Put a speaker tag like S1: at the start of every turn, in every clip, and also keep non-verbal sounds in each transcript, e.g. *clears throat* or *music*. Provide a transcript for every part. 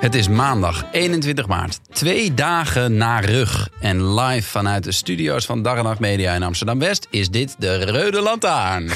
S1: Het is maandag 21 maart, twee dagen na rug. En live vanuit de studio's van Dag en Nacht Media in Amsterdam-West is dit de Rode Lantaarn.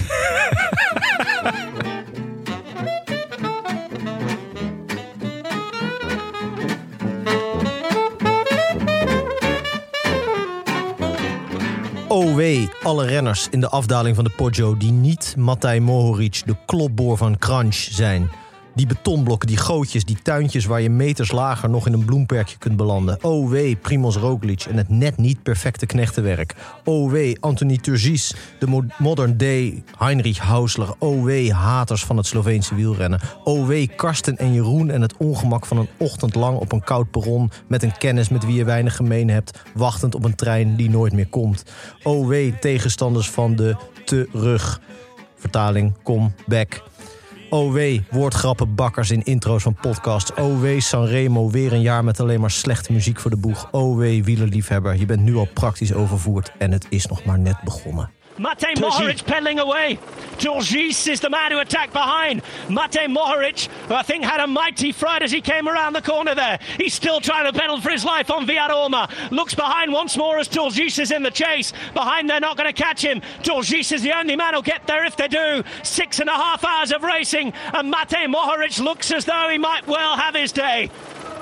S2: Oh wee, alle renners in de afdaling van de Poggio die niet Matej Mohoric, de klopboor van Crunch, zijn. Die betonblokken, die gootjes, die tuintjes waar je meters lager nog in een bloemperkje kunt belanden. Oh wee, Primoz Roglic en het net niet perfecte knechtenwerk. Oh wee, Anthony Turgis, de mo- modern day Heinrich Hausler. Oh wee, haters van het Sloveense wielrennen. Oh wee, Karsten en Jeroen en het ongemak van een ochtend lang op een koud perron... met een kennis met wie je weinig gemeen hebt, wachtend op een trein die nooit meer komt. Oh wee, tegenstanders van de terug. Vertaling, kom, back. OW, woordgrappenbakkers in intro's van podcasts. OW, Sanremo, weer een jaar met alleen maar slechte muziek voor de boeg. OW, wielerliefhebber, je bent nu al praktisch overvoerd en het is nog maar net begonnen.
S3: Mate Mohoric pedaling away. Georgis is the man who attacked behind. Mate Mohoric, who I think had a mighty fright as he came around the corner there. He's still trying to pedal for his life on Villaroma. Looks behind once more as Georgis is in the chase. Behind, they're not going to catch him. Georgis is the only man who'll get there if they do. Six and a half hours of racing, and Mate Mohoric looks as though he might well have his day.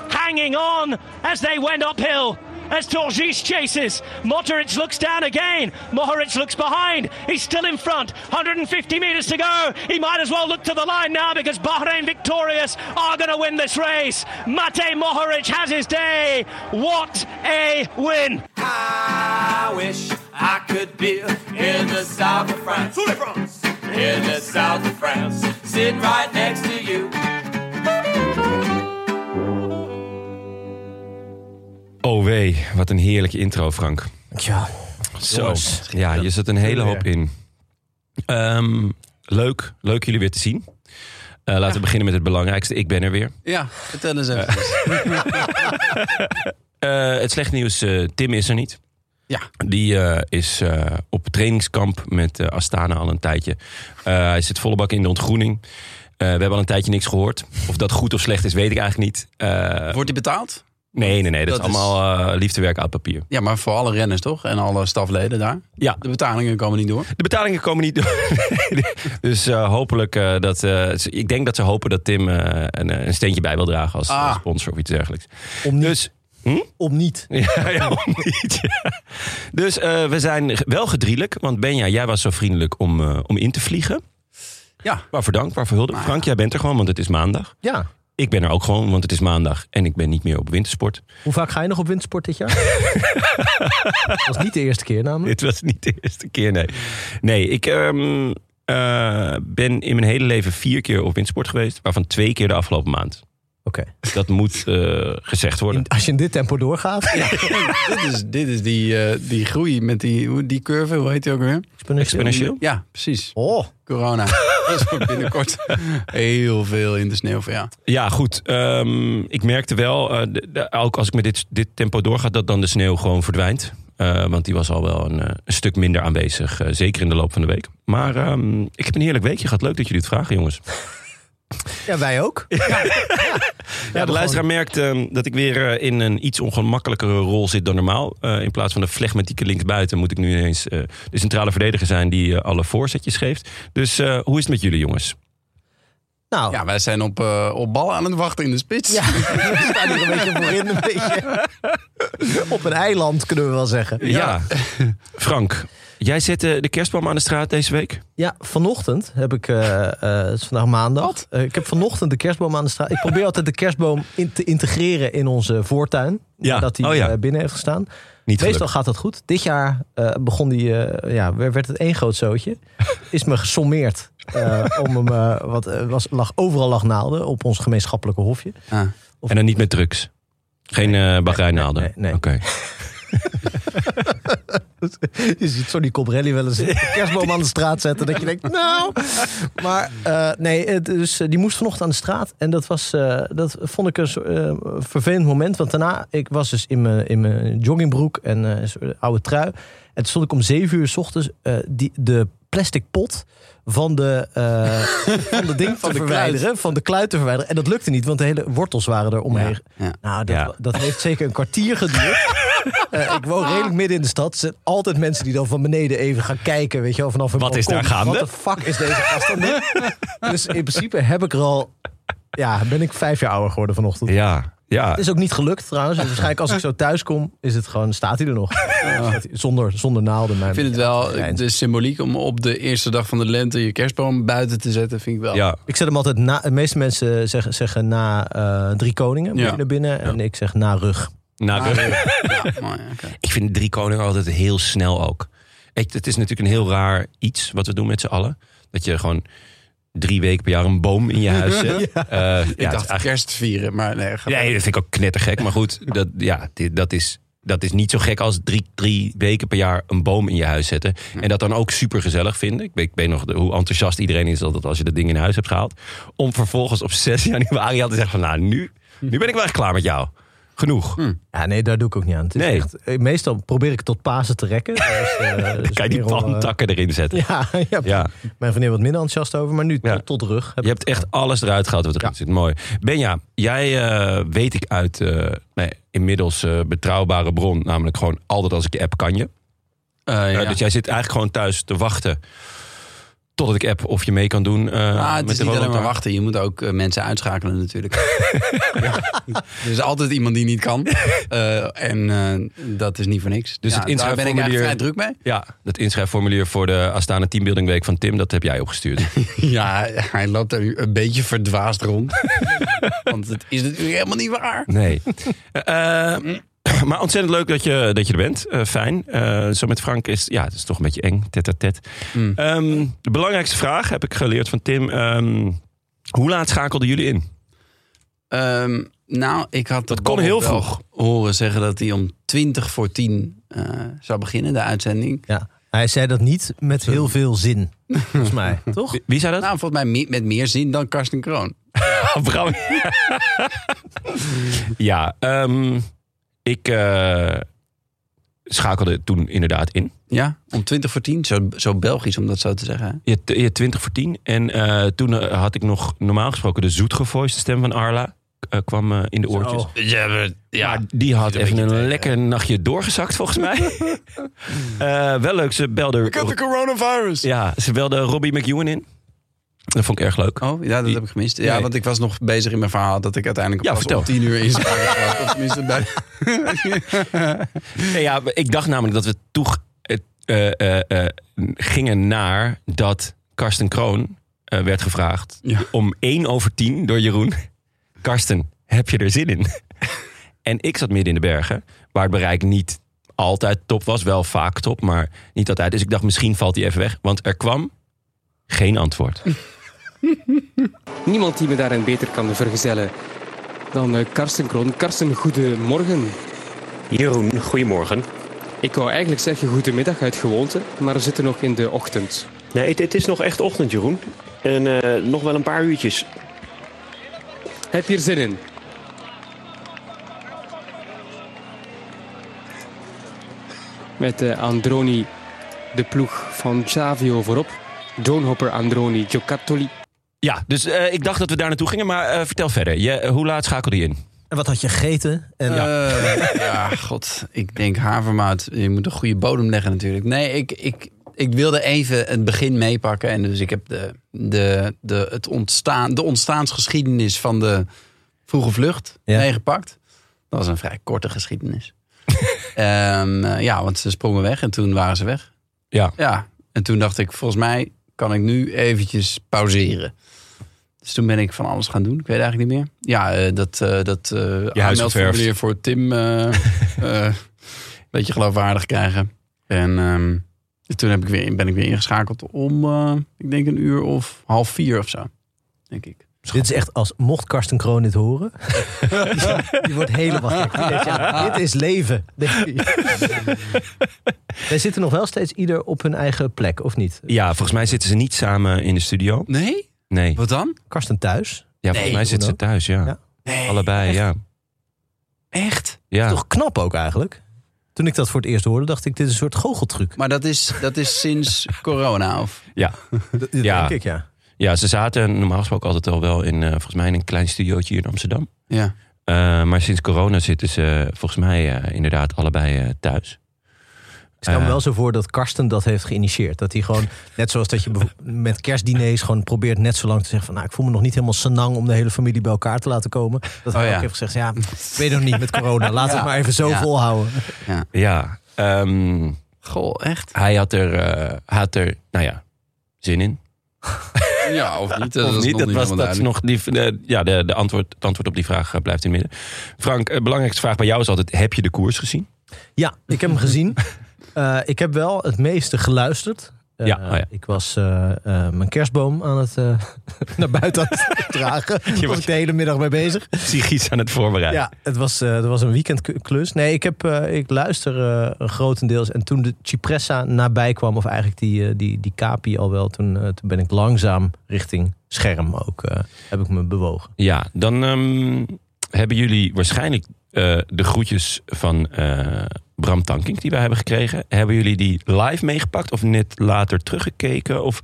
S3: Hanging on as they went uphill as Torgis chases. Mohoric looks down again. Mohoric looks behind. He's still in front. 150 metres to go. He might as well look to the line now because Bahrain victorious are going to win this race. Mate Mohoric has his day. What a win!
S4: I wish I could be in the south of France. In the south of France. Sitting right next to you.
S5: Oh wee, wat een heerlijke intro, Frank.
S2: Ja,
S5: Zo. Ja, je zet een hele hoop in. Ehm, leuk, leuk jullie weer te zien. Eh, laten we beginnen met het belangrijkste. Ik ben er weer.
S1: *laughs* Ja, vertel eens even.
S5: Eh, het slechte nieuws, eh, Tim is er niet.
S1: Ja.
S5: Die eh, is eh, op trainingskamp met eh, Astana al een tijdje. Eh, hij zit volle bak in de ontgroening. Eh, we hebben al een tijdje niks gehoord. Of dat goed of slecht is, weet ik eigenlijk niet. Eh,
S1: Wordt hij betaald?
S5: nee, nee, nee. Dat,
S1: Dat
S5: is
S1: is-
S5: allemaal eh, liefdewerk uit papier.
S1: Ja, maar voor alle renners toch? En alle stafleden daar?
S5: Ja.
S1: De betalingen komen niet door.
S5: De betalingen komen niet door. *laughs* dus eh, hopelijk eh, dat... eh, ze- ik denk dat ze hopen dat Tim eh, een, een steentje bij wil dragen als
S1: Ah.
S5: eh, sponsor of iets dergelijks.
S2: om niet.
S5: Dus,
S2: Om niet.
S5: *laughs* ja, ja, om niet. ja. Dus eh, we zijn wel gedrielijk. Want Benja, jij was zo vriendelijk om, eh, om in te vliegen.
S1: Ja.
S5: Waarvoor dank, waarvoor hulde. Frank, jij bent er gewoon, want het is maandag.
S2: Ja.
S5: Ik ben er ook gewoon, want het is maandag. En ik ben niet meer op wintersport. *laughs*
S2: Hoe vaak ga je nog op windsport dit *laughs* jaar? Dat was niet de eerste keer namelijk.
S5: Dit was niet de eerste keer, nee. Nee, ik ehm, eh, ben in mijn hele leven vier keer op windsport geweest. Waarvan twee keer de afgelopen maand.
S2: Oké.
S5: Dat moet eh, gezegd worden.
S2: In- Als je in dit tempo doorgaat.
S1: dit, is, dit is die, eh, die groei met die, hoe- die curve, hoe heet die ook weer?
S5: Exponentieel?
S1: Ja, precies.
S2: Oh,
S1: Corona. *laughs* Dat is voor binnenkort heel veel in de sneeuw. Ja.
S5: Ja, goed. Ehm, ik merkte wel, eh, de- de- ook als ik met dit, dit tempo doorga, dat dan de sneeuw gewoon verdwijnt. Eh, want die was al wel een, eh, een stuk minder aanwezig, eh, zeker in de loop van de week. Maar ehm, ik heb een heerlijk weekje gehad. Leuk dat jullie het vragen, jongens.
S2: ja, wij ook.
S5: Ja, de
S2: maar
S5: luisteraar merkt ehm, dat ik weer eh, in een iets ongemakkelijkere rol zit dan normaal. Eh, in plaats van de flegmatieke linksbuiten moet ik nu ineens eh, de centrale verdediger zijn die eh, alle voorzetjes geeft. Dus eh, hoe is het met jullie jongens?
S2: Nou,
S1: ja, wij zijn op, eh, op ballen aan het wachten in de spits.
S2: ja. *laughs* we staan hier een beetje voorin. *laughs* Een beetje. Op een eiland kunnen we wel zeggen.
S5: Ja. Frank, Jij zette de kerstboom aan de straat deze week?
S2: Ja, vanochtend heb ik, eh, eh, het is vandaag maandag. Eh, ik heb vanochtend de kerstboom aan de straat. Ik probeer altijd de kerstboom in te integreren in onze voortuin.
S5: Ja,
S2: Dat hij
S5: oh ja.
S2: eh, binnen heeft gestaan.
S5: Niet
S2: Meestal gaat dat goed. Dit jaar eh, begon die, eh, ja, werd werd het één groot zootje. Is me gesommeerd. eh, om hem, eh, wat, eh, was, lag, overal lag naalden op ons gemeenschappelijke hofje.
S1: Ah.
S5: En dan niet met drugs. Geen eh bagrijnaalden.
S2: nee, nee.
S5: Oké.
S2: *laughs* Je ziet Sonny Cobrelli wel eens
S1: *laughs*
S2: een kerstboom aan de straat zetten. Dat je denkt, nou. Maar eh, nee, het- dus eh, die moest vanochtend aan de straat. En dat, was, eh, dat vond ik een soort, eh, vervelend moment. Want daarna, ik was dus in mijn, in mijn joggingbroek en eh, een soort oude trui. En toen stond ik om zeven uur s ochtends eh, die, de plastic pot van de, eh, van de
S1: *laughs*
S2: ding te
S1: de kluit.
S2: verwijderen. Van de kluit te verwijderen. En dat lukte niet, want de hele wortels waren er omheen.
S1: ja.
S2: Nou, dat,
S5: Ja.
S2: dat heeft zeker een
S1: *laughs*
S2: kwartier geduurd. Eh, ik woon redelijk midden in de stad. Er zijn altijd mensen die dan van beneden even gaan kijken. Weet je wel, vanaf hun
S5: Wat is
S2: balkon.
S5: daar gaande?
S2: Wat de fuck is deze gast aan het
S5: *laughs*
S2: doen? Dus in principe heb ik er al... Ja, ben ik vijf jaar ouder geworden vanochtend.
S5: Ja. Ja.
S2: Het is ook niet gelukt trouwens. Dus Waarschijnlijk als ik zo thuis kom, is het gewoon, staat hij er nog. Staat hij- Zonder, zonder naalden.
S1: Ik vind het wel de symboliek om op de eerste dag van de lente je kerstboom buiten te zetten, vind ik wel.
S5: ja.
S2: Ik zet hem altijd na... De meeste mensen zeggen, zeggen na eh, drie koningen moet
S1: Ja.
S2: je naar binnen. En ik zeg na rug.
S5: Nou,
S1: Ah,
S5: de-
S1: ja. Ja, mooi, oké.
S5: Ik vind drie koningen altijd heel snel ook. Ik, het is natuurlijk een heel raar iets wat we doen met z'n allen. Dat je gewoon drie weken per jaar een boom in je huis zet.
S2: *laughs*
S5: Eh, ja, het is
S1: Ik dacht
S5: eigenlijk-
S1: kerst vieren, maar nee. ga-
S5: Nee, dat vind ik ook knettergek. Maar goed, dat, ja, dit- dat, is, dat is niet zo gek als drie, drie weken per jaar een boom in je huis zetten.
S2: Hm.
S5: En dat dan ook super gezellig vinden. Ik weet, ik weet nog de- hoe enthousiast iedereen is altijd als je dat ding in huis hebt gehaald. Om vervolgens op 6 *laughs* januari al te zeggen van nou, nu, nu ben ik wel echt klaar met jou. Genoeg.
S2: Ja, nee, daar doe ik ook niet aan. Het is
S5: Nee.
S2: echt- eh, meestal probeer ik het tot Pasen te rekken. Dus,
S5: *laughs*
S2: eh, dus
S5: Kan je die
S2: meer om, eh,
S5: palmtakken erin
S2: *laughs*
S5: zetten?
S2: Ja, ja,
S5: Ja.
S2: mijn vriendin wat minder enthousiast over, maar nu
S5: Ja.
S2: tot, tot rug. Heb
S5: Je hebt echt alles eruit gehaald wat erin zit. Mooi. Benja, jij eh, weet ik uit eh, nee, inmiddels eh, betrouwbare bron. Namelijk gewoon altijd als ik je app kan je.
S1: Eh,
S5: Eh,
S1: ja.
S5: Dus jij zit eigenlijk gewoon thuis te wachten. Totdat ik app of je mee kan doen. eh,
S1: Ah, het
S5: met
S1: is
S5: de
S1: niet alleen maar
S5: rollator.
S1: wachten. Je moet ook eh, mensen uitschakelen
S5: *laughs*
S1: natuurlijk. ja. Er is altijd iemand die niet kan. Eh, en eh, dat is niet voor niks.
S5: Dus
S1: Ja,
S5: het
S1: daar ben ik eigenlijk
S5: inschrijfformulier-
S1: vrij druk mee.
S5: Ja, dat inschrijfformulier voor de Astana Teambuilding Week van Tim, dat heb jij
S1: *laughs*
S5: opgestuurd.
S1: Ja, hij loopt er nu een beetje verdwaasd
S5: *laughs*
S1: rond. Want het is natuurlijk helemaal niet waar.
S5: Nee. Eh, eh, maar ontzettend leuk dat je, dat je er bent. Eh, fijn. Eh, zo met Frank is ja, het is toch een beetje eng. Tet à tet.
S1: Hmm.
S5: Ehm, de belangrijkste vraag heb ik geleerd van Tim. Ehm, hoe laat schakelden jullie in?
S1: Ehm, nou, ik had dat
S5: kon heel vroeg.
S1: horen zeggen dat hij om 20 voor 10 eh, zou beginnen, de uitzending.
S2: ja. Hij zei dat niet met heel veel zin, volgens
S5: *laughs*
S2: mij, toch?
S5: Wie, wie zei dat?
S1: Nou, volgens mij me- met meer zin dan Karsten Kroon.
S5: *laughs* Bram. ja, ehm, ik eh, schakelde toen inderdaad in.
S1: Ja, om 20 voor 10. Zo, zo Belgisch om dat zo te zeggen. hè?
S5: Je, t- je 20 voor 10. En eh, toen eh, had ik nog normaal gesproken de zoetgevoiste stem van Arla. eh, kwam eh, in de oortjes.
S1: Ja, maar- ja.
S5: Maar die had
S1: een
S5: even een
S1: beetje tegen.
S5: lekker nachtje doorgezakt, volgens
S1: *laughs*
S5: mij. Eh, wel leuk, ze belde,
S1: coronavirus.
S5: ja, ze belde Robbie McEwen in. Dat vond ik erg leuk.
S1: Oh, ja, dat heb ik gemist. Ja,
S5: Nee.
S1: want ik was nog bezig in mijn verhaal dat ik uiteindelijk
S5: Ja,
S1: pas
S5: vertel.
S1: om tien uur
S5: *laughs*
S1: in zou gaan. Of tenminste bij...
S5: Nee, ja, ik dacht namelijk dat we toe eh, eh, eh, gingen naar dat Karsten Kroon eh, werd gevraagd
S1: Ja.
S5: om 1 over 10 door Jeroen. Karsten, heb je er zin in? en ik zat midden in de bergen, waar het bereik niet altijd top was, wel vaak top, maar niet altijd. Dus ik dacht, misschien valt hij even weg, want er kwam geen antwoord.
S6: Niemand die me daarin beter kan vergezellen dan eh, Karsten Kroon. Karsten, goedemorgen.
S7: Jeroen, goedemorgen.
S6: Ik wou eigenlijk zeggen goedemiddag uit gewoonte, maar we zitten nog in de ochtend.
S7: Nee, het, het is nog echt ochtend, Jeroen. En eh, nog wel een paar uurtjes.
S6: Heb je er zin in? Met eh, Androni, de ploeg van Xavio voorop. Doonhopper, Androni, Giocattoli.
S5: Ja, dus eh, ik dacht dat we daar naartoe gingen, maar eh, vertel verder. Je, hoe laat schakelde je in?
S2: En wat had je gegeten? En
S1: Eh, ja, god. Ik denk havermout. Je moet een goede bodem leggen natuurlijk. Nee, ik, ik, ik wilde even het begin meepakken. En dus ik heb de, de, de, het ontstaan, de ontstaansgeschiedenis van de vroege vlucht
S2: Ja.
S1: meegepakt. Dat *laughs* was een vrij korte geschiedenis. Ehm, eh, ja, want ze sprongen weg en toen waren ze weg.
S5: Ja.
S1: Ja, en toen dacht ik, volgens mij kan ik nu eventjes pauzeren. Dus toen ben ik van alles gaan doen. Ik weet eigenlijk niet meer. Ja, eh, dat, eh dat eh aanmeldformulier voor Tim *laughs* eh, eh, een beetje geloofwaardig krijgen. En ehm, toen heb ik weer, ben ik weer ingeschakeld om, eh, ik denk een uur of half vier of zo. Denk ik.
S2: Dit is echt als mocht Karsten Kroon dit
S5: *laughs*
S2: horen. die wordt helemaal gek. Die denkt, ja, dit is leven. denkt
S5: *laughs*
S2: hij. Wij zitten nog wel steeds ieder op hun eigen plek, of niet?
S5: Ja, volgens mij zitten ze niet samen in de studio.
S1: Nee?
S5: Nee.
S1: Wat dan?
S2: Karsten thuis.
S5: Ja, volgens mij zitten ze thuis, ja.
S2: Ja.
S1: Nee.
S5: Allebei, ja.
S1: Echt?
S5: ja.
S2: Toch knap ook eigenlijk. Toen ik dat voor het eerst hoorde, dacht ik, dit is een soort goocheltruc.
S1: Maar dat is, dat is sinds corona of?
S5: Ja.
S2: Dat dat
S5: Ja.
S2: denk ik, ja.
S5: ja, ze zaten normaal gesproken altijd al wel in, eh, volgens mij, in een klein studiootje hier in Amsterdam.
S1: Ja.
S5: Eh, maar sinds corona zitten ze eh, volgens mij eh, inderdaad allebei eh, thuis.
S2: Ik stel me
S5: Eh.
S2: wel zo voor dat Karsten dat heeft geïnitieerd. Dat hij gewoon, net zoals dat je bevo- met kerstdiners gewoon probeert net zo lang te zeggen van... nou, ik voel me nog niet helemaal senang om de hele familie bij elkaar te laten komen. Dat hij
S1: Oh, ja.
S2: ook heeft gezegd, ja, ik weet nog niet met corona. Laten we het maar even zo
S1: Ja.
S2: volhouden.
S5: Ja, ehm,
S1: Goh, echt?
S5: hij had er, eh, had er, nou ja, zin in.
S1: Ja, of niet?
S5: of niet, dat was dat is
S1: nog.
S5: nog die, de, ja, de, de antwoord, het antwoord op die vraag eh, blijft in het midden. Frank, eh, belangrijkste vraag bij jou is altijd, heb je de koers gezien? *laughs*
S2: Ja, ik heb hem gezien. Eh, ik heb wel het meeste geluisterd. Eh,
S5: Ja, oh ja.
S2: Ik was eh, eh, mijn kerstboom aan het eh, *laughs* naar buiten aan het dragen. Daar was
S5: was-
S2: ik de hele middag mee bezig.
S5: Sigies aan het voorbereiden.
S2: Ja, het was, eh, het was een weekendklus. Nee, ik, heb, eh, ik luister eh, grotendeels. En toen de Cipressa nabij kwam, of eigenlijk die, eh, die, die Capi al wel, toen, eh, toen ben ik langzaam richting scherm ook, eh, heb ik me bewogen.
S5: Ja, dan ehm, hebben jullie waarschijnlijk eh, de groetjes van eh, Bram Tankink die wij hebben gekregen. Hebben jullie die live meegepakt of net later teruggekeken? Of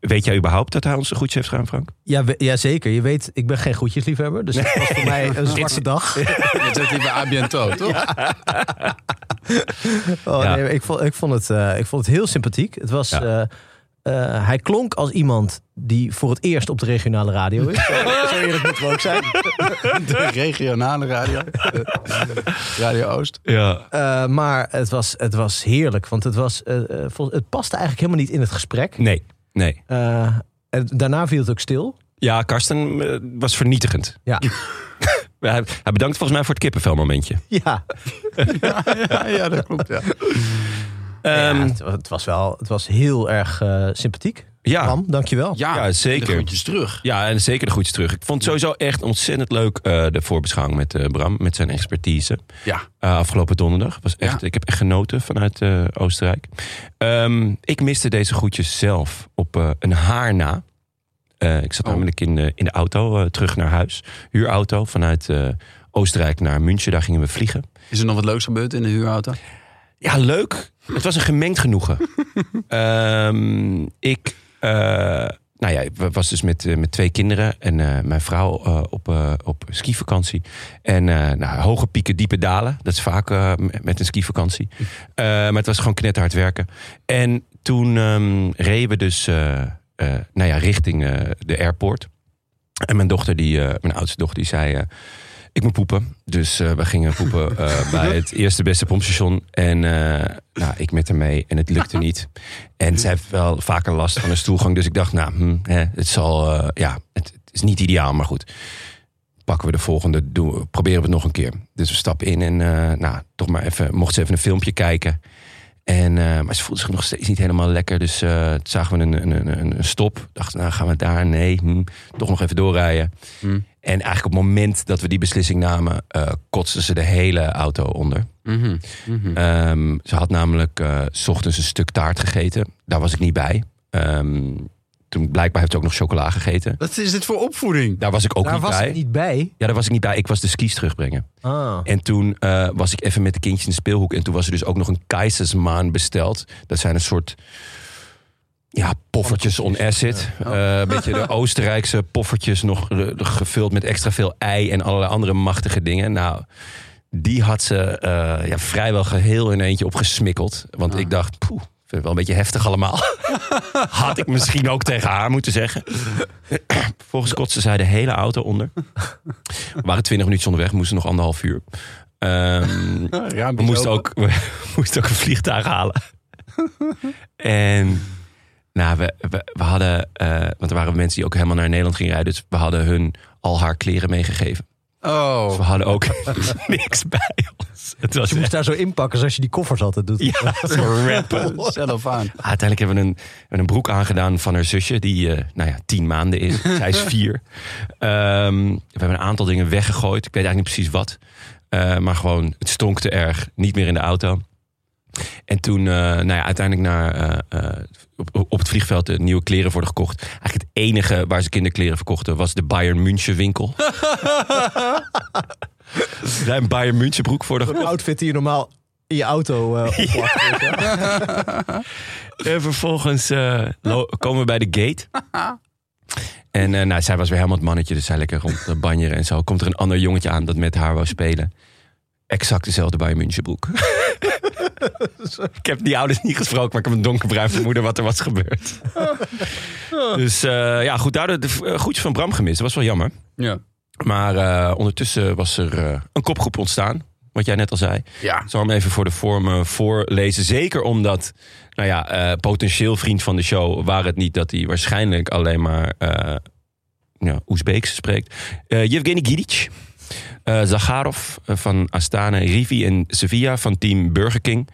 S5: weet jij überhaupt dat hij ons de groetjes heeft gedaan, Frank?
S2: Ja, we- ja, zeker. Je weet, ik ben geen goedjesliefhebber, dus het *laughs* was voor mij een zwarte *laughs* dag.
S1: Dat zegt hij bij Abiento, toch?
S2: Oh,
S5: Ja.
S2: nee, maar ik, vond, ik, vond het, eh, ik vond het heel sympathiek. Het was,
S5: Ja.
S2: eh, eh, hij klonk als iemand die voor het eerst op de regionale radio *laughs* is. Zo- Zo eerlijk moeten we ook zijn.
S1: De regionale radio. Radio Oost.
S5: Ja.
S2: Eh, maar het was, het was heerlijk, want het, was, eh, eh, vol- het paste eigenlijk helemaal niet in het gesprek.
S5: Nee, nee.
S2: Eh, en daarna viel het ook stil.
S5: Ja, Karsten eh, was vernietigend.
S2: *laughs* Ja.
S5: hij, hij bedankt volgens mij voor het kippenvelmomentje.
S2: ja.
S1: Ja, ja, dat klopt, ja.
S2: Ja,
S5: Ehm,
S2: het, wa- het was wel, het was heel erg eh, sympathiek.
S5: ja.
S2: Bram, dankjewel.
S5: Ja, zeker.
S1: Ah, de groetjes terug.
S5: Ja, en zeker de groetjes terug. Ik vond het sowieso echt ontzettend leuk eh, de voorbeschouwing met eh, Bram, met zijn expertise.
S1: Ja.
S5: Eh, afgelopen donderdag. Was echt,
S1: Ja.
S5: Ik heb echt genoten vanuit eh, Oostenrijk. Ehm, ik miste deze groetjes zelf op eh, een haar na. Eh, ik zat
S1: Oh.
S5: namelijk in de, in de auto eh, terug naar huis. Huurauto vanuit eh, Oostenrijk naar München. Daar gingen we vliegen.
S1: Is er nog wat leuks gebeurd in de huurauto?
S5: Ja, leuk. Het was een gemengd genoegen. Ehm, ik eh, nou ja, ik wa- was dus met, eh, met twee kinderen en eh, mijn vrouw eh, op, eh, op skivakantie. En eh, nou, hoge pieken, diepe dalen. Dat is vaak eh, m- met een skivakantie. Eh, maar het was gewoon knetterhard werken. En toen ehm, reden we dus eh, eh, nou ja, richting eh, de airport. En mijn dochter, die, eh, mijn oudste dochter, die zei... eh, ik moet poepen. Dus eh, we gingen poepen eh, bij het eerste beste pompstation. En eh, nou, ik met haar mee. En het lukte niet. En zij heeft wel vaker last van een stoelgang. Dus ik dacht, nou, hm, hè, het zal... eh, ja, het, het is niet ideaal, maar goed. Pakken we de volgende, doen, we- proberen we het nog een keer. Dus we stappen in en eh, nou, toch maar even... Mocht ze even een filmpje kijken. En, eh, maar ze voelde zich nog steeds niet helemaal lekker. Dus eh, toen zagen we een, een, een, een- een stop. Dachten, nou gaan we daar? Nee, hm, toch nog even doorrijden. En eigenlijk op het moment dat we die beslissing namen, eh kotste ze de hele auto onder.
S2: Mhm,
S5: Ehm, ze had namelijk eh, s ochtends een stuk taart gegeten. Daar was ik niet bij. Ehm, toen blijkbaar heeft ze ook nog chocola gegeten.
S1: Wat is dit voor opvoeding?
S5: Daar was ik ook
S2: Daar
S5: niet
S2: was
S5: bij.
S2: ik niet bij.
S5: Ja, daar was ik niet bij. Ik was de skis terugbrengen.
S2: Ah.
S5: En toen eh, was ik even met de kindjes in de speelhoek. En toen was er dus ook nog een keizersmaan besteld. Dat zijn een soort... Ja, poffertjes on acid. Eh, een beetje de Oostenrijkse poffertjes. Nog eh, gevuld met extra veel ei en allerlei andere machtige dingen. Nou, die had ze eh, ja, vrijwel geheel in eentje opgesmikkeld. Want ik dacht, poeh, vind het wel een beetje heftig allemaal. had ik misschien ook tegen haar moeten zeggen. Volgens kotste zij de hele auto onder. We waren twintig minuten onderweg, moesten nog *laughs* anderhalf uur. Ehm, we moesten ook, we moesten ook een vliegtuig halen. en nou, we, we, we hadden, eh, want er waren mensen die ook helemaal naar Nederland gingen rijden. Dus we hadden hun al haar kleren meegegeven. Dus
S1: Oh,
S5: we hadden ook *laughs* niks bij ons. Het was
S2: Je moest
S5: echt
S2: daar zo inpakken zoals je die koffers altijd doet.
S5: ja, zo rappen.
S1: zelf aan.
S5: Ah, Uiteindelijk hebben we, een, hebben we een broek aangedaan van haar zusje, die eh, nou ja, tien maanden is. Zij is vier. Ehm, we hebben een aantal dingen weggegooid. Ik weet eigenlijk niet precies wat. Eh, maar gewoon, het stonk te erg. Niet meer in de auto. En toen, eh, nou ja, uiteindelijk naar, eh, eh, op, op het vliegveld de nieuwe kleren worden gekocht. Eigenlijk het enige waar ze kinderkleren verkochten was de Bayern München winkel. Daar een Bayern München broek voor de
S2: *laughs* Een outfit die je normaal in je auto eh opplakt. weet je wel.
S5: En vervolgens eh, lo- komen we bij de gate. En eh, nou, zij was weer helemaal het mannetje, dus zij lekker rond de banjeren en zo. Komt er een ander jongetje aan dat met haar wou spelen. Exact dezelfde bij Münchenbroek. ik heb die ouders niet gesproken, maar ik heb een donkerbruin vermoeden wat er was gebeurd. dus eh, ja, goed, daardoor de v- eh, groetjes van Bram gemist. Dat was wel jammer.
S1: Ja.
S5: Maar eh, ondertussen was er eh, een kopgroep ontstaan. Wat jij net al zei.
S1: Ja.
S5: Ik zal hem even voor de vormen voorlezen. Zeker omdat, nou ja, eh, potentieel vriend van de show... waar het niet dat hij waarschijnlijk alleen maar eh ja, Oezbeeks spreekt. Eh Yevgeny Gidic. eh Zakharov eh, van Astana, Rivi en Sevilla van team Burger King.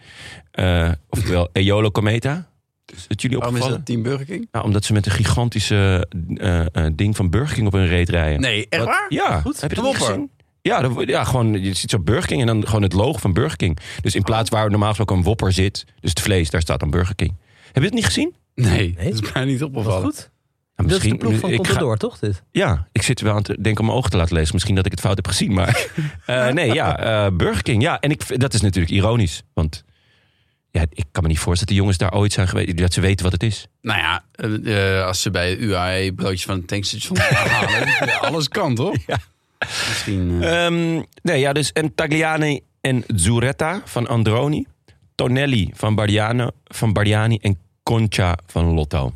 S5: Eh, oftewel Eolo Cometa. Is het jullie
S1: Waarom is
S5: opgevallen?
S1: dat Team Burger King?
S5: Nou, omdat ze met een gigantische eh, eh, ding van Burger King op hun reet rijden.
S1: Nee, echt
S5: Wat-
S1: waar?
S5: Ja.
S1: Goed.
S5: Heb je dat
S1: Kom
S5: niet
S1: op, hoor.
S5: gezien? Ja, dat- ja, gewoon, je ziet zo Burger King en dan gewoon het logo van Burger King. Dus in plaats waar normaal gesproken een wopper zit, dus het vlees, daar staat dan Burger King. Heb je het niet gezien?
S1: Nee, dat is mij niet
S2: Dat is
S1: opgevallen.
S2: goed.
S5: Nou,
S2: Dat is de ploeg van
S5: ik ga-
S2: Contador, toch? Dit?
S5: Ja, ik zit er wel aan te denken om mijn ogen te laten lezen. Misschien dat ik het fout heb gezien, maar... *laughs* eh, nee, ja, eh, Burger King. Ja, en ik, v- dat is natuurlijk ironisch, want... Ja, ik kan me niet voorstellen dat die jongens daar ooit zijn geweest. Dat ze weten wat het is.
S1: Nou ja, eh, eh, als ze bij UAE broodjes van het tankstation halen, ja, alles kan toch?
S5: Ja.
S1: Misschien. eh,
S5: Ehm, nee, ja, dus en Tagliani en Zuretta van Androni. Tonelli van Bardiano, van Bardiani en Concha van Lotto.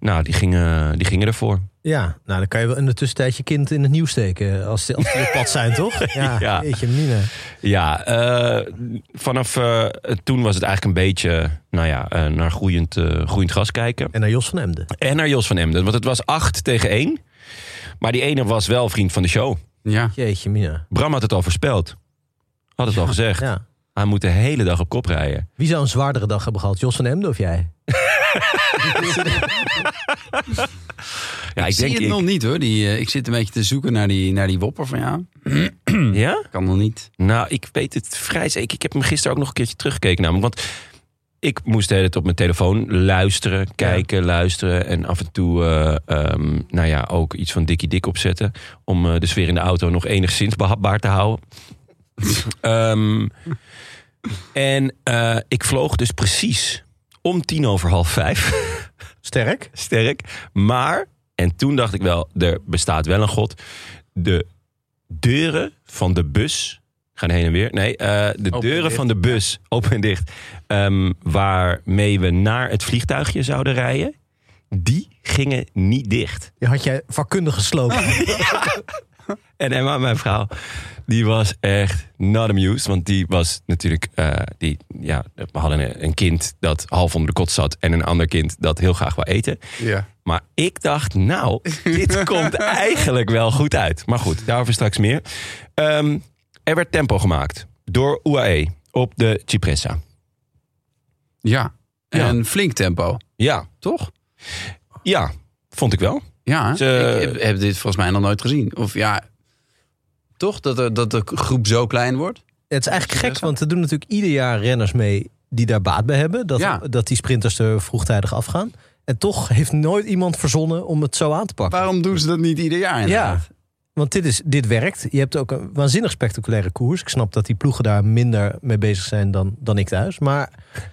S5: Nou, die gingen, die gingen ervoor.
S2: Ja, nou dan kan je wel in de tussentijd je kind in het nieuw steken. Als ze als die op pad zijn, toch? *laughs* Ja,
S5: Ja.
S2: jeetje mina.
S5: Ja, eh, vanaf eh, toen was het eigenlijk een beetje nou ja, eh, naar groeiend, eh, groeiend gas kijken.
S2: En naar Jos van Emden.
S5: En naar Jos van Emden, want het was 8 tegen 1. Maar die ene was wel vriend van de show.
S1: ja.
S2: Jeetje mina.
S5: Bram had het al voorspeld. Had het al gezegd.
S2: Ja.
S5: Hij moet de hele dag op kop rijden.
S2: Wie zou een zwaardere dag hebben gehad? Jos van Emden of jij?
S5: Ja, ik,
S1: Ik zie
S5: denk
S1: het
S5: ik-
S1: nog niet hoor. Die, eh, ik zit een beetje te zoeken naar die, naar die wopper van ja.
S5: Ja?
S1: Kan nog niet.
S5: Nou, ik weet het vrij zeker. Ik heb hem gisteren ook nog een keertje teruggekeken namelijk. Want ik moest de hele tijd op mijn telefoon luisteren, kijken, luisteren. En af en toe, eh, ehm, nou ja, ook iets van Dikkie Dik opzetten. Om eh, de sfeer in de auto nog enigszins behapbaar te houden. Ehm, en eh, ik vloog dus precies om tien over half vijf *laughs*
S2: Sterk.
S5: sterk. Maar, en toen dacht ik wel, er bestaat wel een God. De deuren van de bus gaan heen en weer. Nee, eh, de
S1: en
S5: deuren
S1: dicht.
S5: van de bus, open en dicht, ehm, waarmee we naar het vliegtuigje zouden rijden, die gingen niet dicht.
S2: Je had jij vakkundig gesloopt.
S5: En Emma, mijn vrouw, die was echt not amused. Want die was natuurlijk... eh, die, ja, we hadden een- een kind dat half onder de kot zat... en een ander kind dat heel graag wou eten.
S1: Ja.
S5: Maar ik dacht, nou, dit komt eigenlijk wel goed uit. Maar goed, daarover straks meer. Ehm, er werd tempo gemaakt door UAE op de Cipressa.
S1: Ja.
S5: Ja.
S1: En flink tempo,
S5: Ja,
S1: toch?
S5: ja, vond ik wel.
S1: Ja, hè?
S5: Ze-
S1: ik heb, heb dit volgens mij nog nooit gezien. Of ja, toch dat, er, dat de groep zo klein wordt?
S2: Het is eigenlijk gek, want er doen natuurlijk ieder jaar renners mee die daar baat bij hebben. Dat,
S1: Ja.
S2: dat die sprinters er vroegtijdig afgaan. En toch heeft nooit iemand verzonnen om het zo aan te pakken.
S1: Waarom doen ze dat niet ieder jaar inderdaad?
S2: Want dit, is, dit werkt. Je hebt ook een waanzinnig spectaculaire koers. Ik snap dat die ploegen daar minder mee bezig zijn dan, dan ik thuis. Maar, *laughs*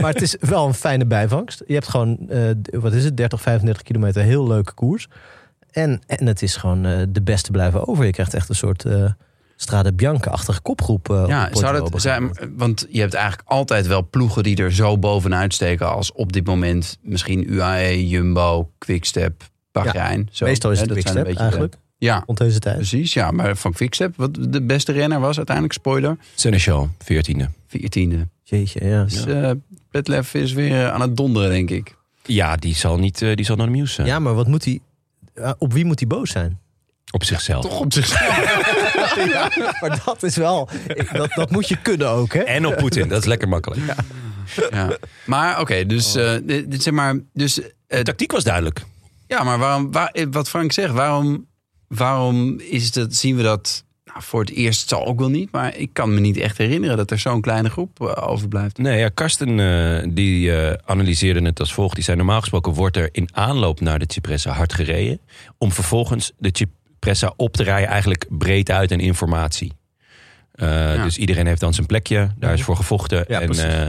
S2: maar het is wel een fijne bijvangst. Je hebt gewoon, eh, d- wat is het, 30, 35 kilometer heel leuke koers. En, en het is gewoon eh, de beste blijven over. Je krijgt echt een soort eh Strade Bianca-achtige kopgroep. eh, op
S1: Ja,
S2: Poggio
S1: zou
S2: op een
S1: dat
S2: gegeven
S1: zijn,
S2: moment.
S1: want je hebt eigenlijk altijd wel ploegen die er zo bovenuit steken als op dit moment misschien UAE, E, Jumbo, Quickstep, Bahrein. zo.
S2: Meestal is
S1: Hè,
S2: het
S1: dat zijn een
S2: Quickstep
S1: beetje Dus- de-
S2: eigenlijk.
S1: Ja,
S2: rond deze tijd.
S1: precies. Ja, maar van Quickstep, wat de beste renner was uiteindelijk, spoiler,
S5: Seneschal, 14e.
S1: 14e.
S2: Jeetje, ja.
S1: Dus eh Petlev is weer eh, aan het donderen, denk ik.
S5: Ja, die zal, niet, eh, die zal naar de nieuws zijn.
S2: Ja, maar wat moet hij... eh, Op wie moet hij boos zijn? *laughs*
S5: Op zichzelf.
S1: op zichzelf.
S2: Maar dat is wel... ik- Dat, dat moet je kunnen ook, hè?
S5: En op Poetin, dat is lekker makkelijk.
S1: ja. Maar oké, dus,
S2: Oh.
S1: eh, dit- dit zeg maar, dus eh,
S5: De tactiek was duidelijk.
S1: Ja, maar waarom, waar, eh, wat Frank zegt, waarom, waarom is dat, zien we dat nou, voor het eerst zal ook wel niet, maar ik kan me niet echt herinneren dat er zo'n kleine groep eh, overblijft.
S5: Nee, ja, Karsten eh, die eh, analyseerde het als volgt. Die zei normaal gesproken wordt er in aanloop naar de Cipressa hard gereden. Om vervolgens de Cipressa op te rijden eigenlijk breed uit en informatie. Eh, Dus iedereen heeft dan zijn plekje. Daar is voor gevochten.
S2: Mhm. Ja,
S5: en,
S2: precies.
S5: eh,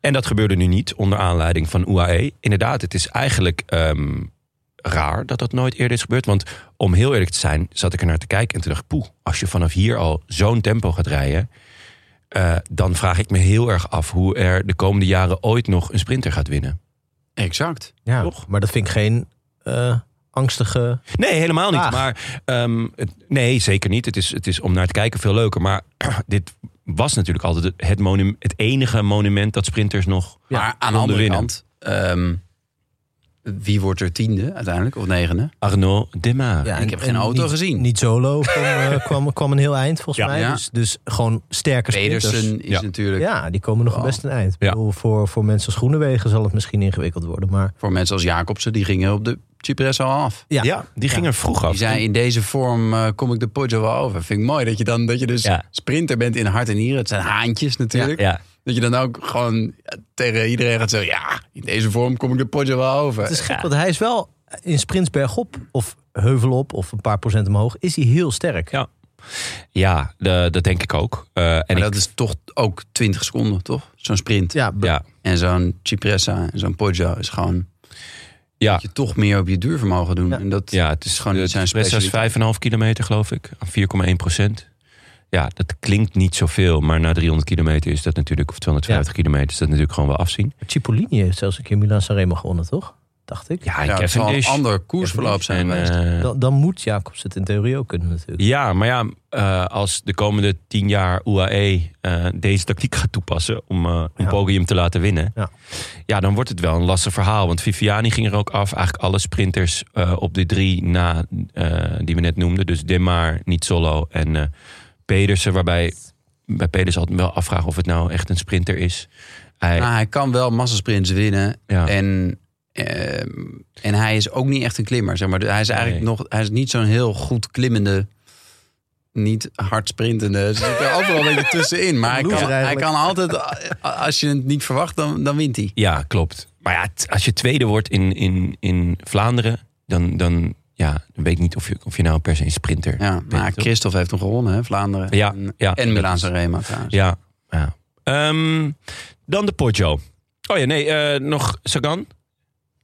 S5: en dat gebeurde nu niet onder aanleiding van UAE. Inderdaad, het is eigenlijk ehm, raar dat dat nooit eerder is gebeurd. Want om heel eerlijk te zijn, zat ik er naar te kijken en toen dacht ik... poeh, als je vanaf hier al zo'n tempo gaat rijden... eh, dan vraag ik me heel erg af hoe er de komende jaren ooit nog een sprinter gaat winnen.
S1: Exact.
S2: Ja,
S5: Toch?
S2: maar dat vind ik geen eh, angstige...
S5: Nee, helemaal niet.
S2: Ah.
S5: Maar ehm, het- nee, zeker niet. Het is, het is om naar te kijken veel leuker. Maar *clears throat* dit was natuurlijk altijd het, monu- het enige monument dat sprinters nog...
S1: maar aan de
S5: konden
S1: andere
S5: winnen.
S1: kant, ehm, wie wordt er tiende uiteindelijk, of negende?
S5: Arnaud Dema.
S2: Ja,
S1: ik heb geen auto
S2: niet-
S1: gezien.
S2: Niet
S1: *laughs*
S2: solo kwam, eh, kwam, kwam een heel eind, volgens
S5: Ja.
S2: mij.
S1: Ja.
S2: Dus, dus gewoon sterke sprinters.
S1: Pedersen is
S5: dus- Ja.
S1: natuurlijk
S2: Ja, die komen nog
S1: Oh.
S2: best een eind. Ik
S5: Ja.
S2: bedoel, voor, voor mensen als Groenewegen zal het misschien ingewikkeld worden. Maar
S1: voor mensen als Jacobsen, die gingen op de Cipressa al af.
S2: ja,
S5: Ja, die ging er vroeg af.
S1: Die zei, in deze vorm eh, kom ik de Poggio wel over. Vind ik mooi dat je dan, dat je dus
S5: Ja.
S1: sprinter bent in hart en nieren. Het zijn haantjes natuurlijk.
S5: ja.
S1: Dat je dan ook gewoon ja, tegen iedereen gaat zeggen... ja, in deze vorm kom ik de Poggio wel over.
S2: het is gek, want hij is wel in sprints bergop of heuvel op of een paar procent omhoog, is hij heel sterk.
S5: Ja, ja de- dat denk ik ook. Eh, en
S1: Maar
S5: ik,
S1: dat is toch ook 20 seconden, toch? Zo'n sprint.
S2: Ja, be-
S5: ja,
S1: En zo'n Cipressa en zo'n Poggio is gewoon...
S5: ja,
S1: dat je toch meer op je duurvermogen doen.
S2: Ja.
S1: En dat
S5: ja, het is
S1: is gewoon
S5: de
S1: niet zijn
S5: Expressa is
S1: specialiteit.
S5: 5,5 kilometer, geloof ik. 4,1 procent. Ja, dat klinkt niet zoveel. Maar na 300 kilometer is dat natuurlijk, of 250 kilometer, is dat natuurlijk gewoon wel afzien.
S2: Cipollini heeft zelfs een keer Milan Sanremo gewonnen, toch? Dacht ik.
S5: Ja,
S1: Ja, het zal een
S5: Cavendish.
S1: ander koersverloop zijn
S5: En,
S1: geweest.
S5: eh,
S2: Dan, dan moet Jacobs het in theorie ook kunnen natuurlijk.
S5: ja, maar ja, eh, als de komende 10 jaar UAE eh, deze tactiek gaat toepassen om eh, een
S2: Ja.
S5: podium te laten winnen.
S2: Ja.
S5: Ja, dan wordt het wel een lastig verhaal. Want Viviani ging er ook af. Eigenlijk alle sprinters eh, op de drie na eh, die we net noemden. Dus Demar, Nizzolo en eh, Pedersen. Waarbij bij Pedersen altijd wel afvragen of het nou echt een sprinter is. Hij,
S2: Ah.
S1: Nou, hij kan wel massasprints winnen.
S5: Ja.
S1: En, ehm, en hij is ook niet echt een klimmer. Zeg maar. Dus Hij is eigenlijk
S5: Nee.
S1: nog, hij is niet zo'n heel goed klimmende, niet hard sprintende. Ze zit er overal een beetje tussenin.
S5: *laughs*
S1: Maar hij kan,
S2: Loser
S1: hij
S2: eigenlijk.
S1: kan altijd, als je het niet verwacht, dan, dan wint hij.
S5: Ja, klopt. Maar ja, t- als je tweede wordt in, in, in Vlaanderen, dan, dan, ja, dan weet ik niet of je, of je nou per se een sprinter
S1: Ja,
S5: bent.
S1: maar Christophe heeft hem gewonnen, hè, Vlaanderen.
S5: Ja,
S1: en,
S5: ja.
S1: en Milaanse Rema trouwens.
S5: Ja. ja. Ehm, dan de Poggio. Oh ja, nee, eh, nog Sagan.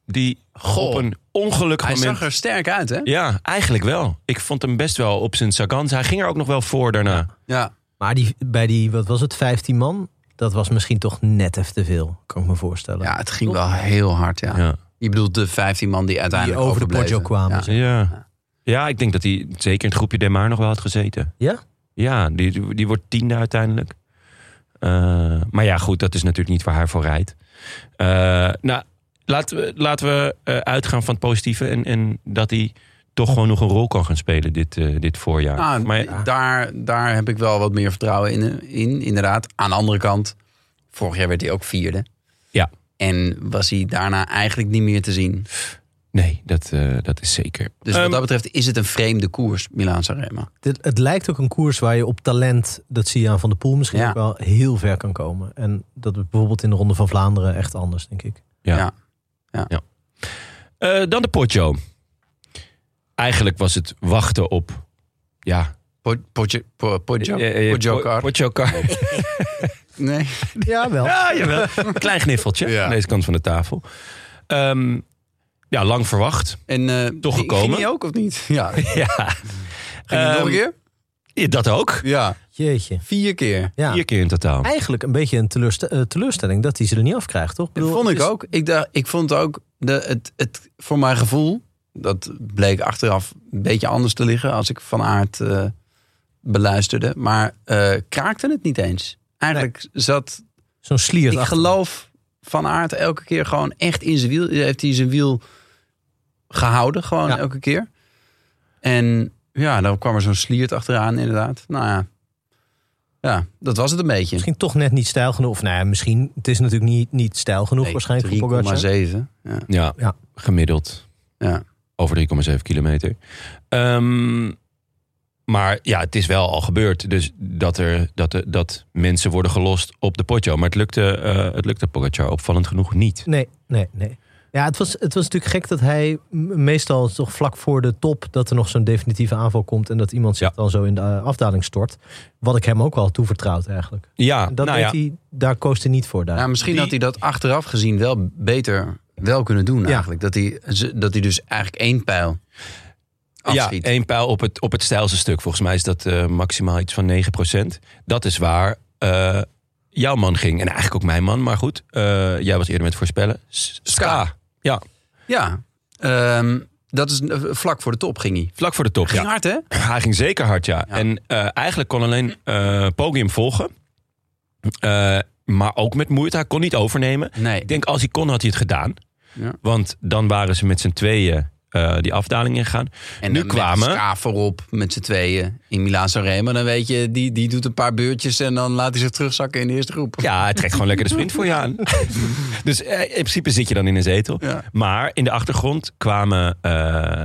S5: Die
S1: Goh.
S5: op een ongelukkig
S1: Hij
S5: moment...
S1: zag er sterk uit, hè?
S5: Ja, eigenlijk wel. Ik vond hem best wel op zijn Sagan. Hij ging er ook nog wel voor daarna.
S1: Ja.
S2: Maar die, bij die, wat was het, 15 man? Dat was misschien toch net even te veel, kan ik me voorstellen.
S1: Ja, het ging wel heel hard, ja.
S5: Ja.
S1: Je bedoelt de 15 man die
S2: die
S1: uiteindelijk
S2: over de Poggio
S1: overbleven.
S2: kwamen.
S1: Ja.
S2: zeg.
S5: Ja. ja, ik denk dat hij zeker in het groepje Demar nog wel had gezeten.
S2: Ja?
S5: Ja, die, die wordt tiende uiteindelijk. Eh, maar ja, goed, dat is natuurlijk niet waar hij voor rijdt. Eh, nou, laten we, laten we eh, uitgaan van het positieve. En, en dat hij toch gewoon nog een rol kan gaan spelen dit, eh, dit voorjaar.
S1: Nou,
S5: maar,
S1: d- daar, daar heb ik wel wat meer vertrouwen in, in, inderdaad. Aan de andere kant, vorig jaar werd hij ook vierde.
S5: Ja.
S1: En was hij daarna eigenlijk niet meer te zien.
S5: nee, dat, eh, dat is zeker.
S1: Dus wat dat betreft is het een vreemde koers, Milaan Sanremo.
S2: Dit- het lijkt ook een koers waar je op talent, dat zie je aan Van der Poel misschien
S1: Ja.
S2: ook wel, heel ver kan komen. En dat is bijvoorbeeld in de Ronde van Vlaanderen echt anders, denk ik.
S5: Ja.
S1: Ja. Ja.
S5: Eh, dan de Poggio. Eigenlijk was het wachten op... Ja,
S1: Po- Poggio- Po- Poggio-
S5: eh, eh,
S1: Poggio
S5: Po-
S1: Car.
S5: Poggio Car.
S1: *laughs* Nee.
S2: Ja, wel.
S5: Ja, Ah, jawel. Een Klein gniffeltje
S1: Ja.
S5: aan deze kant van de tafel. Ehm, ja, lang verwacht.
S1: En, eh,
S5: Toch
S1: ging-
S5: gekomen?
S1: Ging hij ook of niet? Ja. Ging
S5: Ja,
S1: hij nog
S5: Ehm,
S1: een keer?
S5: ja, dat ook.
S1: Ja.
S2: Jeetje.
S1: Vier keer.
S2: Ja.
S5: Vier keer in totaal.
S2: Eigenlijk een beetje een teleurste- eh, teleurstelling dat hij ze er niet afkrijgt, toch?
S1: Dat vond ik
S2: het is-
S1: ook. Ik, dacht, ik vond ook de, het, het, voor mijn gevoel Dat bleek achteraf een beetje anders te liggen als ik van aard eh, beluisterde. Maar eh, kraakte het niet eens. Eigenlijk zat
S2: Zo'n slier.
S1: ik
S2: achter.
S1: geloof Van Aert elke keer gewoon echt in zijn wiel. eh, Heeft hij zijn wiel gehouden, gewoon
S2: Ja.
S1: elke keer. En ja, dan kwam er zo'n sliert achteraan inderdaad. Nou ja, ja dat was het een beetje.
S2: Misschien toch net niet stijl genoeg. Of nou ja, misschien. Het is natuurlijk niet, niet stijl genoeg
S1: Nee,
S2: waarschijnlijk voor Pogacar.
S1: 3,7. Ja.
S5: Ja,
S2: Ja.
S5: gemiddeld.
S1: Ja.
S5: Over 3,7 kilometer. Ehm, maar ja, het is wel al gebeurd. Dus dat, er, dat, er, dat mensen worden gelost op de potjo. Maar het lukte, eh het lukte Pogacar opvallend genoeg niet.
S2: Nee, nee, nee. Ja, het was, het was natuurlijk gek dat hij m- meestal toch vlak voor de top... dat er nog zo'n definitieve aanval komt... en dat iemand zich
S5: Ja.
S2: dan zo in de eh, afdaling stort. Wat ik hem ook wel toevertrouwd eigenlijk.
S5: Ja,
S2: Dat
S5: nou
S2: deed
S5: ja.
S2: hij, daar koos hij niet voor daar.
S1: Nou, misschien
S5: Die-
S1: had hij dat achteraf gezien wel beter wel kunnen doen
S2: Ja.
S1: eigenlijk. Dat hij, ze- dat hij dus eigenlijk één pijl afschiet.
S5: Ja, één pijl op het, op het stijlste stuk. Volgens mij is dat eh, maximaal iets van 9%. Dat is waar eh, jouw man ging. En eigenlijk ook mijn man, maar goed. eh, jij was eerder met voorspellen. S- Ska. Ja,
S1: Ja, ehm, dat is eh, vlak voor de top ging hij.
S5: vlak voor de top.
S1: Ging
S5: Ja.
S1: hard hè?
S5: Hij ging zeker hard, ja.
S1: Ja.
S5: En eh, eigenlijk kon alleen eh Podium volgen. Eh, maar ook met moeite. Hij kon niet overnemen.
S1: Nee.
S5: Ik denk, als hij kon, had hij het gedaan.
S1: Ja.
S5: Want dan waren ze met z'n tweeën eh, die afdaling ingegaan.
S1: En
S5: nu
S1: dan
S5: kwamen-
S1: Met Ska voorop met z'n tweeën in Milaan Sanremo. Dan weet je, die, die doet een paar beurtjes en dan laat hij zich terugzakken in de eerste groep.
S5: Ja, hij trekt gewoon lekker de sprint voor je
S1: *laughs*
S5: aan. dus eh, in principe zit je dan in een zetel.
S1: Ja.
S5: Maar in de achtergrond kwamen, eh,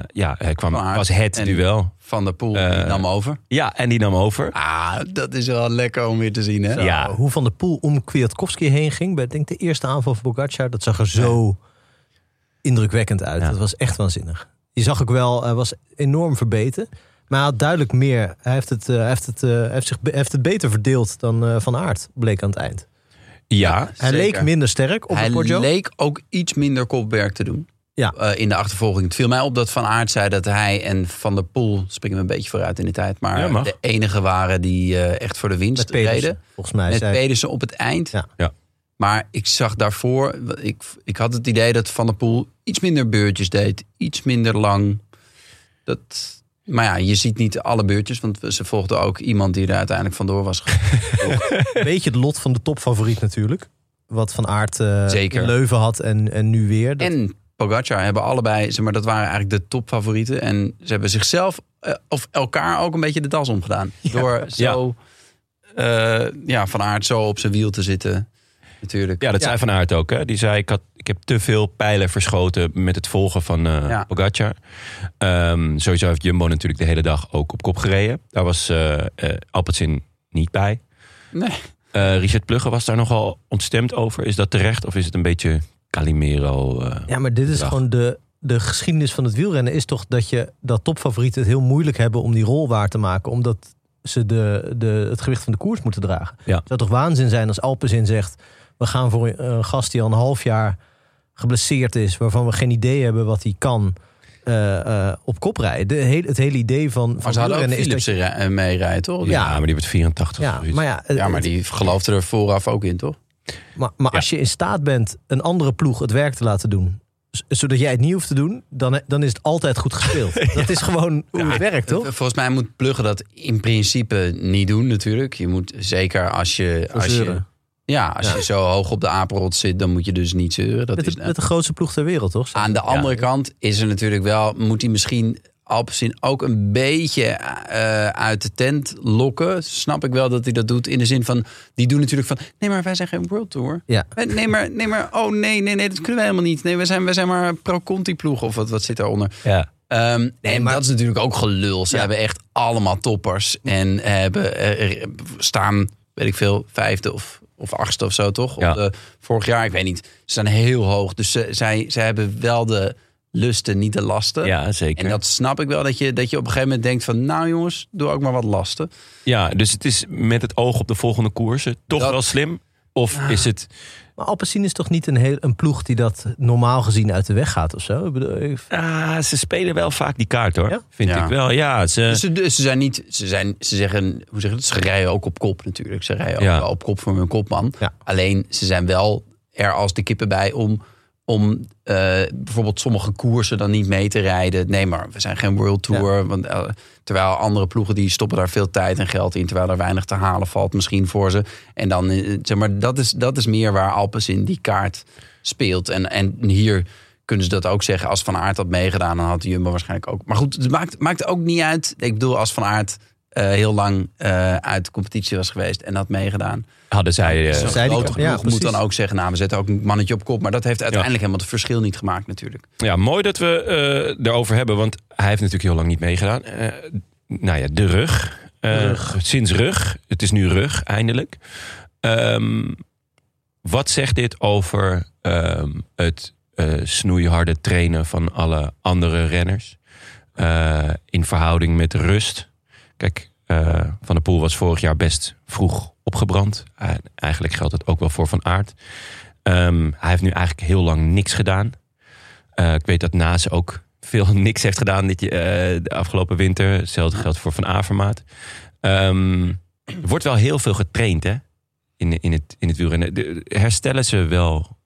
S5: ja, hij kwam,
S1: Maar-
S5: was het
S1: en-
S5: duel.
S1: Van der Poel
S5: Eh.
S1: die nam over.
S5: Ja, en die nam over.
S1: Ah, dat is wel lekker om weer te zien hè?
S2: Zo,
S5: ja.
S2: Eh, Hoe Van der Poel om Kwiatkowski heen ging... bij ik denk de eerste aanval van Pogacar... dat zag er zo indrukwekkend uit.
S5: Ja.
S2: Dat was echt waanzinnig. Je zag ook wel, hij was enorm verbeten... Maar hij had duidelijk meer. Hij heeft het, eh, hij heeft het, eh, hij heeft zich, be- hij heeft het beter verdeeld dan eh, Van Aert, bleek aan het eind.
S5: Ja,
S2: Hij
S1: Zeker.
S2: leek minder sterk op
S1: Hij
S2: de Poggio.
S1: leek ook iets minder kopwerk te doen.
S2: Ja.
S1: Eh, in de achtervolging. Het viel mij op dat Van Aert zei dat hij en Van der Poel... springen we een beetje vooruit in de tijd... maar
S5: Ja, mag.
S1: de enige waren die eh, echt voor de winst
S2: met Pedersen,
S1: reden.
S2: volgens mij.
S1: Met
S2: zei-
S1: Pedersen op het eind.
S2: Ja.
S5: Ja.
S1: Maar ik zag daarvoor... Ik, ik had het idee dat Van der Poel iets minder beurtjes deed. Iets minder lang. Dat, maar ja, je ziet niet alle beurtjes... want ze volgden ook iemand die er uiteindelijk vandoor was gegaan.
S2: Een beetje het lot van de topfavoriet natuurlijk. Wat Van Aert eh,
S1: Zeker.
S2: in Leuven had en, en nu weer. Dat-
S1: en Pogacar hebben allebei, zeg maar, dat waren eigenlijk de topfavorieten. En ze hebben zichzelf eh, of elkaar ook een beetje de das omgedaan. Door zo ja. ja, van aard zo op zijn wiel te zitten. Natuurlijk.
S5: ja dat zei Van Aert ook. Hè? Die zei, ik, had, ik heb te veel pijlen verschoten met het volgen van eh
S1: Ja.
S5: Pogacar. Ehm, sowieso heeft Jumbo natuurlijk de hele dag ook op kop gereden. Daar was eh eh, Alpecin niet bij.
S1: Nee.
S5: Eh, Richard Plugge was daar nogal ontstemd over. Is dat terecht of is het een beetje Calimero? eh,
S2: ja, maar dit is
S5: Ja.
S2: gewoon de, de geschiedenis van het wielrennen. Is toch dat, je, dat topfavorieten het heel moeilijk hebben om die rol waar te maken. Omdat ze de, de, het gewicht van de koers moeten dragen.
S5: Ja.
S2: Het zou toch waanzin zijn als Alpezin zegt... we gaan voor een, een gast die al een half jaar geblesseerd is... waarvan we geen idee hebben wat hij kan... eh, eh, op kop rijden. De, hele- het hele idee van,
S1: Maar
S2: van
S1: ze hadden ook
S2: wielrennen is dat
S1: Philipsen ra- eh, meerijden, toch?
S5: Ja, maar die werd 84 of
S2: Ja,
S5: zoiets.
S2: maar ja,
S1: Ja, maar die geloofde er vooraf ook in, toch?
S2: maar, maar
S5: Ja.
S2: als je in staat bent een andere ploeg het werk te laten doen, z- zodat jij het niet hoeft te doen, dan, dan is het altijd goed gespeeld. Dat is gewoon hoe het werkt, toch?
S1: Eh, Volgens mij moet pluggen dat in principe niet doen, natuurlijk. Je moet zeker als je. Als je
S2: zeuren.
S1: ja, als je zo hoog op de apenrot zit, dan moet je dus niet zeuren. Dat
S2: Met
S1: is
S2: de, met de grootste ploeg ter wereld, toch?
S1: Aan de andere kant is er natuurlijk wel, moet hij misschien Alpecin ook een beetje eh, uit de tent lokken. Snap ik wel dat hij dat doet in de zin van, die doen natuurlijk van, nee maar wij zijn geen World Tour.
S2: Ja.
S1: Eh, Nee maar, nee maar, oh nee, nee, nee, dat kunnen wij helemaal niet. Nee, wij zijn, wij zijn maar een pro-Conti ploeg of wat, wat zit daaronder.
S5: Ja.
S1: Ehm, en
S2: maar-
S1: dat is natuurlijk ook gelul. Ze
S2: Ja.
S1: hebben echt allemaal toppers. En hebben, eh, eh, staan, weet ik veel, vijfde of, of achtste of zo, toch? Op
S5: Ja.
S1: de, vorig jaar, ik weet niet. Ze staan heel hoog. Dus ze, zij, zij hebben wel de lusten, niet de lasten.
S5: Ja, zeker.
S1: En dat snap ik wel, dat je, dat je op een gegeven moment denkt van... nou jongens, doe ook maar wat lasten.
S5: Ja, dus het is met het oog op de volgende koersen toch
S1: Dat-
S5: wel slim? Of is het...
S2: Maar Alpecin is toch niet een, heel, een ploeg die dat normaal gezien uit de weg gaat of zo? Ik bedoel, ik-
S5: Ah, ze spelen wel vaak die kaart hoor,
S2: Ja?
S5: vind
S1: Ja.
S5: ik wel. Ja, ze,
S1: Dus ze, dus ze zijn niet, ze, zijn, ze zeggen, hoe zeg je dat? Ze rijden ook op kop natuurlijk. Ze rijden ook
S5: Ja.
S1: wel op kop voor hun kopman.
S2: Ja.
S1: Alleen ze zijn wel er als de kippen bij om, om eh, bijvoorbeeld sommige koersen dan niet mee te rijden. Nee, maar we zijn geen World Tour. Want, eh, terwijl andere ploegen die stoppen daar veel tijd en geld in. Terwijl er weinig te halen valt misschien voor ze. En dan, eh, zeg maar, dat is, dat is meer waar Alpes in die kaart speelt. En, en hier kunnen ze dat ook zeggen. Als Van Aert had meegedaan, dan had de Jumbo waarschijnlijk ook. Maar goed, het maakt, maakt ook niet uit. Ik bedoel, als Van Aert eh, heel lang eh, uit de competitie was geweest en had meegedaan.
S5: Hadden zij... eh,
S1: Zo'n
S2: Zij die-
S1: grote
S2: ja,
S1: ploeg moet
S2: precies.
S1: dan ook zeggen, nou, we zetten ook een mannetje op kop. Maar dat heeft uiteindelijk helemaal het verschil niet gemaakt natuurlijk.
S5: Ja, mooi dat we eh daarover hebben, want hij heeft natuurlijk heel lang niet meegedaan. Eh, nou ja, de rug. Eh, Sinds rug. Het is nu rug, eindelijk. Ehm, wat zegt dit over ehm, het eh, snoeiharde trainen van alle andere renners? Eh, in verhouding met rust. Kijk, eh, Van der Poel was vorig jaar best vroeg opgebrand. En eigenlijk geldt het ook wel voor Van Aert. Ehm, hij heeft nu eigenlijk heel lang niks gedaan. Eh, ik weet dat Naas ook veel *laughs* niks heeft gedaan dit, je- eh, de afgelopen winter. Hetzelfde geldt voor Van Avermaat. Ehm, er wordt wel heel veel getraind hè? In, in, het, in het wielrennen. De- herstellen ze wel,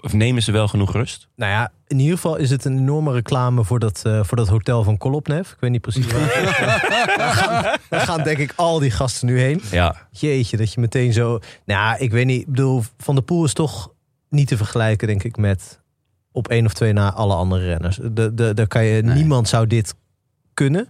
S5: of nemen ze wel genoeg rust?
S2: Nou ja, in ieder geval is het een enorme reclame voor dat, eh, voor dat hotel van Kolopnev. Ik weet niet precies waar. het is, maar daar, gaan, daar gaan denk ik al die gasten nu heen.
S5: Ja,
S2: Jeetje, dat je meteen zo... Nou, ja, ik weet niet. Ik bedoel, Van der Poel is toch niet te vergelijken, denk ik, met op één of twee na alle andere renners. De, de, daar kan je,
S1: Nee.
S2: Niemand zou dit kunnen.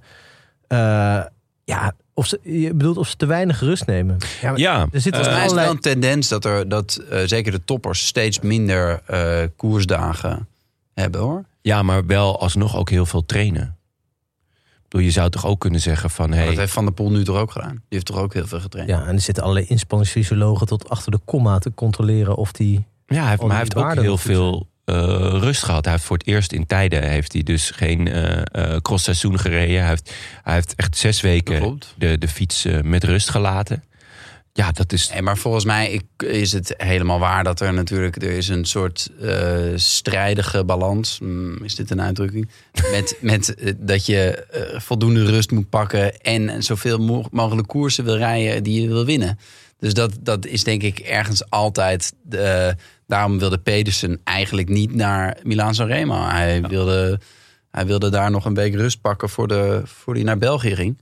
S2: Eh, ja, of ze, je bedoelt of ze te weinig rust nemen. Ja, maar
S5: ja.
S2: Er zit
S5: Eh,
S2: volgens
S1: Volgens
S2: mij
S1: mij is het
S2: allerlei-
S1: wel een tendens dat, er, dat eh, zeker de toppers steeds minder eh, koersdagen hebben hoor.
S5: ja, maar wel alsnog ook heel veel trainen. Ik bedoel, je zou toch ook kunnen zeggen van...
S1: Maar Dat
S5: Hey,
S1: heeft Van der Poel nu toch ook gedaan. Die heeft toch ook heel veel getraind.
S2: Ja, en er zitten allerlei inspanningsfysiologen tot achter de komma te controleren of die...
S5: Ja, hij heeft,
S2: Al
S5: maar hij
S2: die
S5: heeft ook
S2: waarden
S5: heel
S2: natuurlijk.
S5: veel eh, rust gehad. Hij heeft voor het eerst in tijden heeft hij dus geen eh eh, crossseizoen gereden. Hij heeft, hij heeft echt zes
S1: Dat
S5: weken
S1: klopt.
S5: de, de fiets eh, met rust gelaten. Ja, dat is.
S1: Nee, Eh, maar volgens mij ik- is het helemaal waar dat er natuurlijk er is een soort eh, strijdige balans. mm, is dit een uitdrukking? Met, met eh, dat je eh, voldoende rust moet pakken en zoveel mo- mogelijk koersen wil rijden die je wil winnen. Dus dat, dat is denk ik ergens altijd. eh, daarom wilde Pedersen eigenlijk niet naar Milaan San Remo. Hij, wilde, hij wilde daar nog een week rust pakken voor de, voor die naar België ging.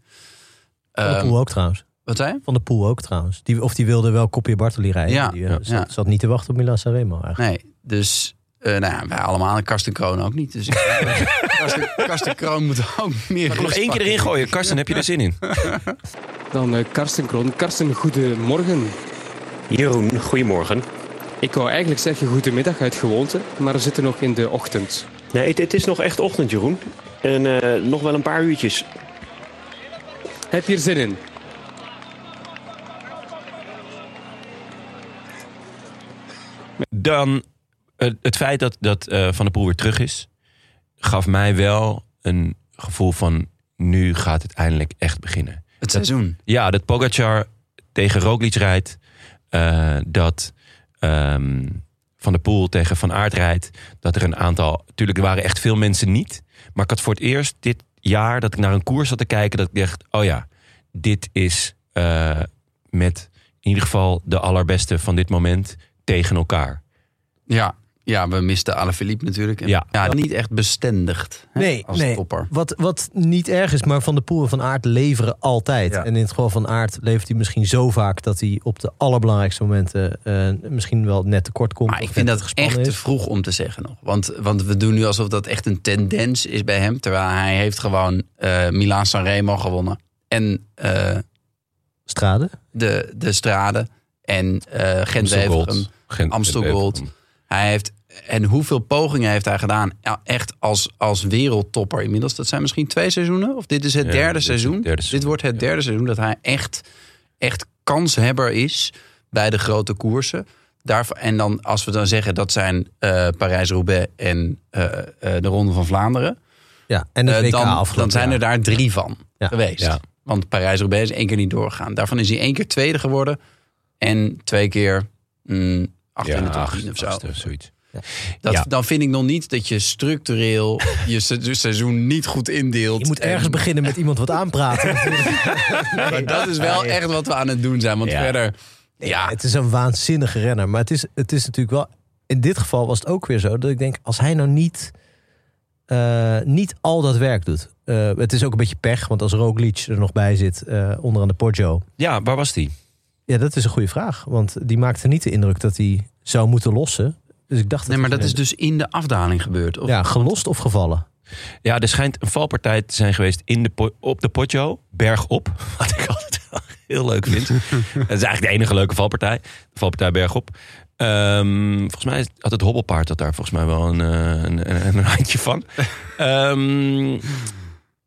S2: Van de
S1: Eh,
S2: Poel ook trouwens.
S1: wat zei je?
S2: Van de Poel ook trouwens. Die, of die wilde wel Kopje Bartoli rijden.
S1: Ja,
S2: die eh,
S1: ja,
S2: zat,
S1: ja.
S2: zat niet te wachten op Milan Sanremo eigenlijk.
S1: Nee, dus eh, nou ja, wij allemaal en Karsten Kroon ook niet. Dus ik- Karsten, Karsten Kroon moet ook meer.
S5: Nog één keer erin gooien. Karsten, heb je er zin in?
S6: Dan eh, Karsten Kroon. Karsten, goedemorgen.
S7: Jeroen, goedemorgen.
S6: Ik wou eigenlijk zeggen goedemiddag uit gewoonte, maar we zitten nog in de ochtend.
S7: Nee, het, het is nog echt ochtend, Jeroen. En eh, nog wel een paar uurtjes.
S6: Heb je er zin in?
S5: *laughs* Dan eh, het feit dat, dat eh, Van der Poel weer terug is, gaf mij wel een gevoel van nu gaat het eindelijk echt beginnen.
S1: Het seizoen.
S5: Ja, dat Pogacar tegen Roglic rijdt. eh, dat ehm, Van der Poel tegen Van Aert rijdt. Dat er een aantal... Tuurlijk, er waren echt veel mensen niet. Maar ik had voor het eerst dit jaar dat ik naar een koers zat te kijken... dat ik dacht, oh ja, dit is eh, met in ieder geval de allerbeste van dit moment tegen elkaar.
S1: Ja, ja we misten Alaphilippe natuurlijk. En-
S5: Ja.
S1: niet echt bestendigd hè,
S2: Nee,
S1: als
S2: nee.
S1: topper.
S2: Wat, wat niet erg is, maar Van de Poel en Van Aert leveren altijd.
S1: Ja.
S2: En in het geval van Aert levert hij misschien zo vaak... dat hij op de allerbelangrijkste momenten eh, misschien wel net tekort komt.
S1: Maar
S2: of
S1: ik vind
S2: net
S1: dat
S2: gespannen
S1: echt te
S2: is.
S1: vroeg om te zeggen nog. Want, want we doen nu alsof dat echt een tendens is bij hem. Terwijl hij heeft gewoon eh Milaan Sanremo gewonnen. En eh,
S2: Strade.
S1: de, de Strade. En eh gent
S5: Amstel Gold.
S1: Wevelgem.
S5: Gent-
S1: Amstel
S5: Gent-
S1: Gold. Hij heeft, en hoeveel pogingen heeft hij gedaan? Ja, Echt als, als wereldtopper inmiddels. Dat zijn misschien twee seizoenen. Of dit is het
S5: Ja,
S1: derde
S5: dit is het
S1: seizoen.
S5: derde seizoen,
S1: Dit wordt het derde seizoen dat hij echt, echt kanshebber is bij de grote koersen. Daarvoor, en dan, als we dan zeggen dat zijn eh, Parijs-Roubaix en eh, eh, de Ronde van Vlaanderen.
S2: Ja, en het
S1: eh,
S2: WK
S1: dan,
S2: afgelopen
S1: dan zijn er
S2: jaar.
S1: daar drie van
S2: Ja,
S1: geweest.
S5: ja.
S1: Want Parijs-Roubaix is één keer niet doorgegaan. Daarvan is hij één keer tweede geworden. En twee keer mm, achter
S5: Ja,
S1: in de top
S5: acht-
S1: 10 of zo.
S5: achtste of zoiets.
S1: Dat,
S5: Ja.
S1: Dan vind ik nog niet dat je structureel je se- seizoen niet goed indeelt.
S2: Je moet
S1: En-
S2: ergens beginnen met iemand wat
S1: *laughs*
S2: aanpraten.
S1: Maar dat is wel echt wat we aan het doen zijn. Want
S5: Ja.
S1: verder, ja,
S2: Het is een waanzinnige renner. Maar het is, het is natuurlijk wel in dit geval was het ook weer zo dat ik denk, als hij nou niet, eh, niet al dat werk doet. Eh, het is ook een beetje pech, want als Roglic er nog bij zit, eh onderaan de Poggio.
S5: Ja, waar was die?
S2: Ja, dat is een goede vraag. Want die maakte niet de indruk dat hij zou moeten lossen. Dus ik dacht...
S1: Nee, maar dat
S2: hij-
S1: is dus in de afdaling gebeurd. Of?
S2: Ja, gelost of gevallen.
S5: Ja, er schijnt een valpartij te zijn geweest in de po- op de Poggio, bergop. *laughs* Wat ik altijd wel heel leuk
S1: *laughs*
S5: vind. dat is eigenlijk de enige leuke valpartij. De valpartij bergop. Ehm, volgens mij had het hobbelpaard dat daar volgens mij wel een, eh, een, een, een handje van. Ehm,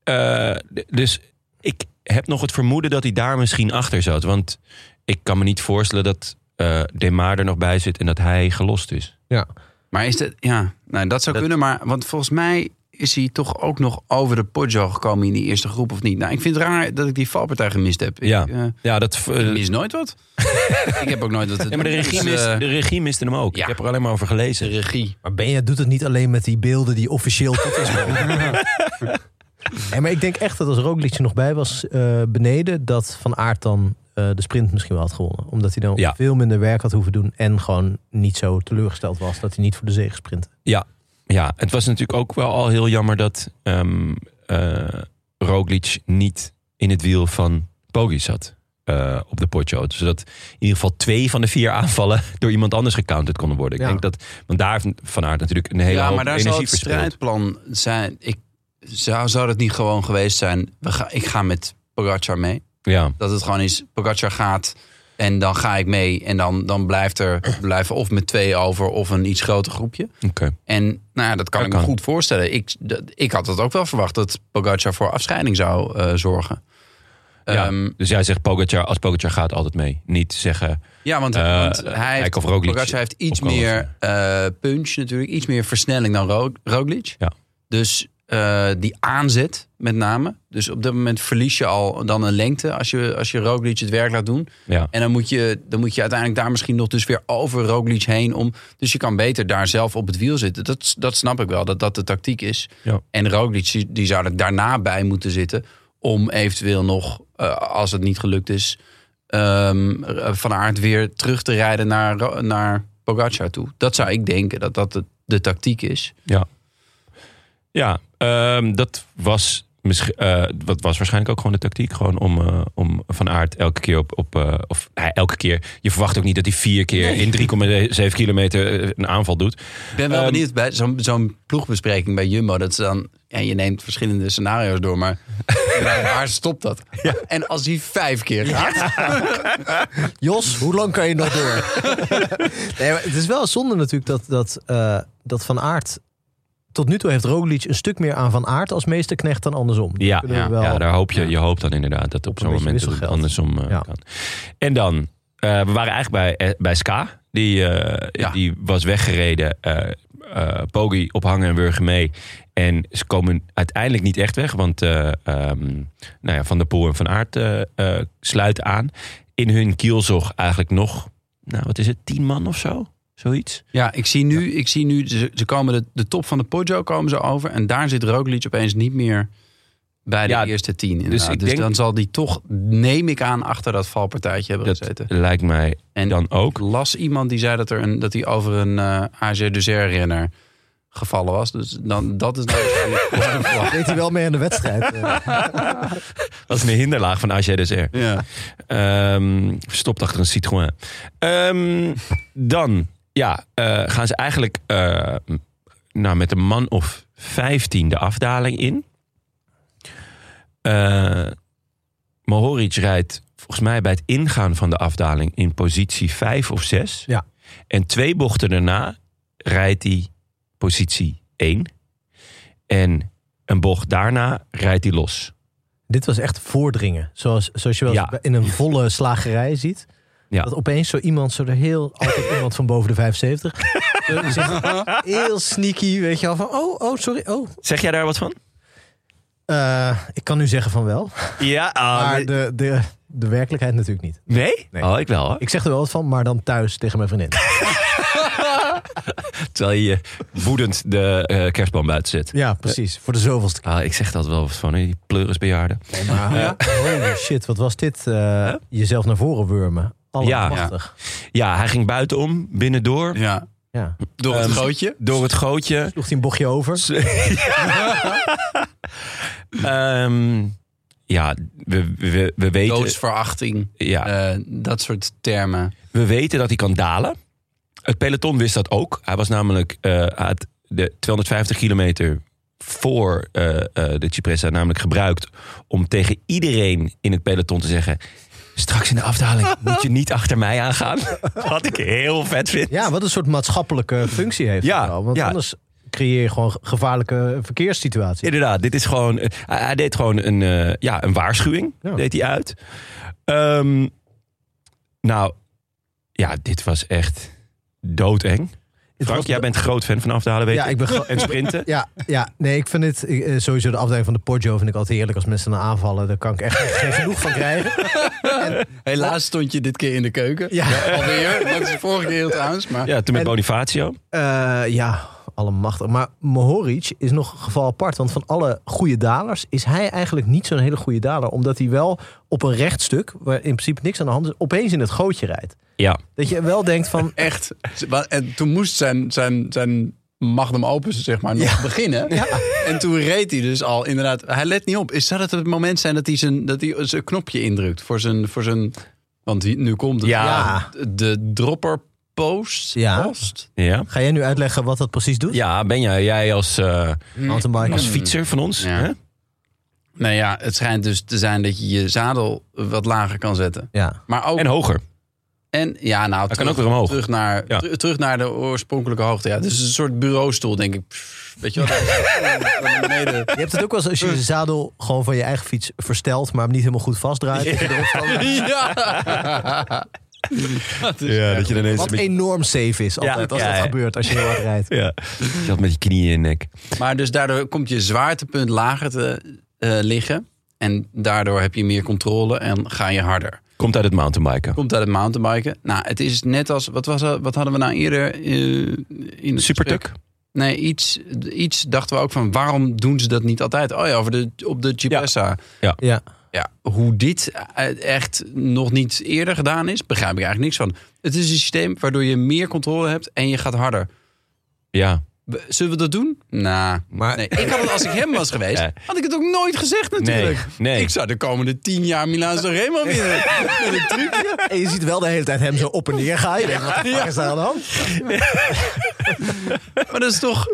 S5: eh, d- dus ik heb nog het vermoeden dat hij daar misschien achter zat. Want ik kan me niet voorstellen dat eh Demar er nog bij zit en dat hij gelost is.
S2: Ja.
S1: Maar is dat, ja, nou, dat zou
S5: Dat-
S1: kunnen. Maar, want volgens mij is hij toch ook nog over de Poggio gekomen in die eerste groep of niet. Nou, ik vind het raar dat ik die valpartij gemist heb. Ik,
S5: Ja,
S1: eh,
S5: ja dat... eh,
S1: ik mis nooit wat. ik heb ook nooit
S5: *laughs*
S1: dat.
S5: ja, maar de regie, mist, de regie miste hem
S1: dus,
S5: ook.
S1: eh, ja.
S5: Ik heb er alleen maar over gelezen.
S1: regie.
S2: Maar Benja doet het niet alleen met die beelden die officieel tot is gekomen.
S5: *laughs*
S2: Nee, maar ik denk echt dat als Roglic er nog bij was eh, beneden... dat Van Aert dan eh, de sprint misschien wel had gewonnen. Omdat hij dan
S5: Ja.
S2: veel minder werk had hoeven doen... en gewoon niet zo teleurgesteld was dat hij niet voor de zege sprintte.
S5: Ja, ja, het was natuurlijk ook wel al heel jammer dat ehm eh, Roglic niet in het wiel van Poggi zat. eh, op de potje. Zodat in ieder geval twee van de vier aanvallen *laughs* door iemand anders gecounterd konden worden. Ik
S2: Ja.
S5: denk dat, want daar heeft Van Aert natuurlijk een hele
S1: ja,
S5: hoop
S1: maar daar zou
S5: energie
S1: het
S5: verspild.
S1: strijdplan zijn. Ik, zou, zou dat niet gewoon geweest zijn? We ga, ik ga met Pogacar mee.
S5: Ja,
S1: Dat het gewoon is, Pogacar gaat en dan ga ik mee. En dan, dan blijft er blijven of met twee over of een iets groter groepje.
S5: oké.
S1: En nou ja, dat kan
S5: Dat
S1: ik me
S5: kan.
S1: goed voorstellen. Ik, dat- ik had het ook wel verwacht dat Pogacar voor afscheiding zou eh, zorgen.
S5: Ja,
S1: Ehm,
S5: dus jij zegt Pogacar, als Pogacar gaat altijd mee. Niet zeggen,
S1: Ja, want,
S5: Eh,
S1: want hij
S5: Eik
S1: heeft,
S5: of Roglic
S1: Pogacar heeft iets
S5: op kan
S1: meer eh, punch natuurlijk. Iets meer versnelling dan Ro- Roglic.
S5: Ja.
S1: Dus eh, die aanzet met name. Dus op dat moment verlies je al dan een lengte als je, als je Roglic het werk laat doen.
S5: ja.
S1: En dan moet, je, dan moet je uiteindelijk daar misschien nog dus weer over Roglic heen om. Dus je kan beter daar zelf op het wiel zitten. Dat, dat snap ik wel, dat dat de tactiek is.
S5: Ja.
S1: En Roglic die- die zou er daarna bij moeten zitten. Om eventueel nog, eh, als het niet gelukt is, ehm, eh, van aard weer terug te rijden naar, Ro- naar Pogacar toe. Dat zou ik denken, dat dat de, de tactiek is.
S5: Ja, ja ehm, dat was, misschien, eh, dat was waarschijnlijk ook gewoon de tactiek. Gewoon om, eh, om Van Aert elke keer op... op eh, of nou ja, elke keer. Je verwacht ook niet dat hij vier keer in 3,7 kilometer eh, een aanval doet.
S1: Ik ben wel
S5: Ehm,
S1: benieuwd bij zo'n zo'n ploegbespreking bij Jumbo. Dat ze dan, ja, je neemt verschillende scenario's door, *laughs* maar waar stopt dat? En als hij vijf keer gaat.
S2: Jos, hoe lang kan je nog door? nee, maar het is wel zonde natuurlijk dat, dat, eh, dat Van Aert... Tot nu toe heeft Roglic een stuk meer aan Van Aert als meesterknecht dan andersom. Dat
S5: Ja,
S2: kunnen we
S5: ja,
S2: wel-
S5: ja, daar
S2: *laughs*
S5: hoop je, je hoopt dan inderdaad dat
S2: een
S5: op zo'n
S2: beetje
S5: moment dat het
S2: wisselgeld.
S5: andersom eh,
S2: Ja.
S5: kan. En dan, eh, we waren eigenlijk bij, eh, bij Ska. Die, eh,
S1: Ja.
S5: die was weggereden. eh eh, Poggi op hangen en wurgen mee. En ze komen uiteindelijk niet echt weg. Want eh, ehm, nou ja, Van der Poel en Van Aert eh, eh, sluiten aan. In hun kielzog eigenlijk nog, nou wat is het, tien man of zo? Zoiets.
S1: Ja, ik zie nu, ik zie nu ze, ze komen de, de top van de Poggio komen ze over. En daar zit Roglic opeens niet meer bij de
S5: Ja,
S1: eerste tien. inderdaad. Dus,
S5: ik denk-
S1: dan zal die toch, neem ik aan, achter dat valpartijtje hebben
S5: Dat
S1: gezeten.
S5: lijkt mij
S1: En
S5: dan ook.
S1: ik las iemand die zei dat, er een, dat hij over een eh AG Dessert-renner gevallen was. Dus dan, dat *laughs* is nou waarschijnlijk voor de vlag.
S2: Deed hij wel mee aan de wedstrijd. eh.
S5: Dat is een hinderlaag van AGDSR.
S1: Ja.
S5: Ehm, verstopt achter een Citroën. Ehm, dan ja, eh, gaan ze eigenlijk eh, m- nou, met een man of 15 de afdaling in. Eh Mohoric rijdt volgens mij bij het ingaan van de afdaling in positie 5 of 6.
S2: Ja.
S5: En twee bochten daarna rijdt hij positie 1. En een bocht daarna rijdt hij los.
S2: Dit was echt voordringen. Zoals, zoals je wel eens
S5: Ja.
S2: in
S5: *laughs*
S2: een volle slagerij ziet.
S5: Ja.
S2: Dat opeens zo iemand, zo er heel, altijd iemand van boven de
S5: *laughs*
S2: 75. zo die zegt, heel sneaky, weet je al van, oh, oh, sorry, oh.
S5: Zeg jij daar wat van?
S2: Eh, ik kan nu zeggen van wel,
S5: Ja, ah,
S2: maar de, de, de werkelijkheid natuurlijk niet.
S5: Nee?
S2: Nee.
S5: Oh, ik wel hoor.
S2: Ik zeg er wel wat van, maar dan thuis tegen mijn vriendin.
S5: Terwijl je woedend de eh, kerstboom buiten zet.
S2: Ja, precies, voor de zoveelste keer.
S5: Ah, ik zeg dat wel wat van, hè, die pleurisbejaarden.
S2: Maar, holy shit, wat was dit? eh, Jezelf naar voren wurmen. Allemachtig.
S5: Ja. Ja, hij ging buitenom, binnendoor.
S1: Ja.
S2: Ja.
S1: Door het
S5: Ehm,
S1: gootje.
S5: Door het gootje.
S2: Sloeg hij een bochtje over.
S5: Ehm, ja, we, we, we, weten,
S1: Doodsverachting.
S5: ja,
S1: eh, dat soort termen.
S5: we weten dat hij kan dalen. Het peloton wist dat ook. Hij was namelijk eh, uit de 250 kilometer voor eh, eh, de Cipressa namelijk gebruikt... om tegen iedereen in het peloton te zeggen... straks in de afdaling moet je niet achter mij aangaan. *laughs* Wat ik heel vet vind.
S2: Ja, wat een soort *laughs* maatschappelijke functie heeft.
S5: Ja,
S2: hij wel, want
S5: ja.
S2: anders creëer je gewoon gevaarlijke verkeerssituaties.
S5: Inderdaad, dit is gewoon. eh, hij, hij deed gewoon een, eh, ja, een waarschuwing.
S2: Ja.
S5: Deed hij uit. Ehm, nou, ja, dit was echt doodeng. Frank,
S2: was-
S5: jij bent groot fan van afdalen, weet
S2: Ja, ik ben gro-
S5: En sprinten.
S2: *laughs* Ja, ja, nee, ik vind het ik, eh, sowieso de afdeling van de Poggio vind ik altijd heerlijk als mensen naar aanvallen. Daar kan ik echt *laughs* geen genoeg van krijgen.
S1: Helaas stond je dit keer in de keuken.
S2: Ja.
S1: Alweer. Dat is de vorige keer trouwens. Maar
S5: Ja, toen met
S2: En-
S5: Bonifacio.
S2: *laughs* Eh, ja, allemachtig. Maar Mohoric is nog een geval apart. Want van alle goede dalers is hij eigenlijk niet zo'n hele goede daler. Omdat hij wel op een rechtstuk, waar in principe niks aan de hand is, opeens in het gootje rijdt.
S5: Ja.
S2: Dat je wel denkt *laughs* van,
S1: echt. En toen moest zijn, zijn, zijn magnum opus zeg maar, nog beginnen. En toen reed hij dus al inderdaad. Hij let niet op. Is dat het, het moment zijn dat hij zijn, dat hij zijn knopje indrukt voor zijn, voor zijn. Want die- nu komt het.
S2: Ja.
S1: De dropper post.
S2: Ja.
S1: Post?
S5: Ja.
S2: ga jij nu uitleggen wat dat precies doet?
S5: Ja, Benja, jij als, eh,
S2: Mountainbiker.
S5: als fietser van ons.
S1: Ja.
S5: Hè?
S1: Nou ja, het schijnt dus te zijn dat je je zadel wat lager kan zetten.
S2: Ja.
S1: Maar ook
S5: En hoger.
S1: En ja, nou,
S5: kan ook weer omhoog.
S1: Terug naar,
S5: Ja.
S1: ter- terug naar de oorspronkelijke hoogte. Ja, dus een soort bureaustoel, denk ik. Pff, weet je wat? Naar beneden.
S2: Je
S5: *laughs*
S2: hebt het ook wel eens als je de zadel gewoon van je eigen fiets verstelt, maar hem niet helemaal goed vastdraait. Dat je erop valt.
S1: Ja. *laughs* Dat is
S5: Ja,
S1: echt-
S5: dat je ineens
S2: Wat enorm safe is altijd als
S5: ja,
S2: dat
S5: ja.
S2: gebeurt, als je
S5: *laughs*
S2: heel hard rijdt.
S5: Ja. Je had met je knieën in je nek.
S1: Maar dus daardoor komt je zwaartepunt lager te eh, liggen. En daardoor heb je meer controle en ga je harder.
S5: Komt uit het mountainbiken.
S1: Komt uit het mountainbiken. Nou, het is net als... Wat, was, dat- wat hadden we nou eerder eh, in het
S5: Supertuk.
S1: Nee, iets, iets dachten we ook van... waarom doen ze dat niet altijd? Oh ja, over de, op de Cipressa.
S2: Ja.
S1: ja, hoe dit eh, echt nog niet eerder gedaan is, begrijp ik eigenlijk niks van. Het is een systeem waardoor je meer controle hebt en je gaat harder.
S5: Ja.
S1: We- Zullen we dat doen? Nou,
S2: Maar-
S1: nee. ik had het als ik hem was geweest,
S5: *laughs* Ja.
S1: had ik het ook nooit gezegd natuurlijk.
S5: Nee, nee.
S1: Ik zou de komende tien jaar Milaan Sanremo
S5: *laughs*
S1: winnen. Met een trucje.
S2: En je ziet wel de hele tijd hem zo op en neer gaan. Je denkt, wat de fuck is daar aan de hand?
S1: Maar dat is toch...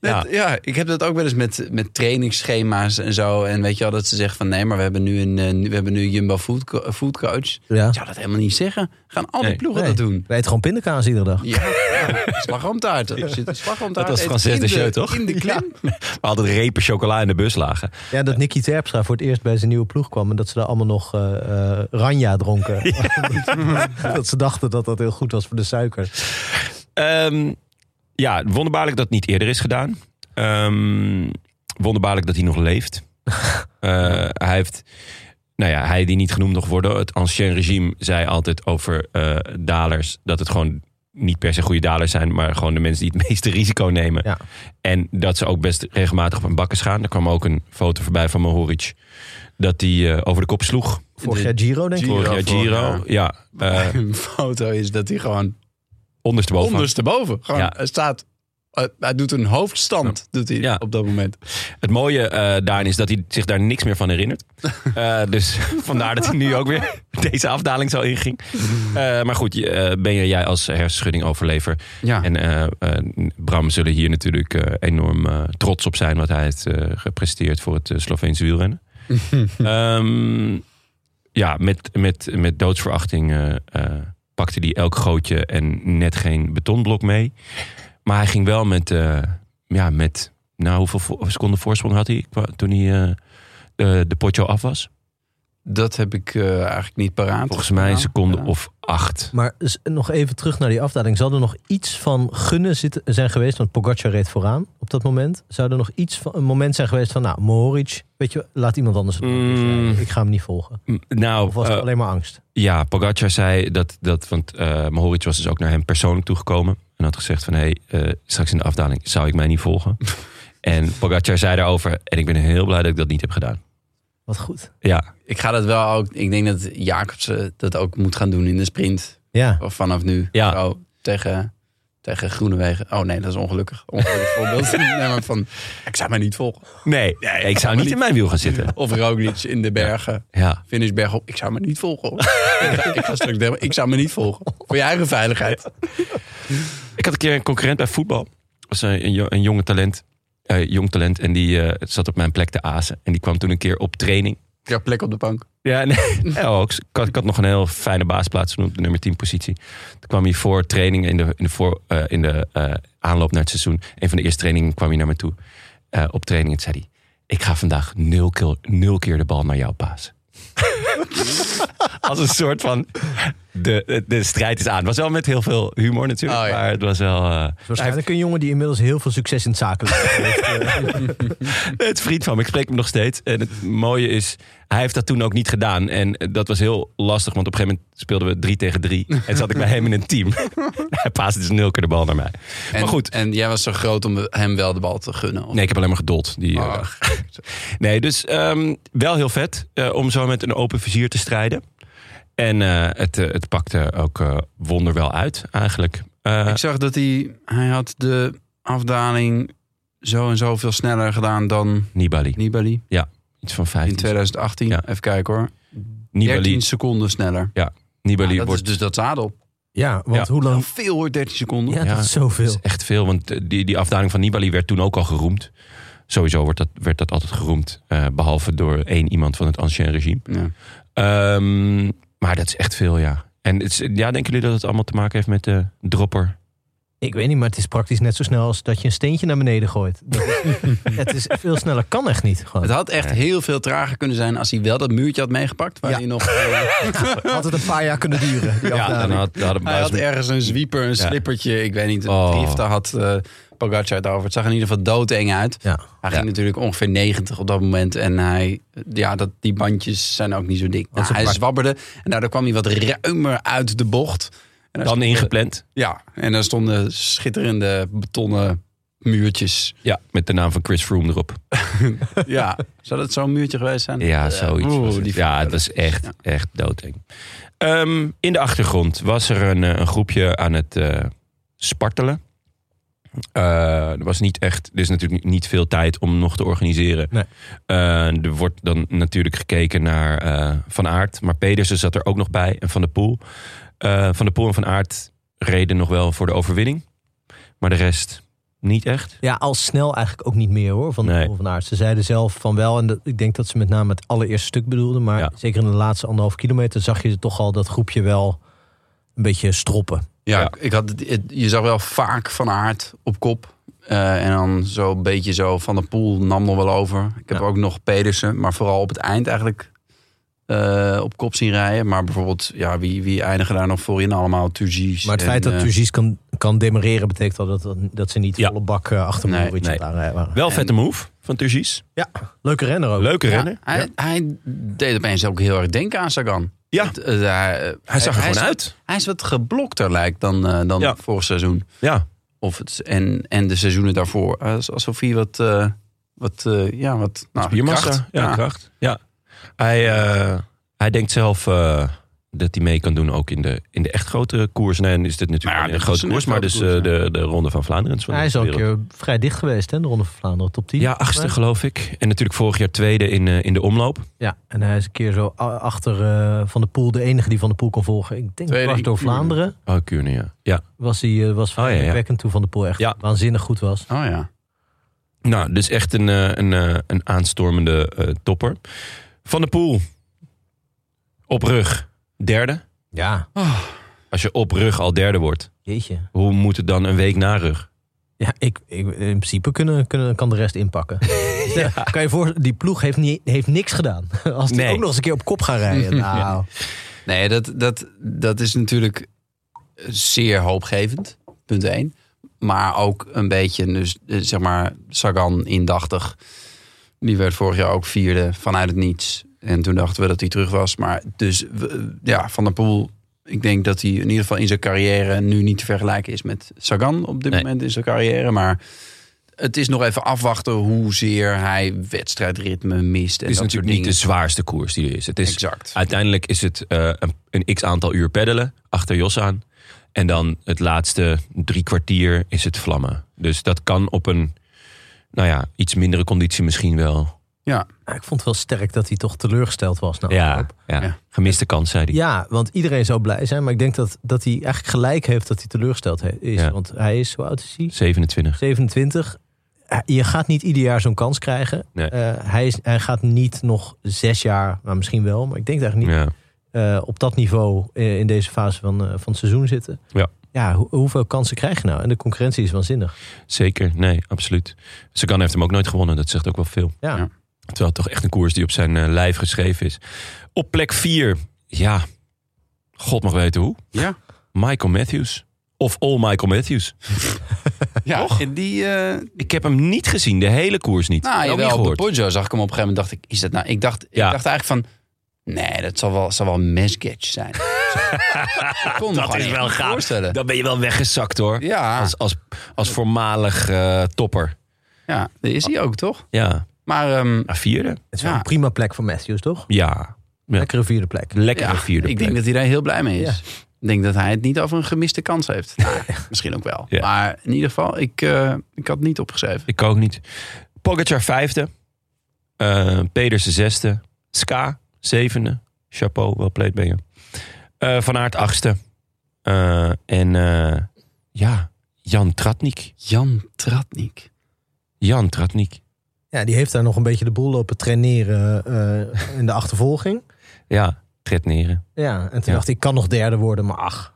S1: net-
S5: Ja.
S1: ja. ik heb dat ook wel eens met, met trainingsschema's en zo. En weet je wel, dat ze zeggen van... nee, maar we hebben nu een, eh, we hebben nu een Jumbo food, co- food coach.
S2: Ja.
S1: Ik zou dat helemaal niet zeggen. Gaan al die
S5: Nee.
S1: ploegen dat doen.
S2: Wij eten gewoon pindakaas iedere dag.
S1: Ja, ja. slagroomtaart. Er zit een slagroomtaart
S5: Dat was
S1: in
S5: Francis de
S1: de-
S5: Jeu, toch?
S1: In de klim. *laughs*
S5: *laughs* We hadden repen chocola in de bus lagen.
S2: Ja, dat Nicky Terpstra voor het eerst bij zijn nieuwe ploeg kwam... en dat ze daar allemaal nog eh, eh, ranja dronken. *laughs* dat ze dachten dat dat heel goed was voor de suiker.
S5: Ehm, ja, wonderbaarlijk dat het niet eerder is gedaan. Ehm, wonderbaarlijk dat hij nog leeft. Eh, hij heeft, nou ja, hij die niet genoemd nog worden. Het ancien regime zei altijd over eh, dalers dat het gewoon niet per se goede dalers zijn, maar gewoon de mensen die het *laughs* meeste risico nemen.
S2: Ja.
S5: En dat ze ook best regelmatig op hun bakken gaan. Er kwam ook een foto voorbij van Mohoric dat hij eh, over de kop sloeg.
S2: Vorig jaar Giro, denk ik.
S1: Giro,
S5: Vorig jaar
S1: vorig
S5: Giro. Ja,
S1: *laughs*
S5: eh,
S1: Een foto is dat hij gewoon
S5: ondersteboven.
S1: ondersteboven. Gewoon,
S5: Ja.
S1: Hij staat... eh, hij doet een hoofdstand doet hij
S5: Ja.
S1: op dat moment.
S5: Het mooie eh daarin is dat hij zich daar niks meer van herinnert. Eh, dus *laughs* vandaar dat hij nu ook weer *laughs* deze afdaling zo inging. Eh, maar goed, je, eh, ben je jij als hersenschudding overlever.
S1: Ja.
S2: Ah.
S5: En eh, eh, Bram zullen hier natuurlijk eh, enorm eh, trots op zijn... wat hij heeft eh, gepresteerd voor het eh,
S2: *laughs*
S5: Sloveense wielrennen. Ehm, ja, met, met, met doodsverachting eh, eh, pakte hij elk gootje en net geen betonblok mee. Maar hij ging wel met... eh, ja, met nou, hoeveel vo- seconden voorsprong had hij qua- toen hij eh, de, de potjo af was?
S1: Dat heb ik eh, eigenlijk niet paraat.
S5: Volgens mij een
S1: Nou,
S5: seconde
S1: ja.
S5: of acht.
S2: Maar s- nog even terug naar die afdaling. Zou er nog iets van gunnen zitten, zijn geweest? Want Pogacar reed vooraan op dat moment. Zou er nog iets van een moment zijn geweest van... nou, Mohoric, weet je, laat iemand anders het doen.
S5: Mm.
S2: Ik ga hem niet volgen.
S5: M, Nou,
S2: Of was
S5: eh,
S2: het alleen maar angst?
S5: ja, Pogacar zei dat, dat want eh Mohoric was dus ook naar hem persoonlijk toegekomen. En had gezegd van, hé, eh, straks in de afdaling zou ik mij niet *laughs* volgen. en Pogacar zei daarover, en ik ben heel blij dat ik dat niet heb gedaan.
S2: Wat goed.
S5: Ja,
S1: Ik ga dat wel ook... Ik denk dat
S5: Oh.
S1: Jacobsen dat ook moet gaan doen in de sprint.
S2: Ja.
S1: Of vanaf nu.
S5: Ja.
S1: Zo, tegen... tegen Groenewegen. Oh nee, dat is ongelukkig. Ongelukkig voorbeeld. *laughs* nee, maar van, ik zou mij niet volgen.
S5: Nee, nee, ik zou niet in mijn wiel gaan zitten.
S1: Of Roglic in de bergen.
S5: Ja.
S1: Finishberg op. Ik zou me niet volgen. hoor. *laughs* ik, ga, ik ga straks delen. Ik zou me niet volgen. Voor je eigen veiligheid.
S5: Ik had een keer een concurrent bij voetbal. Dat was een, een, jo- een jonge talent. Eh, jong talent. En die eh, zat op mijn plek te azen. En die kwam toen een keer op training.
S1: Ik heb plek op de bank.
S5: Ja, nee. *laughs* Ja, ook. Ik, had, ik had nog een heel fijne baasplaats genoemd, de nummer 10 positie. Toen kwam hij voor training in de, in de, voor, eh, in de eh, aanloop naar het seizoen. Een van de eerste trainingen kwam hij naar me toe. eh, op training en toen zei hij, ik ga vandaag nul keer, nul keer de bal naar jou paas. *laughs* Als een soort van, de, de strijd is aan. Het was wel met heel veel humor natuurlijk,
S1: Oh, ja.
S5: maar het was wel... eh,
S2: Waarschijnlijk een jongen die inmiddels heel veel succes in het zakelijk heeft. eh,
S5: *laughs* Het is vriend van me, ik spreek hem nog steeds. En het mooie is, hij heeft dat toen ook niet gedaan. En eh, dat was heel lastig, want op een gegeven moment speelden we drie tegen
S1: *laughs*
S5: drie. En zat ik bij hem in een team. hij paasde dus nul keer de bal naar mij.
S1: En,
S5: maar goed,
S1: En jij was zo groot om hem wel de bal te gunnen. of-
S5: nee, ik heb alleen maar gedold die eh,
S1: Ah.
S5: *laughs* dag. Nee, dus ehm, wel heel vet eh, om zo met een open vizier te strijden. En eh, het, eh, het pakte ook eh, wonderwel uit, eigenlijk. Eh,
S1: Ik zag dat hij, hij had de afdaling zo en zo veel sneller gedaan dan
S5: Nibali,
S1: Nibali.
S5: iets van
S1: In
S5: 15.
S1: 2018.
S5: Ja.
S1: Even kijken hoor.
S5: Nibali,
S1: 13 seconden sneller.
S5: Nibali
S1: Ah, dat
S5: wordt
S1: is dus dat zadel.
S2: ja, want hoe
S1: Nou,
S2: lang...
S1: veel hoor, 13 seconden.
S2: Ja,
S5: ja,
S2: dat is zoveel.
S5: Dat is echt veel, want eh, die, die afdaling van Nibali werd toen ook al geroemd. Sowieso wordt dat, werd dat altijd geroemd, eh, behalve door één iemand van het ancien regime.
S1: Ja.
S5: Ehm, maar dat is echt veel, ja. En het is, ja, denken jullie dat het allemaal te maken heeft met de dropper?
S2: Ik weet niet, maar het is praktisch net zo snel als dat je een steentje naar beneden gooit. Dat is-
S5: *laughs*
S2: het is veel sneller, kan echt niet.
S1: Het
S2: Gewoon.
S1: had echt heel veel trager kunnen zijn als hij wel dat muurtje had meegepakt. Waar
S2: Ja.
S1: hij nog. *laughs* eh,
S2: Had het een paar jaar kunnen duren. Die afdaling.
S5: dan had, dan hadden we
S1: hij had
S5: buiten-
S1: ergens een zwieper, een slippertje. Ik weet niet. Een
S5: Oh.
S1: drift, daar had eh Pogacar het over. Het zag er in ieder geval doodeng uit.
S2: Ja.
S1: Hij ging natuurlijk ongeveer 90 op dat moment. En hij, ja, dat, die bandjes zijn ook niet zo dik. Nou,
S2: ze
S1: hij
S2: pak-
S1: zwabberde en daardoor kwam hij wat ruimer uit de bocht. En daar
S5: dan
S1: stonden-
S5: ingepland.
S1: Ja, en daar stonden schitterende betonnen muurtjes.
S5: *laughs* Ja, met de naam van Chris Froome erop.
S1: Ja, zou dat zo'n muurtje geweest zijn?
S5: Ja, zoiets.
S1: Eh, oeh,
S5: was het.
S1: die
S5: ja, het was echt, echt doodeng. Ehm, in de achtergrond was er een, eh, een groepje aan het eh, spartelen. Eh, er was niet echt, er is natuurlijk ni- niet veel tijd om nog te organiseren.
S2: Nee.
S5: Eh, er wordt dan natuurlijk gekeken naar eh, Van Aert, maar Pedersen zat er ook nog bij en Van der Poel. Eh, van der Poel en Van Aert reden nog wel voor de overwinning, maar de rest niet echt.
S2: Ja, al snel eigenlijk ook niet meer hoor. Van,
S5: Nee.
S2: de van Aert. Ze zeiden zelf van wel. En dat, ik denk dat ze met name het allereerste stuk bedoelden. Maar
S5: Ja.
S2: zeker in de laatste anderhalf kilometer zag je toch al dat groepje wel een beetje stroppen.
S1: Ja,
S5: Ja.
S1: Ik had, het- het- je zag wel vaak Van Aert op kop. Eh, en dan zo'n beetje zo Van de Poel nam nog wel over. Ik heb
S2: Ja.
S1: ook nog Pedersen, maar vooral op het eind eigenlijk eh, op kop zien rijden. Maar bijvoorbeeld, ja, wie, wie eindigen daar nog voor in allemaal? Turgis.
S2: Maar het
S1: en,
S2: feit dat
S1: eh,
S2: Turgis kan, kan demareren betekent al dat, dat, dat ze niet
S5: Ja.
S2: volle bak eh, achter
S1: Nee,
S2: nee,
S5: nee.
S2: waren. waren.
S5: Wel vette move van Turgis.
S2: Ja, leuke renner ook.
S5: Leuke
S1: ja,
S5: renner.
S1: hij, hij deed opeens ook heel erg denken aan Sagan.
S5: Ja.
S1: Het, eh, hij, eh,
S5: Hij zag er
S1: is
S5: gewoon
S1: wat-
S5: uit.
S1: hij is wat geblokter lijkt dan, eh, dan
S5: Ja.
S1: vorig seizoen.
S5: Ja.
S1: Of het, en, en de seizoenen daarvoor. Als- Alsof hij wat... eh, wat, eh, ja, wat nou,
S5: Spiermassa.
S1: kracht.
S5: Ja,
S1: Ja.
S5: kracht. Ja. Hij, eh, hij denkt zelf eh, dat hij mee kan doen ook in de, in de echt grotere koers. Nee, dan is dit natuurlijk
S1: Maar ja,
S5: een
S1: dit is
S5: grote
S1: een
S5: koers,
S1: echt
S5: maar dus
S1: grote koers,
S5: eh, de, de Ronde van Vlaanderen. is van
S2: Hij
S5: de
S2: is eh, al een
S5: wereld.
S2: keer vrij dicht geweest, hè, de Ronde van Vlaanderen, top 10.
S5: Ja, achtste
S2: Maar-
S5: geloof ik. En natuurlijk vorig jaar tweede in, eh, in de omloop.
S2: Ja, en hij is een keer zo a- achter eh, Van de Poel, de enige die Van de Poel kon volgen. Ik denk
S1: Tweede
S2: dwars door
S1: in Kuurne.
S2: Vlaanderen
S5: Oh, Kuurne, ja. ja.
S2: was hij eh, was
S5: ja, ja.
S2: wekkend toen Van de Poel echt
S5: Ja.
S2: waanzinnig goed was.
S1: Oh ja.
S5: Nou, dus echt een, eh, een, eh, een aanstormende eh, topper. Van der Poel. Op rug. Derde.
S2: Ja,
S5: Als je op rug al derde wordt,
S2: jeetje.
S5: hoe moet het dan een week na rug?
S2: Ja, ik, ik, in principe kunnen, kunnen, kan de rest *laughs* inpakken. Dus Ja, Kan je voor, die ploeg heeft, niet, heeft niks gedaan. *laughs* Als die
S5: Nee.
S2: ook nog eens een keer op kop gaan rijden. *laughs* Nou,
S1: Nee, dat, dat, dat is natuurlijk zeer hoopgevend, punt 1. Maar ook een beetje, dus, eh, zeg maar, Sagan indachtig. Die werd vorig jaar ook vierde vanuit het niets. En toen dachten we dat hij terug was. Maar dus, we- ja, Van der Poel... Ik denk dat hij in ieder geval in zijn carrière nu niet te vergelijken is met Sagan op dit
S5: Nee.
S1: moment in zijn carrière. Maar het is nog even afwachten hoezeer hij wedstrijdritme mist. En
S5: Het is
S1: dat
S5: natuurlijk
S1: soort
S5: niet de
S1: dingen.
S5: zwaarste koers die er is. Het is
S1: Exact.
S5: Uiteindelijk is het eh, een, een x aantal uur peddelen achter Jos aan. En dan het laatste drie kwartier is het vlammen. Dus dat kan op een nou ja, iets mindere conditie misschien wel.
S1: Ja,
S2: Ja, ik vond het wel sterk dat hij toch teleurgesteld was. Nou,
S5: Ja, ja.
S1: Ja.
S5: gemiste kans, zei hij.
S2: Ja, want iedereen zou blij zijn. Maar ik denk dat, dat hij eigenlijk gelijk heeft dat hij teleurgesteld he- is.
S5: Ja.
S2: Want hij is, hoe oud is hij?
S5: 27.
S2: 27. Eh, Je gaat niet ieder jaar zo'n kans krijgen.
S5: Nee.
S2: Eh, hij, is, hij gaat niet nog zes jaar, nou misschien wel, maar ik denk eigenlijk niet
S5: Ja.
S2: eh, op dat niveau eh, in deze fase van, eh, van het seizoen zitten.
S5: Ja.
S2: Ja, ho- hoeveel kansen krijg je nou? En de concurrentie is waanzinnig.
S5: Zeker, nee, absoluut. Sagan heeft hem ook nooit gewonnen, dat zegt ook wel veel.
S2: Ja.
S1: Ja.
S5: Terwijl het toch echt een koers die op zijn eh, lijf geschreven is. Op plek 4, ja, God mag weten hoe.
S1: ja.
S5: Michael Matthews. Of all Michael Matthews.
S1: ja. En die, eh,
S5: Ik heb hem niet gezien, de hele koers niet.
S1: Nou,
S5: Ik heb hem
S1: jawel,
S5: niet
S1: op de
S5: gehoord.
S1: Poggio zag ik hem op een gegeven moment. Dacht ik, is dat nou? Ik dacht,
S5: Ja.
S1: ik dacht eigenlijk van, nee, dat zal wel, zal wel een mescatch
S5: *laughs*
S1: zijn. ik kon me
S5: Dat
S1: gewoon
S5: is
S1: echt
S5: wel
S1: niet
S5: gaaf.
S1: Voorstellen.
S5: Dan ben je wel weggezakt hoor.
S1: ja,
S5: Als, als, als voormalig eh, topper.
S1: ja, dat is hij ook toch?
S5: Ja,
S1: Maar ehm,
S5: Nou, vierde.
S2: Het is wel
S1: Ja.
S2: een prima plek voor Matthews, toch?
S5: Ja, Ja.
S2: Lekkere vierde plek.
S5: lekkere
S1: ja,
S5: vierde.
S1: ik
S5: plek.
S1: denk dat hij daar heel blij mee is.
S2: Ja.
S1: Ik denk dat hij het niet over een gemiste kans
S5: *laughs*
S1: heeft. Nou, misschien ook wel.
S5: Ja.
S1: Maar in ieder geval, ik, eh, ik had het niet opgeschreven.
S5: Ik ook niet. Pogacar vijfde. Eh Pedersen zesde. Ska zevende. Chapeau, wel played ben je. Eh, Van Aert achtste. Eh, en eh, ja, Jan Tratnik.
S1: Jan Tratnik.
S5: Jan Tratnik.
S2: Ja, die heeft daar nog een beetje de boel lopen traineren eh, in de achtervolging.
S5: Ja, Tretneren.
S2: Ja, en toen
S5: Ja.
S2: dacht ik, ik kan nog derde worden, maar ach.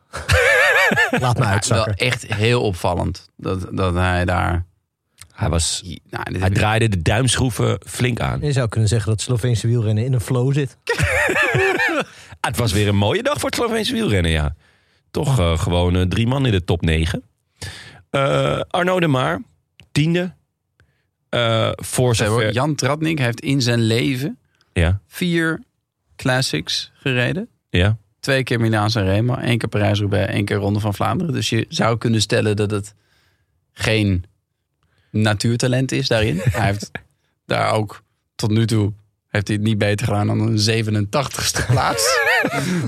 S2: *laughs* Laat me
S1: Wel
S2: uitzakken.
S1: echt heel opvallend dat, dat hij daar...
S5: Hij, was,
S1: Nou, dit
S5: hij
S1: heb ik-
S5: draaide de duimschroeven flink aan.
S2: Je zou kunnen zeggen dat Sloveense wielrennen in een flow zit.
S5: Ah, het was weer een mooie dag voor het Sloveense wielrennen, ja. Toch eh, gewoon eh, drie man in de top negen. Eh, Arno de Maar, tiende. Eh voor
S1: Zij hoor,
S5: zover...
S1: Jan Tratnik heeft in zijn leven
S5: Ja,
S1: vier classics gereden.
S5: ja.
S1: Twee keer Milaan en Remo, één keer Parijs-Roubaix, één keer Ronde van Vlaanderen. Dus je zou kunnen stellen dat het geen natuurtalent is daarin. Hij heeft daar ook tot nu toe heeft hij het niet beter gedaan dan een 87ste plaats.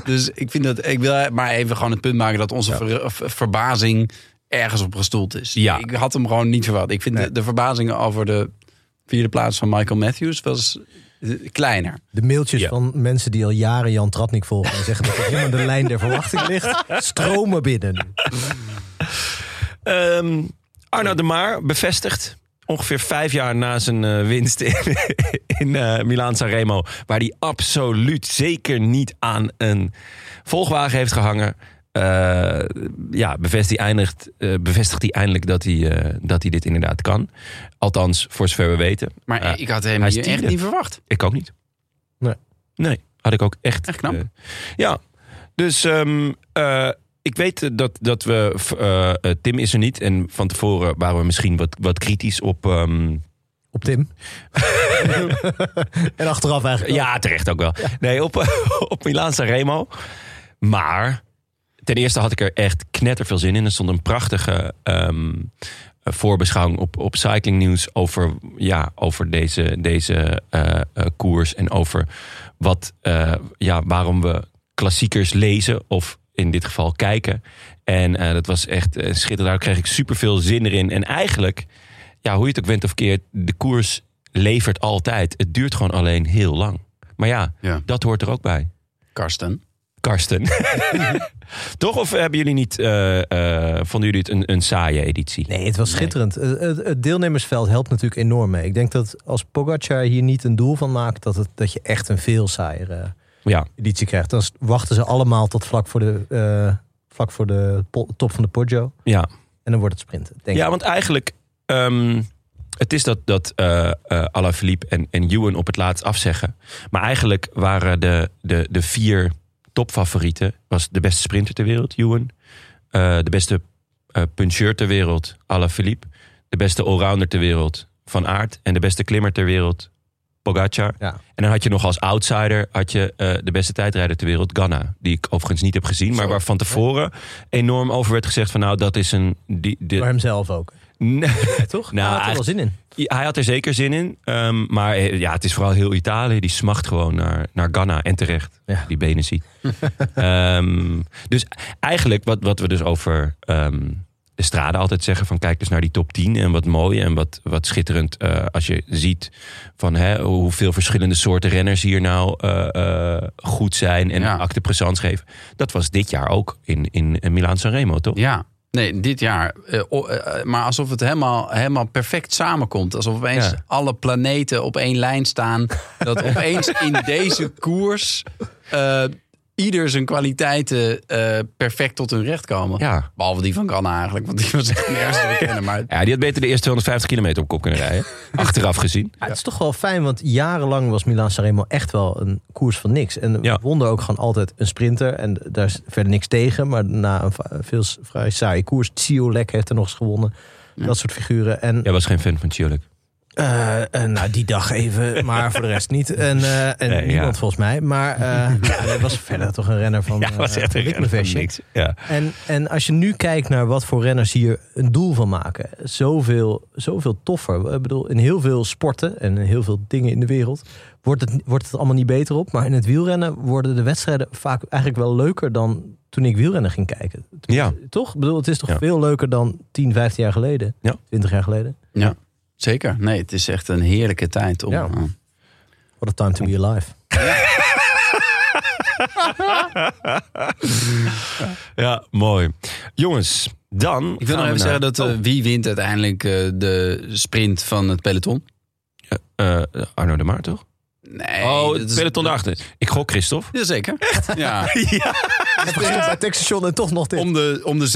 S1: dus ik vind dat ik wil maar even gewoon het punt maken dat onze ver- ver- verbazing ergens op gestoeld is.
S5: Ja.
S1: Ik had hem gewoon niet verwacht. Ik vind de, de verbazing over de vierde plaats van Michael Matthews was eh, kleiner.
S2: De mailtjes
S5: Ja.
S2: van mensen die al jaren Jan Tratnik volgen... en zeggen dat er helemaal de lijn der verwachting ligt... stromen binnen.
S5: Ehm Arno de Maar bevestigt. Ongeveer vijf jaar na zijn eh, winst in, *laughs* in eh Milaan Sanremo. Waar hij absoluut zeker niet aan een volgwagen heeft gehangen. Eh, ja, bevestigt hij, eindigt, eh, bevestigt hij eindelijk dat hij, eh, dat hij dit inderdaad kan. Althans, voor zover we weten.
S1: Maar
S5: Ja.
S1: ik had hem
S5: Hij is
S1: hier echt
S5: tiende.
S1: niet verwacht.
S5: Ik ook niet.
S2: Nee.
S5: Nee, had ik ook echt.
S1: Echt knap.
S5: eh, ja, dus ehm, eh, ik weet eh, dat, dat we. v- eh, eh, Tim is er niet. En van tevoren waren we misschien wat, wat kritisch op. ehm,
S2: Op Tim. *laughs* en achteraf eigenlijk ook.
S5: ja, terecht ook wel. Nee, op, *laughs* op Milaan Sanremo. Maar ten eerste had ik er echt knetterveel zin in. Er stond een prachtige ehm, voorbeschouwing op, op Cycling News over, ja, over deze, deze eh, eh, koers. En over wat, eh, ja, waarom we klassiekers lezen of in dit geval kijken. En eh, dat was echt eh, schitterend. Daar kreeg ik superveel zin erin. En eigenlijk, ja, hoe je het ook went of keert, de koers levert altijd. Het duurt gewoon alleen heel lang. Maar ja,
S1: Ja.
S5: dat hoort er ook bij.
S1: Karsten.
S5: Karsten. *laughs* Toch? Of hebben jullie niet, eh, eh, vonden jullie het een, een saaie editie?
S2: Nee, het was schitterend. Eh, Het, het- het deelnemersveld helpt natuurlijk enorm mee. Ik denk dat als Pogacar hier niet een doel van maakt... dat, het, dat je echt een veel saaier eh,
S5: Ja,
S2: editie krijgt. Dan wachten ze allemaal tot vlak voor de, eh, vlak voor de po- top van de Poggio.
S5: ja.
S2: En dan wordt het sprinten. Denk
S5: ja
S2: ik.
S5: want eigenlijk, ehm, het is dat, dat eh eh, Alaphilippe en, en Ewan op het laatst afzeggen. Maar eigenlijk waren de, de, de vier topfavorieten, was de beste sprinter ter wereld, Ewan. Eh, de beste eh puncheur ter wereld, Alaphilippe. De beste allrounder ter wereld, Van Aert. En de beste klimmer ter wereld, Pogacar.
S2: Ja.
S5: En dan had je nog als outsider had je, eh, de beste tijdrijder ter wereld, Ganna. Die ik overigens niet heb gezien, maar waar van tevoren enorm over werd gezegd van nou, dat is een... Die, die,
S2: Door hemzelf ook.
S5: Nee.
S2: *laughs* Toch? Nou, had
S5: Nou,
S2: er wel
S5: eigenlijk-
S2: zin in.
S5: Ja, hij had er zeker zin in. Ehm, maar eh, ja, het is vooral heel Italië. Die smacht gewoon naar, naar Ghana. En terecht.
S2: Ja.
S5: Die benen *laughs* ziet. Ehm, dus eigenlijk wat, wat we dus over ehm, de straden altijd zeggen. Van kijk eens naar die top 10. En wat mooi en wat, wat schitterend. eh, als je ziet van hè, hoeveel verschillende soorten renners hier nou eh, eh, goed zijn. En
S1: Ja.
S5: acte acte présence geven. Dat was dit jaar ook in, in, in Milaan Sanremo toch?
S1: Ja, nee, dit jaar. eh, o- eh, maar alsof het helemaal, helemaal perfect samenkomt. Alsof opeens
S5: Ja.
S1: alle planeten op één lijn
S5: *laughs*
S1: staan. Dat opeens in deze koers eh, ieder zijn kwaliteiten eh, perfect tot hun recht komen.
S5: Ja.
S1: Behalve die van Ghana eigenlijk, want die was echt nergens te bekennen. Maar
S5: Ja, die had beter de eerste 250 kilometer op kop kunnen *laughs* rijden. Achteraf gezien.
S2: Ja, het is toch wel fijn, want jarenlang was Milan Sanremo echt wel een koers van niks. En
S5: Ja.
S2: we wonnen ook gewoon altijd een sprinter. En daar is verder niks tegen. Maar na een va- veel s- vrij saaie koers, Ciolek heeft er nog eens gewonnen. Dat soort figuren. En,
S5: Jij was geen fan van Tjolik.
S2: eh, eh, nou, die dag
S5: *laughs*
S2: even, maar voor de rest niet. En, eh, en
S5: Nee, ja.
S2: niemand volgens mij. Maar
S5: *laughs*
S2: eh ja, hij was verder toch een renner van
S5: Ja, was
S2: eh,
S5: echt een renner van
S2: ritmevestje.
S5: niks. Ja.
S2: En, en als je nu kijkt naar wat voor renners hier een doel van maken. Zoveel, zoveel toffer. Ik bedoel, in heel veel sporten en in heel veel dingen in de wereld... Wordt het, wordt het allemaal niet beter op. Maar in het wielrennen worden de wedstrijden vaak eigenlijk wel leuker... dan toen ik wielrennen ging kijken.
S5: ja.
S2: Toch? Ik bedoel, het is toch
S5: Ja.
S2: veel leuker dan 10, 15 jaar geleden?
S5: Ja.
S2: 20 jaar geleden?
S1: ja, zeker. Nee, het is echt een heerlijke tijd om...
S2: Ja.
S1: eh,
S2: What a time to be alive.
S5: Ja, mooi. Jongens, dan.
S1: Ik wil nog even zeggen dat
S5: Oh.
S1: eh, wie wint uiteindelijk eh, de sprint van het peloton?
S5: Eh, Arno de Maar, toch?
S1: Nee,
S5: oh,
S1: dat
S5: het
S1: is-
S5: peloton daarachter. Ik gok Christophe.
S1: Jazeker.
S5: *laughs*
S1: Ja,
S2: Het begint bij Textation en toch nog dit.
S1: om de, om de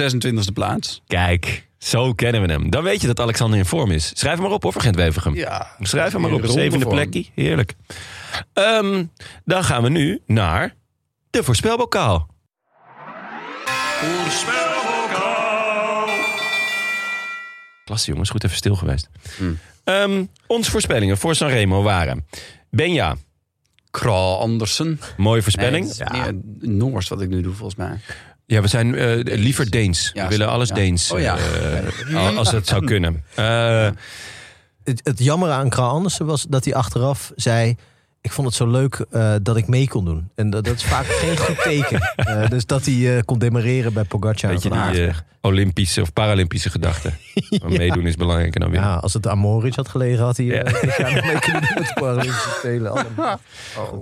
S1: 26e plaats.
S5: Kijk, zo kennen we hem. Dan weet je dat Alexander in vorm is. Schrijf hem maar op hoor, voor Gent Wevergem.
S1: Ja.
S5: Schrijf hem maar op.
S1: Ronde
S5: Zevende
S1: vorm.
S5: plekje. Heerlijk. Ehm, dan gaan we nu naar de voorspelbokaal. Klasse jongens, goed even stil geweest.
S1: Hmm.
S5: Ehm, onze voorspellingen voor Sanremo waren... Benja,
S1: Kral Andersen.
S5: mooie voorspelling.
S1: Nee, het is meer Noors wat ik nu doe volgens mij.
S5: Ja, we zijn eh, liever Deens.
S1: Ja,
S5: we willen alles
S1: ja.
S5: Deens.
S1: Oh ja.
S5: eh, al- als dat zou kunnen. Eh,
S2: het, het jammer aan Kral Andersen was dat hij achteraf zei... ik vond het zo leuk eh, dat ik mee kon doen. En dat, dat is
S5: *laughs*
S2: vaak geen goed teken. Eh, dus dat hij eh, kon demareren bij Pogacar.
S5: Weet je,
S2: Van
S5: die
S2: Aert.
S5: eh, Olympische of Paralympische gedachten. Maar Meedoen is belangrijker dan winnen.
S2: ja, als het aan Moritz had gelegen, had hij *laughs*
S5: Ja.
S2: eh, dit jaar nog mee kunnen doen met de Paralympische
S5: *laughs*
S2: Spelen. Allemaal.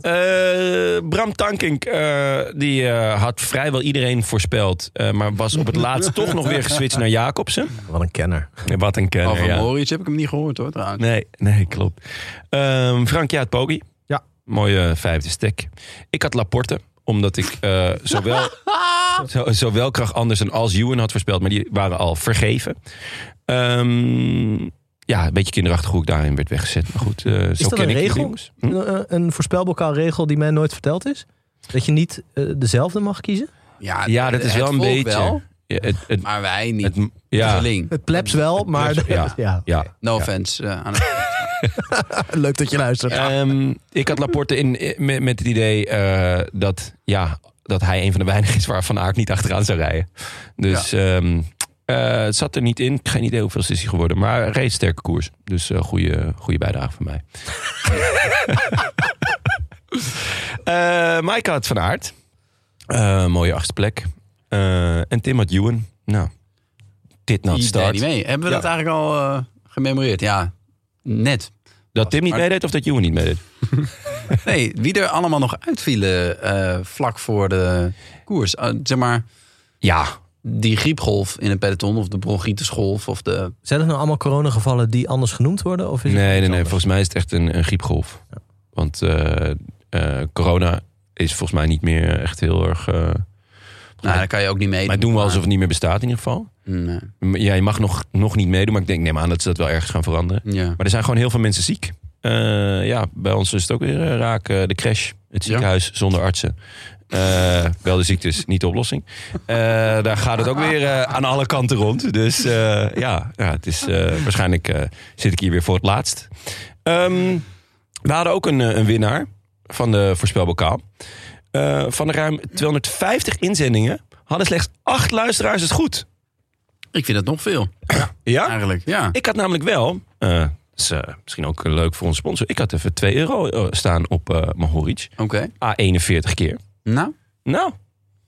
S5: Eh, Bram Tankink, eh, die eh, had vrijwel iedereen voorspeld. eh, maar was op het laatst toch nog weer geswitcht naar Jacobsen.
S2: Wat een kenner.
S5: Wat een
S1: Oh,
S5: kenner,
S1: van
S5: ja.
S1: Moritz heb ik hem niet gehoord hoor trouwens.
S5: Nee, nee, klopt. Ehm Frank Jaat Pogi.
S2: Ja.
S5: Mooie vijfde stek. Ik had Laporte, omdat ik eh,
S2: *laughs*
S5: zowel, zo- zowel Krach Andersen als Ewan had voorspeld. Maar die waren al vergeven. Ehm, ja, een beetje kinderachtig hoe ik daarin werd weggezet. Maar goed, eh, zo
S2: Is dat
S5: ken
S2: een
S5: ik die
S2: regel?
S5: jongens. Hm?
S2: Een, eh, een voorspelbokaalregel die mij nooit verteld is? Dat je niet eh, dezelfde mag kiezen?
S5: Ja, dat is
S1: het
S5: wel een
S1: volk
S5: beetje...
S1: wel,
S5: Ja, het, het,
S1: maar wij niet.
S5: het, ja,
S1: Geling.
S2: Het plebs wel, maar... *laughs*
S5: ja,
S2: ja.
S5: ja.
S1: No offense. eh, aan het-
S2: Leuk dat je luistert.
S5: Ehm, ik had Laporte in, eh, met, met het idee eh, dat, ja, dat hij een van de weinigen is waar Van Aert niet achteraan zou rijden. Dus ehm, eh, het zat er niet in. Geen idee hoeveel is hij geworden. Maar hij reed sterke koers. Dus eh goede, goede bijdrage van
S1: *laughs*
S5: mij. Eh Mike had Van Aert. Eh, mooie achtste plek. Eh, en Tim had Ewan. Nou, dit not
S1: Die deed
S5: start.
S1: niet mee. Hebben we
S5: Ja.
S1: dat eigenlijk al eh, gememoreerd? Ja,
S5: *laughs*
S1: net.
S5: Dat Tim niet meedeed of dat Ewan niet meedeed?
S1: Nee, wie er allemaal nog uitvielen eh, vlak voor de koers. Eh, zeg maar,
S5: Ja,
S1: die griepgolf in het peloton of de bronchitisgolf of de...
S2: Zijn het nou allemaal coronagevallen die anders genoemd worden? Of is het
S5: Nee, nee,
S2: iets
S5: nee.
S2: anders?
S5: Volgens mij is het echt een, een griepgolf. Want eh, eh, corona is volgens mij niet meer echt heel erg. eh,
S1: Nou, daar kan je ook niet mee. Mm,
S5: maar doen we alsof het niet meer bestaat in ieder geval.
S1: Nee.
S5: M- Ja, je mag nog, nog niet meedoen, maar ik denk neem aan dat ze dat wel ergens gaan veranderen.
S1: Ja.
S5: Maar er zijn gewoon heel veel mensen ziek. Eh, ja, bij ons is het ook weer eh, raak eh, de crash. Het
S1: Ja.
S5: ziekenhuis zonder artsen. Eh, wel de ziektes, niet de oplossing. Eh, daar gaat het ook weer eh, aan alle kanten rond. Dus eh, ja, ja, het is, eh, waarschijnlijk eh, zit ik hier weer voor het laatst. Ehm, we hadden ook een, eh, een winnaar van de voorspelbokaal. Eh, van de ruim 250 inzendingen hadden slechts acht luisteraars het goed.
S1: Ik vind dat nog veel,
S5: Ja?
S1: eigenlijk. Ja.
S5: Ik had namelijk wel, eh, dat is, eh, misschien ook leuk voor onze sponsor, ik had even 2 euro eh, staan op eh Mohoric.
S1: Oké.
S5: A41 keer.
S1: Nou,
S5: Nou,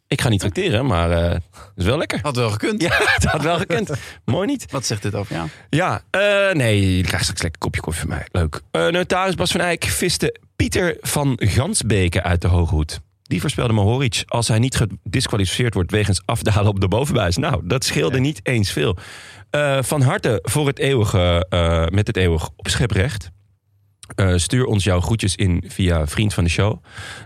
S5: ik ga niet tracteren, maar eh, het is wel lekker. *laughs*
S1: had wel gekund.
S5: Ja, dat had wel gekend. Mooi niet.
S1: Wat zegt dit over jou?
S5: Ja, eh, nee, je krijgt straks lekker kopje koffie van mij. Leuk. Eh notaris Bas van Eyck viste Pieter van Gansbeke uit de Hooghoed. Die voorspelde Mohoric als hij niet gedisqualificeerd wordt wegens afdalen op de bovenbuis. Nou, dat scheelde niet eens veel. Eh, van harte voor het eeuwige, eh, met het eeuwig opscheprecht. Eh, stuur ons jouw groetjes in via Vriend van de Show.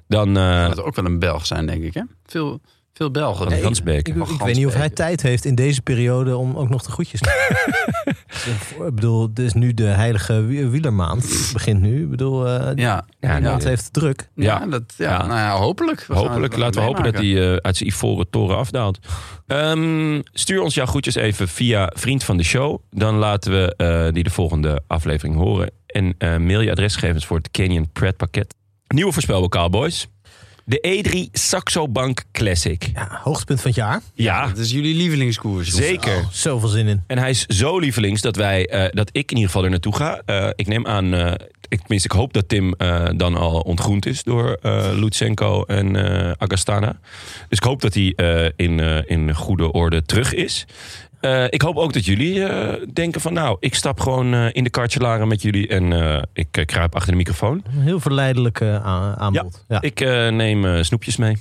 S5: Dan eh
S1: Dat zou ook wel een Belg zijn, denk ik. Hè? Veel, veel Belgen.
S5: van
S2: Ik,
S5: Gansbeke.
S2: bedoel, ik weet niet of hij tijd heeft in deze periode om ook nog de goedjes te doen. Ik bedoel, het is nu de heilige wie- wielermaand. Het begint nu. Ik bedoel, eh
S1: Ja,
S5: Ja,
S1: ja,
S5: nou,
S2: het heeft het druk.
S1: Ja,
S5: Ja.
S1: dat, ja,
S5: Ja.
S1: Nou ja, hopelijk. We gaan
S5: Hopelijk,
S1: het wel
S5: laten we hopen dat hij
S1: meemaken.
S5: eh, uit zijn ivoren toren afdaalt. Ehm, stuur ons jouw groetjes even via Vriend van de Show. Dan laten we eh, die de volgende aflevering horen. En eh, mail je adresgegevens voor het Canyon Pret pakket. Nieuwe voorspelbokaal, boys. De E3 Saxo Bank Classic.
S2: Ja, hoogtepunt van het jaar.
S5: Ja,
S1: Dat is jullie lievelingskoers. jongens.
S5: zeker.
S2: Zoveel zin in.
S5: En hij is zo lievelings dat, wij, eh, dat ik in ieder geval er naartoe ga. Eh, ik neem aan, eh, ik, tenminste ik hoop dat Tim eh, dan al ontgroend is door eh Lutsenko en eh, Agastana. Dus ik hoop dat hij eh, in, eh, in goede orde terug is. Eh, ik hoop ook dat jullie eh, denken van nou, ik stap gewoon eh, in de kartjelaren met jullie en eh, ik eh, kruip achter de microfoon.
S2: Een heel verleidelijk eh, a- aanbod. Ja.
S5: Ik eh, neem eh, snoepjes mee.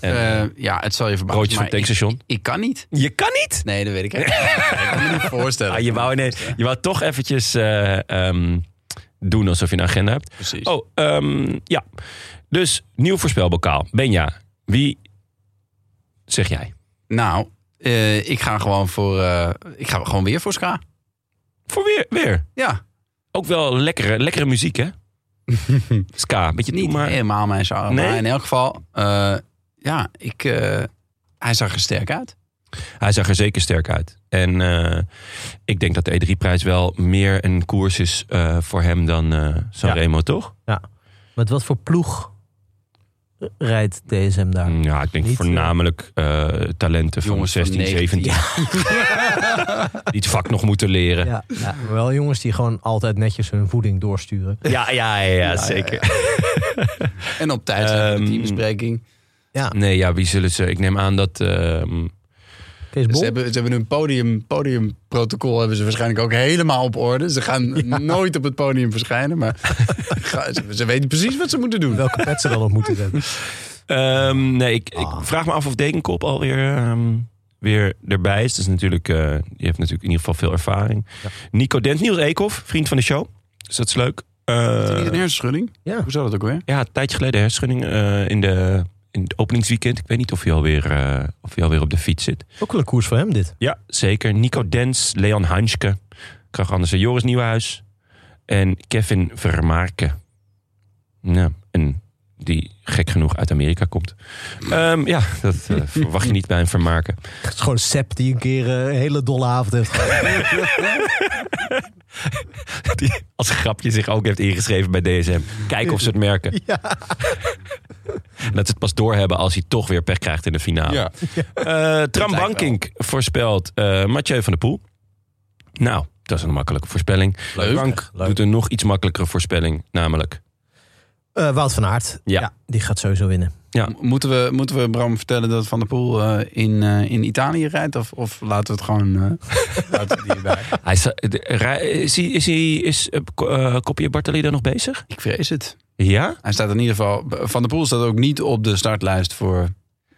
S5: en
S1: Eh, ja, het zal je verbazen.
S5: broodjes
S1: maar
S5: van het tankstation.
S1: ik, ik kan niet.
S5: Je kan niet!
S1: Nee, dat weet
S5: *laughs*
S1: ik. echt niet. ik kan me niet voorstellen.
S5: Ah, je, wou, nee, je wou toch eventjes eh, ehm, doen alsof je een agenda hebt.
S1: Precies.
S5: Oh, ehm, ja. Dus nieuw voorspelbokaal. Benja, wie zeg jij?
S1: Nou, eh, ik ga gewoon voor. eh, ik ga gewoon weer voor Ska.
S5: Voor weer, weer.
S1: Ja,
S5: Ook wel lekkere, lekkere muziek, hè? Ska, beetje
S1: niet
S5: toe, maar...
S1: helemaal mijn genre.
S5: Nee?
S1: Maar in elk geval, eh, ja, ik, eh, hij zag er sterk uit.
S5: Hij zag er zeker sterk uit. En eh, ik denk dat de E3-prijs wel meer een koers is eh, voor hem dan eh Sanremo, toch?
S2: Met wat voor ploeg rijdt DSM daar?
S5: Ja, ik denk
S2: Niet, eh,
S5: voornamelijk eh, talenten van
S1: Jongens van
S5: 16, 17.
S1: 19.
S5: *laughs* Die het vak nog moeten leren.
S2: Ja, ja, maar wel jongens die gewoon altijd netjes hun voeding doorsturen.
S5: Ja, ja, ja, zeker.
S1: En op tijd zijn
S5: Ehm,
S1: de teambespreking.
S5: *laughs* Nee, ja, wie zullen ze? Ik neem aan dat. ehm,
S2: Kees Bol?
S1: Ze hebben, ze hebben hun podium, podiumprotocol hebben ze waarschijnlijk ook helemaal op orde. Ze gaan nooit op het podium verschijnen, maar *laughs* ga- ze, ze weten precies wat ze moeten doen.
S2: Welke pet ze dan op moeten zetten?
S5: ehm, nee, ik, ik
S2: Ah.
S5: vraag me af of Dekenkop alweer ehm, weer erbij is. Dus natuurlijk, eh, die heeft natuurlijk in ieder geval veel ervaring. Nico Dent, Niels Eekhoff, vriend van de show. Dus dat is leuk. Eh,
S1: Is dat niet een hersenschudding?
S2: Ja.
S1: Hoe zat dat ook weer?
S5: ja, een tijdje geleden hersenschudding eh, in, de, in het openingsweekend. Ik weet niet of hij alweer, eh, of hij alweer op de fiets zit.
S2: Ook wel een koers voor hem dit.
S5: Ja, zeker. Nico Dens, Leon Hanske, Krach Andersen, Joris Nieuwhuis en Kevin Vermaken. Nou, en die gek genoeg uit Amerika komt. Ehm, ja, dat *laughs* eh, verwacht je niet bij een Vermaken.
S2: Het is gewoon Sepp die een keer eh, een hele dolle avond heeft gehad.
S5: Die als grapje zich ook heeft ingeschreven bij DSM. Kijken of ze het merken. *laughs* En dat ze het pas doorhebben als hij toch weer pech krijgt in de finale.
S1: Ja.
S5: Eh, Tram Bankink voorspelt eh Mathieu van der Poel. Nou, dat is een makkelijke voorspelling.
S1: Leuk.
S5: Frank
S2: Leuk.
S5: doet een nog iets makkelijkere voorspelling, namelijk.
S2: Eh, Wout van Aert.
S5: Ja.
S2: Die gaat sowieso winnen.
S5: Ja.
S1: M- Moeten we, moeten we Bram vertellen dat Van der Poel eh, in, eh, in Italië rijdt? Of, of laten we het gewoon... eh, laten we die erbij.
S5: Hij is, eh, de- rij- is, hij- is, hij- is eh, Ko- eh, Kopje Bartali daar nog bezig?
S1: Ik vrees het.
S5: Ja?
S1: Hij staat in ieder geval... Van der Poel staat ook niet op de startlijst voor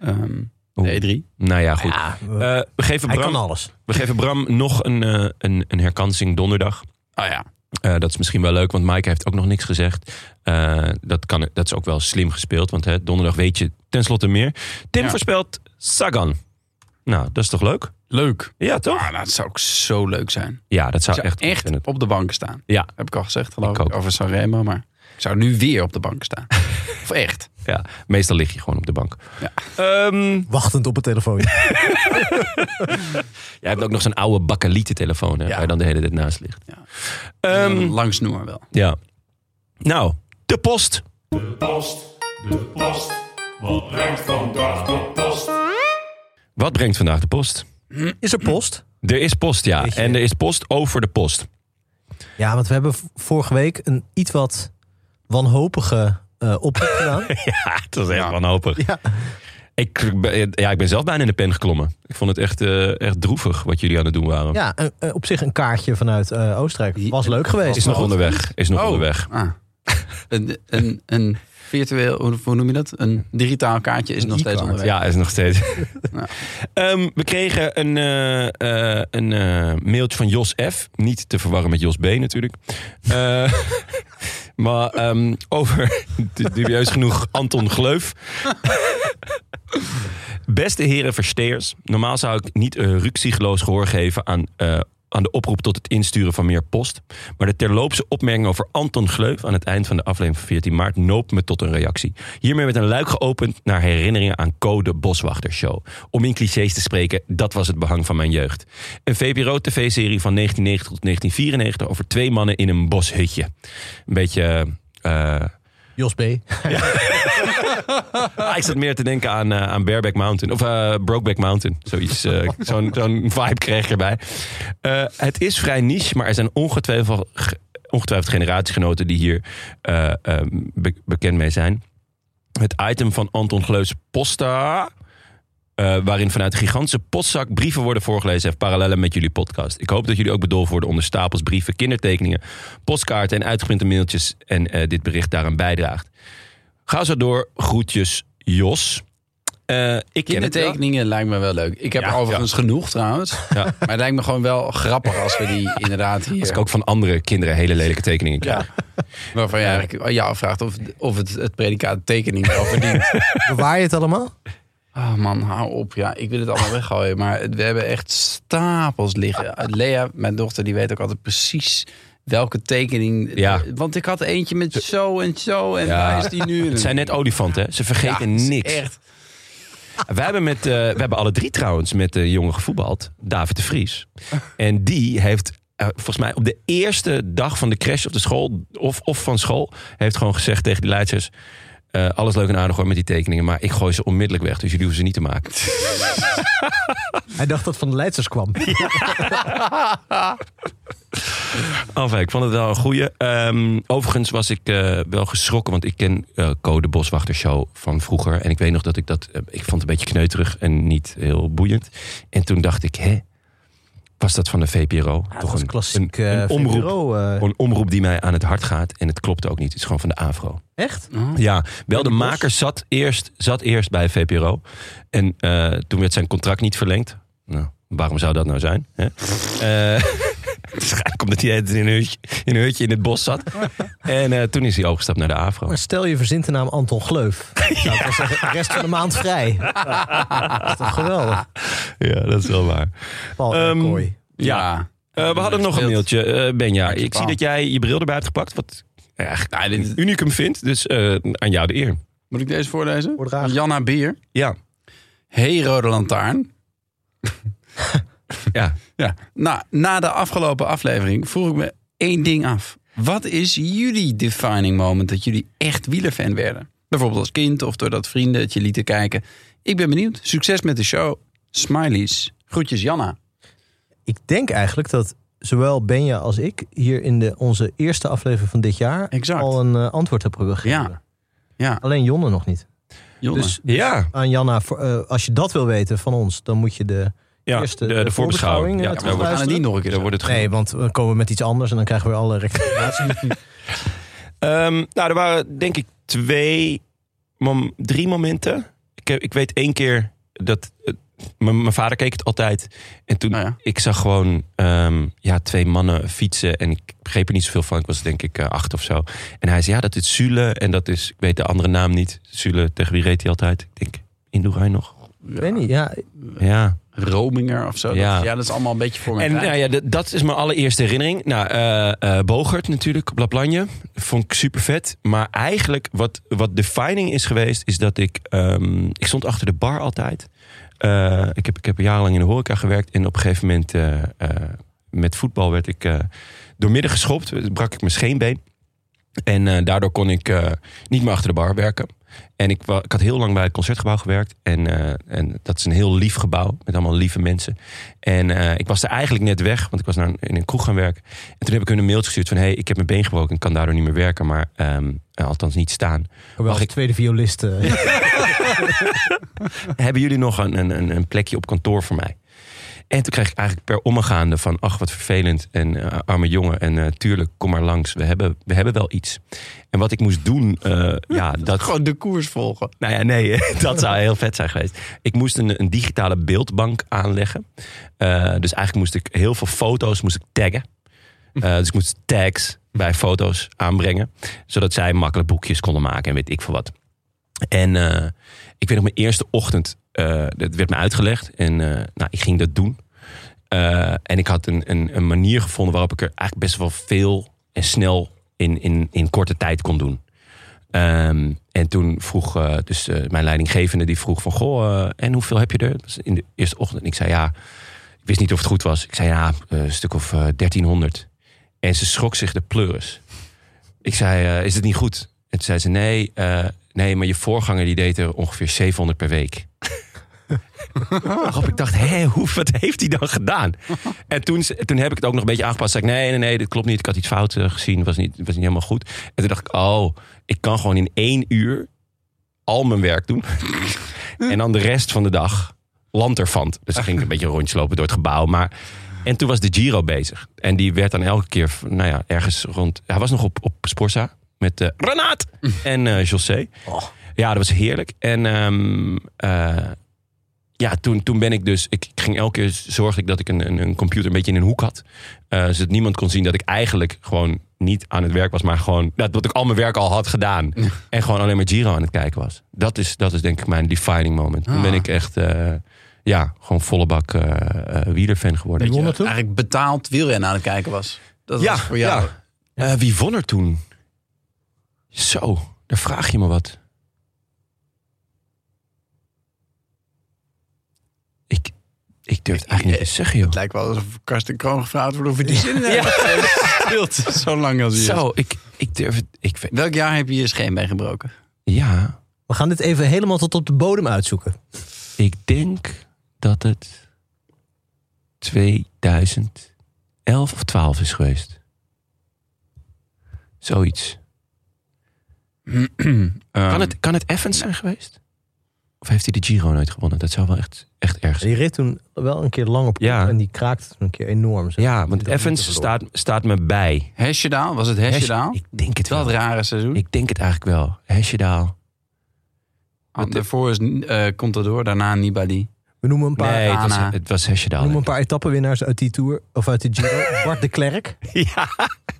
S1: ehm,
S5: Oeh.
S1: de E3.
S5: Nou ja, goed.
S2: we-
S5: Eh, we, geven
S2: hij kan
S5: Bram,
S2: alles.
S5: we geven Bram nog een, eh, een, een herkansing donderdag.
S1: Oh ja.
S5: Eh, dat is misschien wel leuk, want Mike heeft ook nog niks gezegd. Eh, dat, kan, dat is ook wel slim gespeeld, want hè, donderdag weet je tenslotte meer. Tim
S1: Ja.
S5: voorspelt Sagan. Nou, dat is toch leuk?
S1: Leuk.
S5: Ja, toch?
S1: Ah, dat zou ook zo leuk zijn.
S5: Ja, dat zou
S1: Ik zou
S5: echt...
S1: echt, op de bank staan.
S5: Ja.
S1: Heb ik al gezegd, geloof
S5: Ik
S1: ik.
S5: ook.
S1: Over Sanremo, maar ik zou nu weer op de bank
S5: *laughs*
S1: staan. of echt.
S5: Ja, meestal lig je gewoon op de bank.
S1: Ja.
S5: Ehm,
S2: Wachtend op het telefoon.
S5: Jij hebt ook nog zo'n oude bakkelieten telefoon hè,
S1: Ja.
S5: waar je dan de hele tijd naast ligt.
S1: Ja.
S5: Ja.
S1: Lang snoer wel.
S5: ja. Nou, de post. Wat brengt vandaag de post?
S2: Is er post?
S5: Er is post, ja.
S2: Weet je.
S5: En er is post over de post.
S2: Ja, want we hebben v- vorige week een iets wat wanhopige eh oproep gedaan.
S5: *laughs* Ja, het was echt wanhopig.
S2: Ja.
S5: Ik, ben- ja, ik ben zelf bijna in de pen geklommen. Ik vond het echt, eh, echt droevig wat jullie aan het doen waren.
S2: Ja, en, eh, op zich een kaartje vanuit eh, Oostenrijk. Was leuk geweest.
S5: Is nog onderweg. Is nog
S1: Oh.
S5: onderweg.
S1: Ah. een, een, een virtueel, hoe, hoe noem je dat? Een digitaal kaartje is nog steeds
S2: e-card.
S1: onderweg.
S5: Ja, is nog steeds.
S1: Ja.
S5: Ehm, we kregen een, eh, eh, een eh, mailtje van Jos F. Niet te verwarren met Jos B natuurlijk. Eh, *laughs* maar ehm, over, *laughs* du- dubieus genoeg, Anton Gleuf. Beste heren versteers. Normaal zou ik niet eh ruksigloos gehoor geven aan... eh, aan de oproep tot het insturen van meer post. Maar de terloopse opmerking over Anton Gleuf aan het eind van de aflevering van 14 maart noopt me tot een reactie. Hiermee werd een luik geopend naar herinneringen aan Code Boswachtershow. Om in clichés te spreken, dat was het behang van mijn jeugd. Een VPRO-tv-serie van 1990 tot 1994 over twee mannen in een boshutje. Een beetje. eh,
S2: Jos B.
S5: Ah, ik zat meer te denken aan, eh, aan Bareback Mountain. Of eh, Brokeback Mountain. Zoiets, eh, zo'n, zo'n vibe kreeg ik erbij. Eh, het is vrij niche, maar er zijn ongetwijfeld, ge- ongetwijfeld generatiegenoten die hier eh, eh, be- bekend mee zijn. Het item van Anton Gleus Posta. eh, waarin vanuit een gigantische postzak brieven worden voorgelezen... heeft parallellen met jullie podcast. Ik hoop dat jullie ook bedolven worden onder stapels brieven, kindertekeningen... postkaarten en uitgeprinte mailtjes... en eh, dit bericht daaraan bijdraagt. Ga zo door. Groetjes, Jos. Eh, ik ken het wel.
S1: Kindertekeningen lijkt me wel leuk. Ik heb
S5: Ja,
S1: er overigens genoeg trouwens.
S5: Ja.
S1: Maar het lijkt me gewoon wel grappig als we
S5: *laughs*
S1: die inderdaad hier...
S5: Als ik ook van andere kinderen hele lelijke tekeningen krijg.
S1: Ja. Waarvan je eigenlijk je afvraagt of, of het, het predicaat tekening wel
S5: *laughs*
S1: verdient.
S2: Bewaar je het allemaal?
S1: Ah man, hou op. Ja, ik wil het allemaal weggooien. Maar het- we hebben echt stapels
S5: Ah.
S1: liggen. Eh, Lea, mijn dochter, die weet ook altijd precies welke tekening...
S5: Ja.
S1: Want ik had eentje met zo en zo en
S5: Ja.
S1: waar is die nu?
S5: *laughs* Het zijn net olifanten, hè? ze vergeten niks.
S1: Echt.
S5: Wij hebben, met, eh, we hebben alle drie trouwens met de jongen gevoetbald. David de Vries. En die heeft eh, volgens mij op de eerste dag van de crash op de school... of, of van school, heeft gewoon gezegd tegen die leidsters... eh, alles leuk en aardig hoor met die tekeningen, maar ik gooi ze onmiddellijk weg. Dus jullie hoeven ze niet te maken.
S2: Hij dacht dat het van de Leidsers kwam.
S5: Enfin, Oh, ik vond het wel een goeie. Ehm, overigens was ik eh, wel geschrokken, want ik ken eh Code Boswachtershow van vroeger. En ik weet nog dat ik dat... eh, ik vond het een beetje kneuterig en niet heel boeiend. En toen dacht ik, hè? Was dat van de VPRO?
S2: dat was klassiek
S5: een,
S2: eh,
S5: een omroep,
S2: VPRO, eh,
S5: Een omroep die mij aan het hart gaat. En het klopte ook niet. Het is gewoon van de AVRO.
S2: Echt?
S5: Ja, wel de maker zat eerst, zat eerst bij VPRO. En eh, toen werd zijn contract niet verlengd. Nou, waarom zou dat nou zijn? Hè? Eh, *laughs* Waarschijnlijk omdat hij in een, hutje, in een hutje in het bos zat. En eh, toen is hij overgestapt naar de AVRO.
S2: Maar stel je verzint de naam Anton Gleuf. Zou ik wel zeggen, de rest van de maand vrij. Dat is toch geweldig.
S5: Ja, dat is wel waar.
S2: Paul en
S5: Ehm,
S2: Kooi.
S5: Ja, Eh, we hadden nog een
S1: Speelt.
S5: mailtje, eh, Benja.
S1: Hartje
S5: Ik zie
S1: paal.
S5: dat jij je bril erbij hebt gepakt. Wat ja, eigenlijk
S1: Nou, dit-
S5: unicum vindt. Dus eh, aan jou de eer.
S1: Moet ik deze voorlezen?
S2: Voordragen.
S1: Janna Bier.
S5: Ja.
S1: Hey Rode Lantaarn.
S5: Ja.
S1: Ja. Na, Nou, na de afgelopen aflevering vroeg ik me één ding af. Wat is jullie defining moment dat jullie echt wielerfan werden? Bijvoorbeeld als kind of doordat vrienden het je lieten kijken. Ik ben benieuwd. Succes met de show. Smileys. Groetjes Janna.
S2: Ik denk eigenlijk dat zowel Benja als ik hier in de, onze eerste aflevering van dit jaar
S1: Exact.
S2: al een eh, antwoord hebben gegeven.
S1: Ja. Ja.
S2: Alleen Jonne nog niet.
S1: Jonne.
S2: Dus
S5: Ja,
S2: aan Janna, voor, eh, als je dat wil weten van ons, dan moet je de
S5: ja.
S2: eerste
S5: de, de voorbeschouwing.
S2: eh,
S5: Ja,
S2: terugluisteren.
S5: daar
S1: we gaan het niet nog een keer
S5: wordt- daar
S1: doen.
S5: wordt het
S2: Nee, want we komen met iets anders en dan krijgen we alle *laughs* rectificaties.
S5: Ehm, nou, er waren denk ik twee, mom- drie momenten. Ik, heb- ik weet één keer dat. eh, mijn mijn vader keek het altijd. En toen.
S1: Nou ja.
S5: Ik zag gewoon ehm, ja, twee mannen fietsen. En ik begreep er niet zoveel van. Ik was denk ik eh, acht of zo. En hij zei: Ja, dat is Zule. En dat is. Ik weet de andere naam niet. Zule, tegen wie reed hij altijd? Ik denk: Indoerijn nog?
S2: Ik weet niet, ja.
S5: Ja.
S1: Rominger of zo.
S5: Ja.
S1: Ja. eh, Dat, ja, dat is allemaal een beetje voor mij.
S5: En nou ja, d- dat is mijn allereerste herinnering. Nou, eh, eh, Bogert natuurlijk, op La Plagne. Vond ik super vet. Maar eigenlijk wat, wat defining is geweest, is dat ik... ehm, ik stond achter de bar altijd. Eh, ik, heb, ik heb jarenlang in de horeca gewerkt. En op een gegeven moment eh, eh, met voetbal werd ik eh doormidden geschopt. Brak ik mijn scheenbeen. En eh, daardoor kon ik eh, niet meer achter de bar werken. En ik, wa- ik had heel lang bij het concertgebouw gewerkt. En, eh, en dat is een heel lief gebouw met allemaal lieve mensen. En eh, ik was er eigenlijk net weg, want ik was naar een, in een kroeg gaan werken. En toen heb ik hun een mailtje gestuurd van... hey, ik heb mijn been gebroken en kan daardoor niet meer werken. Maar ehm, eh, althans niet staan.
S2: Hoewel,
S5: Mag
S2: ik
S5: ik-
S2: tweede violist. eh,
S5: Hebben jullie nog een, een, een plekje op kantoor voor mij? En toen kreeg ik eigenlijk per omgaande van... ach, wat vervelend en eh, arme jongen. En eh, tuurlijk, kom maar langs. We hebben, we hebben wel iets. En wat ik moest doen... eh, ja,
S1: *laughs*
S5: dat,
S1: Gewoon de koers volgen.
S5: Nou ja, nee, *laughs* dat zou heel vet zijn geweest. Ik moest een, een digitale beeldbank aanleggen. Eh, dus eigenlijk moest ik heel veel foto's moest ik taggen. Eh, dus ik moest tags bij foto's aanbrengen. Zodat zij makkelijk boekjes konden maken en weet ik veel wat. En eh, ik weet nog mijn eerste ochtend, eh dat werd me uitgelegd. En eh, nou, ik ging dat doen. Eh, en ik had een, een, een manier gevonden waarop ik er eigenlijk best wel veel en snel in, in, in korte tijd kon doen. Ehm, en toen vroeg eh, dus eh, mijn leidinggevende, die vroeg van... Goh, eh, en hoeveel heb je er? Dat was in de eerste ochtend. En ik zei, ja, ik wist niet of het goed was. Ik zei, ja, eh, een stuk of eh, 1300. En ze schrok zich de pleuris. Ik zei, eh, is het niet goed? En toen zei ze, nee, eh, nee, maar je voorganger die deed er ongeveer 700 per week. Waarop ik dacht, hé, hoe, wat heeft hij dan gedaan? En toen, ze- toen heb ik het ook nog een beetje aangepast. Zei ik, nee, nee, nee, dat klopt niet. Ik had iets fout eh, gezien. Was niet, was niet helemaal goed. En toen dacht ik, oh, ik kan gewoon in één uur al mijn werk doen. en dan de rest van de dag lanterfant. Dus dan ging ik een beetje rondjes lopen door het gebouw. Maar, en toen was de Giro bezig. En die werd dan elke keer, nou ja, ergens rond... Hij was nog op, op Sporza met eh Renaat en eh José. Ja, dat was heerlijk. En ehm, eh, ja, toen, toen ben ik dus... Ik ik ging elke keer zorgde ik dat ik een, een, een computer een beetje in een hoek had. Eh, zodat niemand kon zien dat ik eigenlijk gewoon niet aan het werk was. Maar gewoon dat, dat ik al mijn werk al had gedaan. en gewoon alleen maar Giro aan het kijken was. Dat is, dat is denk ik mijn defining moment. Toen ben
S1: Ah.
S5: ik echt... eh, ja, gewoon volle bak eh eh, wielerfan geworden.
S2: Wie won er toen?
S1: Eigenlijk betaald wielrennen aan het kijken was. Dat was voor jou.
S5: ja. Eh, wie won er toen? Zo, daar vraag je me wat. Ik, ik durf het eigenlijk niet te zeggen, joh.
S1: Het lijkt wel alsof Karsten Kroon gevraagd wordt of hij die zin in heeft. Ja. *laughs* Zo lang als hij is.
S5: Zo, ik, ik durf het... Ik, weet-
S1: Welk jaar heb je je scheen bij gebroken?
S5: ja,
S2: We gaan dit even helemaal tot op de bodem uitzoeken.
S5: ik denk dat het 2011 of 12 is geweest. Zoiets. Kan
S1: Ehm.
S5: het, kan het Evans zijn geweest? Of heeft hij de Giro nooit gewonnen? Dat zou wel echt, echt erg zijn.
S2: Die reed toen wel een keer lang op kop
S5: Ja.
S2: en die kraakte toen een keer enorm. zeg.
S5: Ja, want
S2: Die dacht, moeten
S5: Evans
S2: we
S5: staat, staat me bij.
S1: Hesjedaal? Was het Hesjedaal?
S5: Ik denk het
S1: Dat
S5: wel.
S1: rare seizoen.
S5: Ik denk het eigenlijk wel. Hesjedaal.
S1: Want daarvoor is, eh Contador, daarna Nibali.
S2: door. We noemen een paar,
S5: Nee, het was,
S1: Ana.
S5: het was
S2: we
S5: Hesjedaal.
S2: noemen een paar etappenwinnaars uit die Tour, of uit de
S1: *laughs*
S2: Giro. Bart de Klerk,
S5: *laughs* Ja,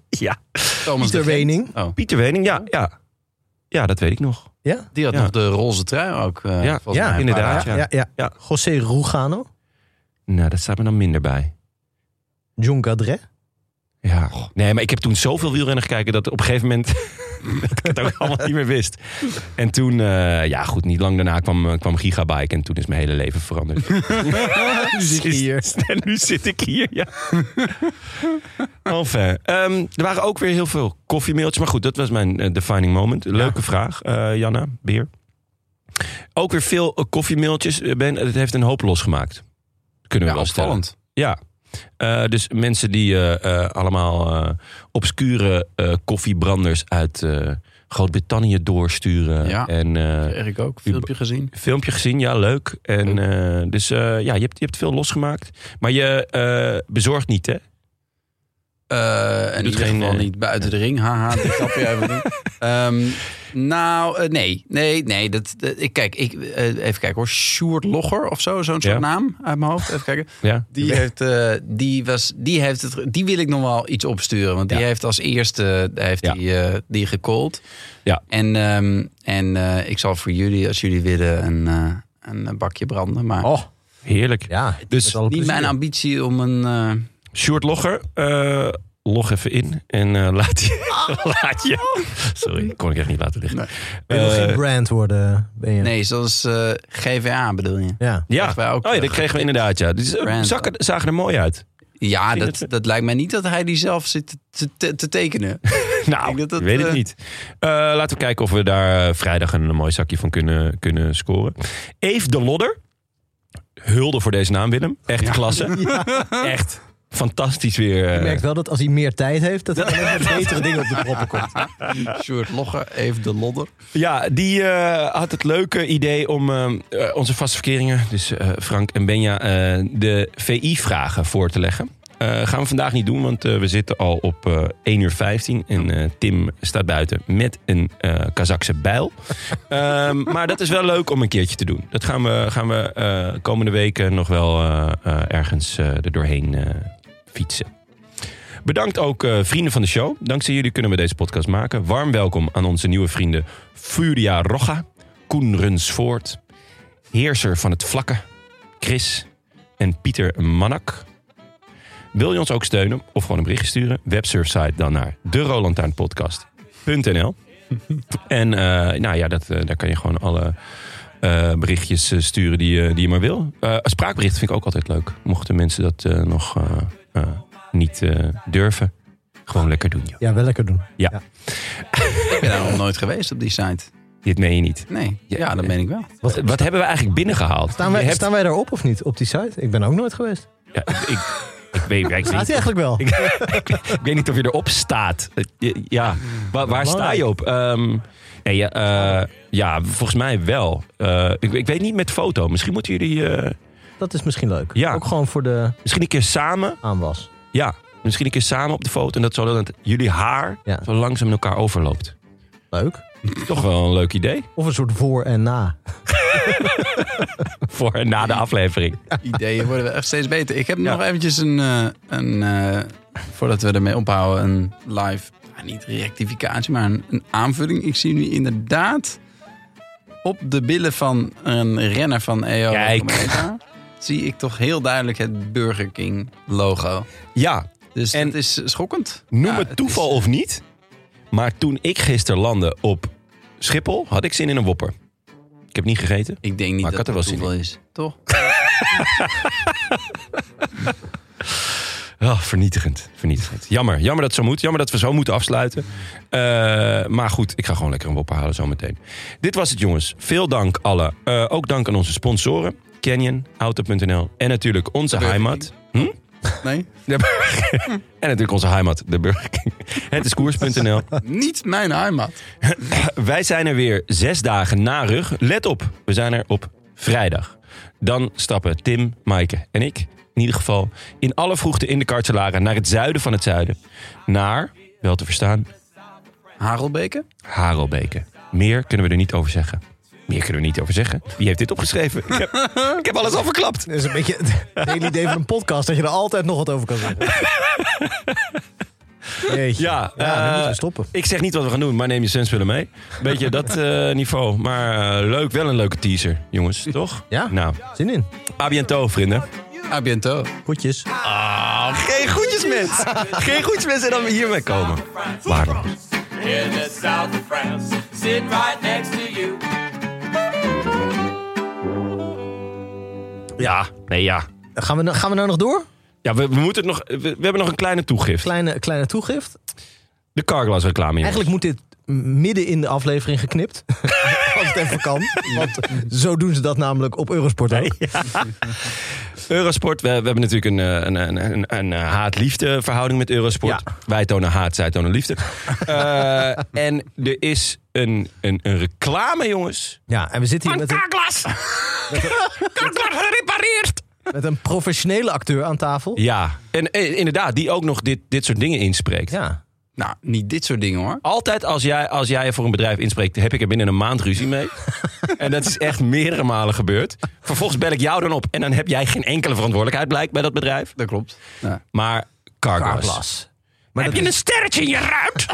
S5: ja.
S1: Thomas de
S2: Pieter
S1: Gent.
S2: Wening.
S1: Oh,
S5: Pieter Wening, ja, ja. Ja, dat weet ik nog.
S2: Ja?
S1: die had
S5: Ja.
S1: nog de roze trui ook. eh,
S5: Ja,
S1: volgens
S5: ja,
S1: mij een paar
S5: inderdaad,
S1: jaar.
S2: Ja, ja,
S5: Ja.
S2: José Rugano,
S5: Nou, dat staat me dan minder bij.
S2: John Gadret.
S5: Ja. Nee, maar ik heb toen zoveel wielrennen gekeken dat op een gegeven moment *laughs* dat ik het ook allemaal niet meer wist. En toen, eh, ja goed, niet lang daarna kwam, eh, kwam Gigabike en toen is mijn hele leven veranderd. *laughs* nu zit
S2: hier.
S5: En *laughs* nu zit ik hier, ja. Enfin, ehm, er waren ook weer heel veel koffiemailtjes. Maar goed, dat was mijn eh, defining moment. Leuke vraag, eh, Janna, Beer. Ook weer veel eh, koffiemailtjes. eh, ben, het heeft een hoop losgemaakt. Kunnen we
S1: Ja,
S5: wel stellen.
S1: opvallend.
S5: Ja. Eh, dus mensen die eh, eh, allemaal eh, obscure eh, koffiebranders uit eh, Groot-Brittannië doorsturen.
S1: Ja.
S5: En eh,
S1: Erik ook, filmpje gezien.
S5: filmpje gezien, ja, leuk. En eh, dus eh, ja, je hebt, je hebt veel losgemaakt. Maar je eh, bezorgt niet, hè?
S1: Eh en
S5: Doet
S1: in ieder
S5: geen,
S1: geval
S5: eh,
S1: niet buiten de ring. Haha,
S5: *laughs*
S1: die grap je even doen. Ehm, nou, eh, nee. Nee, nee. Dat, dat- ik, kijk, ik, eh, even kijken hoor. Sjoerd Logger of zo. Zo'n soort
S5: Ja.
S1: naam uit mijn hoofd. Even kijken.
S5: Ja.
S1: Die heeft, eh, die was, die heeft het, die wil ik nog wel iets opsturen. Want die
S5: Ja.
S1: heeft als eerste, heeft
S5: Ja.
S1: die, eh, die gecallt.
S5: Ja.
S1: En, ehm, en eh, ik zal voor jullie, als jullie willen, een, eh, een bakje branden. Maar
S2: Oh,
S5: Heerlijk.
S2: ja.
S5: Dus
S2: met alle
S1: niet
S2: plezier.
S1: mijn ambitie om een... eh,
S5: Sjoerd Logger, eh, log even in en eh, laat, je,
S1: Ah.
S5: *laughs* laat je... Sorry, kon ik echt niet laten liggen.
S2: Wil je nog
S5: Eh,
S2: geen brand worden, ben je?
S1: nee, zoals eh, GVA bedoel je.
S2: Ja.
S5: ja.
S1: Krijgen wij ook
S5: oh ja, dat
S1: terug.
S5: kregen we inderdaad, ja. Dus, eh,
S1: Brand.
S5: zakken- zagen er mooi uit.
S1: Ja,
S5: Ging
S1: dat,
S5: het-
S1: dat lijkt mij niet dat hij die zelf zit te, te, te tekenen.
S5: *laughs* Nou,
S1: denk dat dat,
S5: ik weet het
S1: eh,
S5: niet. Eh, laten we kijken of we daar eh, vrijdag een mooi zakje van kunnen, kunnen scoren. Eve de Lodder. Hulde voor deze naam, Willem.
S1: *laughs*
S5: Echt klasse. Echt fantastisch weer. eh.
S2: Je merkt wel dat als hij meer tijd heeft, dat hij alleen
S5: *laughs*
S2: maar betere dingen op de proppen komt.
S1: Sjoerd Logge, even de lodder.
S5: Ja, die eh, had het leuke idee om eh, eh, onze vaste verkeringen, dus eh, Frank en Benja, eh, de VI-vragen voor te leggen. Eh, gaan we vandaag niet doen, want eh, we zitten al op eh 1 uur 15 en eh, Tim staat buiten met een eh Kazakse bijl. *laughs* Ehm, maar dat is wel leuk om een keertje te doen. Dat gaan we, gaan we eh, komende weken nog wel eh, eh, ergens eh, er doorheen eh, fietsen. Bedankt ook eh, vrienden van de show. Dankzij jullie kunnen we deze podcast maken. Warm welkom aan onze nieuwe vrienden Furia Rocha, Koen Runsvoort, Heerser van het Vlakke, Chris en Pieter Manak. Wil je ons ook steunen of gewoon een bericht sturen? Websurfsite dan naar derolantuinpodcast.nl En eh, nou ja, dat, eh, daar kan je gewoon alle eh, berichtjes eh, sturen die, je- die je maar wil. Eh spraakbericht vind ik ook altijd leuk. Mochten mensen dat eh, nog eh, eh, niet eh, durven, gewoon lekker doen. joh.
S2: Ja, wel lekker doen.
S1: Ik ben daar nog nooit geweest op die site.
S5: Dit meen je niet.
S1: Nee, ja, dat meen ik wel.
S5: Wat, wat hebben we eigenlijk binnengehaald?
S2: Staan wij,
S5: Je hebt-
S2: staan wij daarop of niet? Op die site? Ik ben ook nooit geweest.
S5: Ja, ik, ik, ik weet, ik, weet
S2: Gaat
S5: niet, *laughs*
S2: hij eigenlijk wel?
S5: ik weet niet of je erop staat. Eh, je- Ja, waar, waar sta je op? Ehm, nee, ja, eh, ja, volgens mij wel. Eh, ik, ik weet niet met foto. Misschien moeten jullie eh,
S2: Dat is misschien leuk.
S5: Ja.
S2: Ook gewoon voor de
S5: misschien een keer samen.
S2: aanwas.
S5: Ja, misschien een keer samen op de foto. En dat zo dat jullie haar
S2: Ja.
S5: zo langzaam in elkaar overloopt.
S2: Leuk.
S5: Toch wel een leuk idee. *laughs*
S2: Of een soort voor en na.
S5: Voor en na de aflevering.
S1: Ideeën worden wel echt steeds beter. Ik heb nog eventjes een, eh, een eh, voordat we ermee ophouden, een live, nou, niet rectificatie, maar een, een aanvulling. Ik zie nu inderdaad op de billen van een renner van EO
S5: Kijk.
S1: Cometa, zie ik toch heel duidelijk het Burger King logo.
S5: Ja,
S1: Dus
S5: En
S1: en, dat is schokkend.
S5: Noem
S1: Ja,
S5: het toeval
S1: is-
S5: of niet. Maar toen ik gisteren landde op Schiphol, had ik zin in een wopper. Ik heb niet gegeten.
S1: Ik denk niet
S5: Maar ik
S1: dat
S5: had er
S1: het
S5: wel zin
S1: toeval is, toch?
S5: Ah, vernietigend. Vernietigend. Jammer. Jammer dat het zo moet. Jammer dat we zo moeten afsluiten. Eh, maar goed, ik ga gewoon lekker een wopper halen zometeen. Dit was het, jongens. Veel dank allen. Eh, ook dank aan onze sponsoren. Canyon, Auto.nl en natuurlijk onze
S1: Burger
S5: heimat. Hm?
S1: Nee, *laughs*
S5: De Burger King. en natuurlijk onze heimat, de Burger King. Het is koers.nl.
S1: niet mijn heimat.
S5: Wij zijn er weer zes dagen na rug. Let op, we zijn er op vrijdag. Dan stappen Tim, Maaike en ik, in ieder geval, in alle vroegte in de Kartselaren naar het zuiden van het zuiden. Naar, wel te verstaan,
S1: Harelbeke?
S5: Harelbeke. Meer kunnen we er niet over zeggen. Meer kunnen we niet over zeggen. Wie heeft dit opgeschreven? Ik heb, ik heb alles al verklapt.
S2: Dat is een beetje
S5: *laughs*
S2: het hele idee van een podcast. Dat je er altijd nog wat over kan zeggen. Jeetje.
S5: Ja,
S2: ja dan
S5: eh,
S2: moeten we stoppen.
S5: Ik zeg niet wat we gaan doen, maar neem je senspullen mee. Beetje dat eh, niveau. Maar eh, leuk, wel een leuke teaser, jongens, toch?
S2: Ja.
S5: Nou,
S2: Zin in.
S5: à bientôt, vrienden.
S1: A bientôt.
S2: Goedjes.
S5: Geen goedjesmens. Geen goedjesmens en dan hiermee komen. Waarom?
S4: in the south of France, sitting right next to you.
S5: Ja, nee ja.
S2: Gaan we, nou- gaan we nou nog door?
S5: Ja, we, we moeten het nog... We, we hebben nog een kleine toegift.
S2: Kleine, kleine toegift.
S5: De Carglass reclame, jongens.
S2: Eigenlijk moet dit m- midden in de aflevering geknipt. *laughs* Als het even kan. Want zo doen ze dat namelijk op Eurosport ook.
S5: Eurosport, we, we hebben natuurlijk een, eh, een, een, een, een haat-liefde verhouding met Eurosport.
S2: Ja.
S5: Wij tonen haat, zij tonen *laughs* liefde. Eh, en er is een, een, een reclame, jongens.
S2: Ja, en we zitten hier
S5: Van
S2: met een,
S5: Carglass! Carglass gerepareerd!
S2: met een professionele acteur aan tafel.
S5: Ja, en eh, inderdaad, die ook nog dit, dit soort dingen inspreekt.
S2: Ja.
S1: Nou, niet dit soort dingen hoor.
S5: Altijd als jij, als jij voor een bedrijf inspreekt, heb ik er binnen een maand ruzie mee. en dat is echt meerdere malen gebeurd. Vervolgens bel ik jou dan op en dan heb jij geen enkele verantwoordelijkheid blijkt bij dat bedrijf.
S1: Dat klopt. Ja.
S5: Maar Carglass.
S2: Carglass.
S5: heb je een sterretje in je ruit?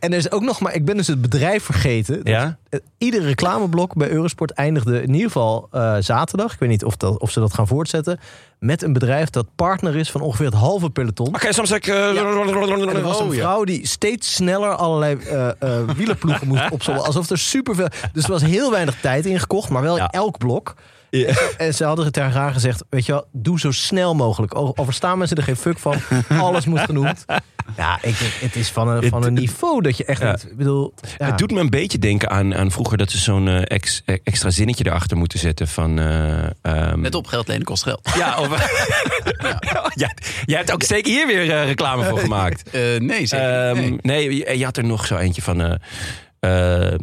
S2: En er is ook nog maar, ik ben dus het bedrijf vergeten. Dat
S5: Ja?
S2: Eh, Ieder reclameblok bij Eurosport eindigde in ieder geval eh, zaterdag. Ik weet niet of, dat, of ze dat gaan voortzetten. Met een bedrijf dat partner is van ongeveer het halve peloton.
S5: Oké, soms zeg ik... eh,
S2: En er was een
S5: oh, ja.
S2: vrouw die steeds sneller allerlei eh eh, wielerploegen
S5: *laughs*
S2: moest opzommen. Alsof er superveel... Dus er was heel weinig tijd ingekocht, maar wel
S5: Ja.
S2: elk blok. En, ze, en ze hadden het tegen
S5: *laughs*
S2: haar gezegd, weet je wel, doe zo snel mogelijk. O- Overstaan mensen er geen fuck van. Alles moet genoemd. Ja, ik, denk, het is van een, van
S5: Het-
S2: een niveau dat je echt
S5: Ja.
S2: niet... Ik bedoel, ja.
S5: Het doet me een beetje denken aan, aan vroeger dat ze zo'n eh, ex- eh, extra zinnetje erachter moeten zetten van... eh, ehm,
S1: *laughs* Let op, geld lenen kost geld.
S5: Ja, of, *laughs* ja, jij hebt ook zeker hier weer eh, reclame voor gemaakt.
S1: Eh, nee, zeker
S5: Ehm,
S1: niet.
S5: nee,
S1: Nee.
S5: je, je had er nog zo eentje van... eh eh,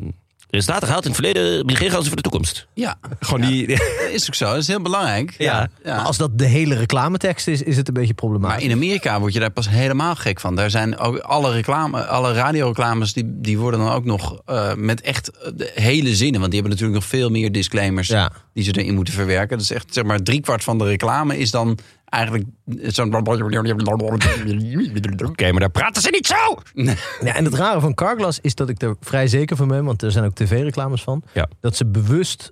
S5: resultaten gehaald in het verleden, begin gaan ze voor de toekomst.
S1: Ja,
S5: Gewoon die...
S1: dat is ook zo. Dat is heel belangrijk.
S5: Ja.
S2: Maar als dat de hele reclametekst is, is het een beetje
S1: Maar
S2: problematisch.
S1: in Amerika word je daar pas helemaal gek van. Daar zijn ook alle, reclame, alle radioreclames, die, die worden dan ook nog eh, met echt eh, de hele zinnen. Want die hebben natuurlijk nog veel meer disclaimers
S2: Ja.
S1: die ze erin moeten verwerken. Dus echt, zeg maar, driekwart van de reclame is dan eigenlijk zo'n...
S5: *laughs* Oké, maar daar praten ze niet zo!
S2: Ja, en het rare van Carglass is dat ik er vrij zeker van ben, want er zijn ook tv-reclames van,
S5: Ja.
S2: dat ze bewust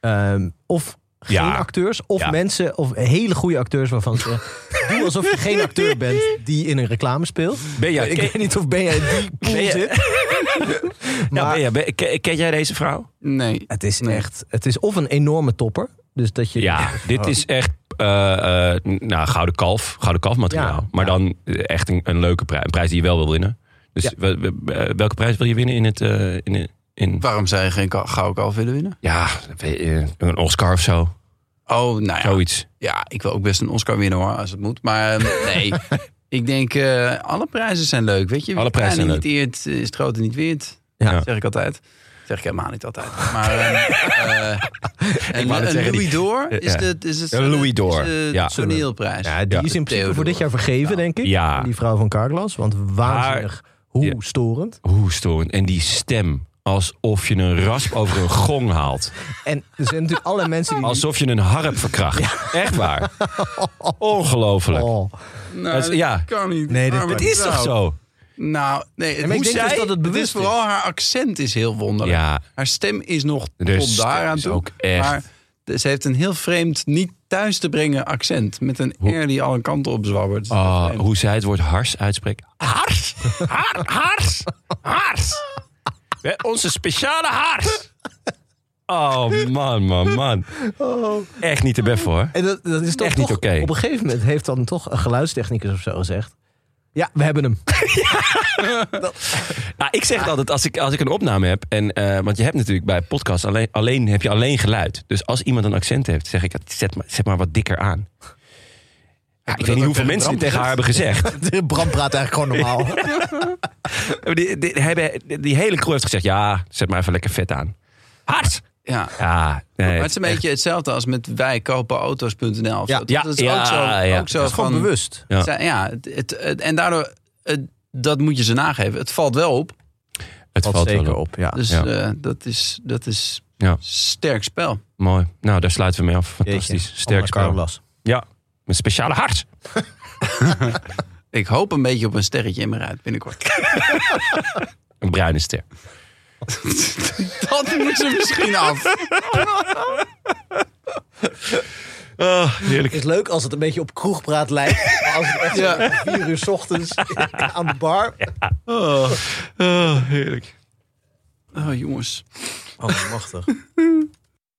S2: ehm, of geen
S5: Ja.
S2: acteurs, of
S5: Ja.
S2: mensen, of hele goede acteurs waarvan ze
S5: *laughs*
S2: doen alsof je geen acteur bent die in een reclame speelt.
S5: Ben jij,
S2: ik
S5: ken,
S2: weet niet of ben jij in die pool
S5: *laughs* Ben je-
S2: zit. *laughs*
S5: ja,
S2: maar-
S5: ben jij- ben- ken- ken jij deze vrouw?
S1: Nee.
S2: Het is
S1: Nee.
S2: echt, het is of een enorme topper, dus dat je *laughs*
S5: Ja, dit is echt eh, eh, nou, gouden kalf, gouden kalf materiaal.
S2: Ja,
S5: maar
S2: ja.
S5: dan eh, echt een, een leuke prijs. Een prijs die je wel wil winnen. Dus
S2: Ja.
S5: wel- wel- eh, welke prijs wil je winnen in het... eh, in, in,
S1: Waarom zou je geen ka- gouden kalf willen winnen?
S5: ja, eh, een Oscar of zo.
S1: Oh, nou ja.
S5: Zoiets.
S1: Ja, ik wil ook best een Oscar winnen hoor, als het moet. Maar eh, nee, ik denk eh, alle prijzen zijn leuk, weet je. Wie
S5: Alle prijzen
S1: het kleine
S5: zijn
S1: niet eert, eh, is het grote niet weert.
S5: Ja.
S1: Dat zeg ik altijd. Dat zeg ik helemaal niet altijd. Maar
S5: *laughs*
S1: eh, eh, een,
S5: wou net
S1: een
S5: zeggen, die-
S1: Louis d'Or is,
S5: Ja.
S1: de, is het
S5: Een Louis
S1: is
S5: d'Or,
S1: de
S5: ja.
S1: toneelprijs.
S2: Ja, die
S5: Ja,
S2: is in principe voor dit jaar vergeven, denk ik.
S5: Ja.
S2: aan Die vrouw van Carglass. Want waanzinnig hoe
S5: Ja.
S2: storend.
S5: Hoe storend. En die stem. Alsof je een rasp over een gong haalt.
S2: En er zijn natuurlijk alle mensen die...
S5: Alsof je een harp verkracht. Echt *laughs* waar. Ongelooflijk.
S2: Oh.
S1: Nou,
S5: Dat is-
S1: dat
S5: ja.
S1: kan niet. Ah,
S2: Nee, dat-
S1: Arme
S5: Het is toch
S1: vrouw.
S5: zo?
S1: Nou, nee, het,
S2: maar
S1: hoe
S2: ik denk dus
S1: zij-
S2: dat het bewust
S1: is.
S2: is.
S1: Vooral haar accent is heel wonderlijk.
S5: Ja.
S1: Haar stem is nog
S5: De
S1: tot
S5: stem
S1: daaraan
S5: is
S1: toe.
S5: ook echt.
S1: Maar de- ze heeft een heel vreemd, niet thuis te brengen accent. Met een R die alle kanten op zwabbert.
S5: Ah, hoe zij het woord hars uitspreekt. Hars! Har, hars! Hars! Hè, Onze speciale hars! *laughs* Oh man, man, man. Echt niet te best hoor.
S2: En dat, dat is toch,
S5: Echt niet
S2: toch-
S5: oké.
S2: Op een gegeven moment heeft dan toch een geluidstechnicus of zo gezegd... Ja, we hebben hem.
S5: Nou, ik zeg het altijd als ik, als ik een opname heb. En, eh, want je hebt natuurlijk bij podcasts alleen, alleen, heb je alleen geluid. Dus als iemand een accent heeft, zeg ik, zet maar, zet maar wat dikker aan. Ja, ik weet niet hoeveel mensen dit tegen haar hebben gezegd.
S2: *laughs* Bram praat eigenlijk gewoon normaal.
S5: Maar Die, die, hebben, die hele crew heeft gezegd, ja, zet maar even lekker vet aan. Hars!
S1: Ja.
S5: Ja, nee,
S1: Maar het is een beetje hetzelfde als met wij kopen auto's.nl. of
S2: Ja,
S1: zo.
S5: ja,
S1: dat is
S5: ja,
S1: ook zo.
S5: ja.
S1: Ook zo
S2: Dat is gewoon
S1: van-
S2: bewust.
S5: Ja.
S1: zij- ja, het, het- het- en daardoor, het- dat moet je ze nageven. Het valt wel op.
S5: het
S2: Dat
S5: valt wel
S2: zeker
S5: op.
S2: op, ja.
S1: Dus
S5: Ja.
S1: eh, dat is, dat is
S5: Ja.
S1: sterk spel.
S5: Mooi. Nou, daar sluiten we mee af. Fantastisch.
S2: Jeetje,
S5: Sterk
S2: Anna
S5: spel.
S2: Carglass.
S5: Ja, met speciale hart.
S1: Ik hoop een beetje op een sterretje in mijn ruit binnenkort. *laughs*
S5: Een bruine ster.
S1: Dat moet ze misschien af.
S2: Het is leuk als het een beetje op kroegpraat lijkt. Maar als het echt zo
S1: Ja.
S2: vier uur 's *laughs* ochtends aan de bar...
S1: Oh, jongens.
S2: Oh, machtig.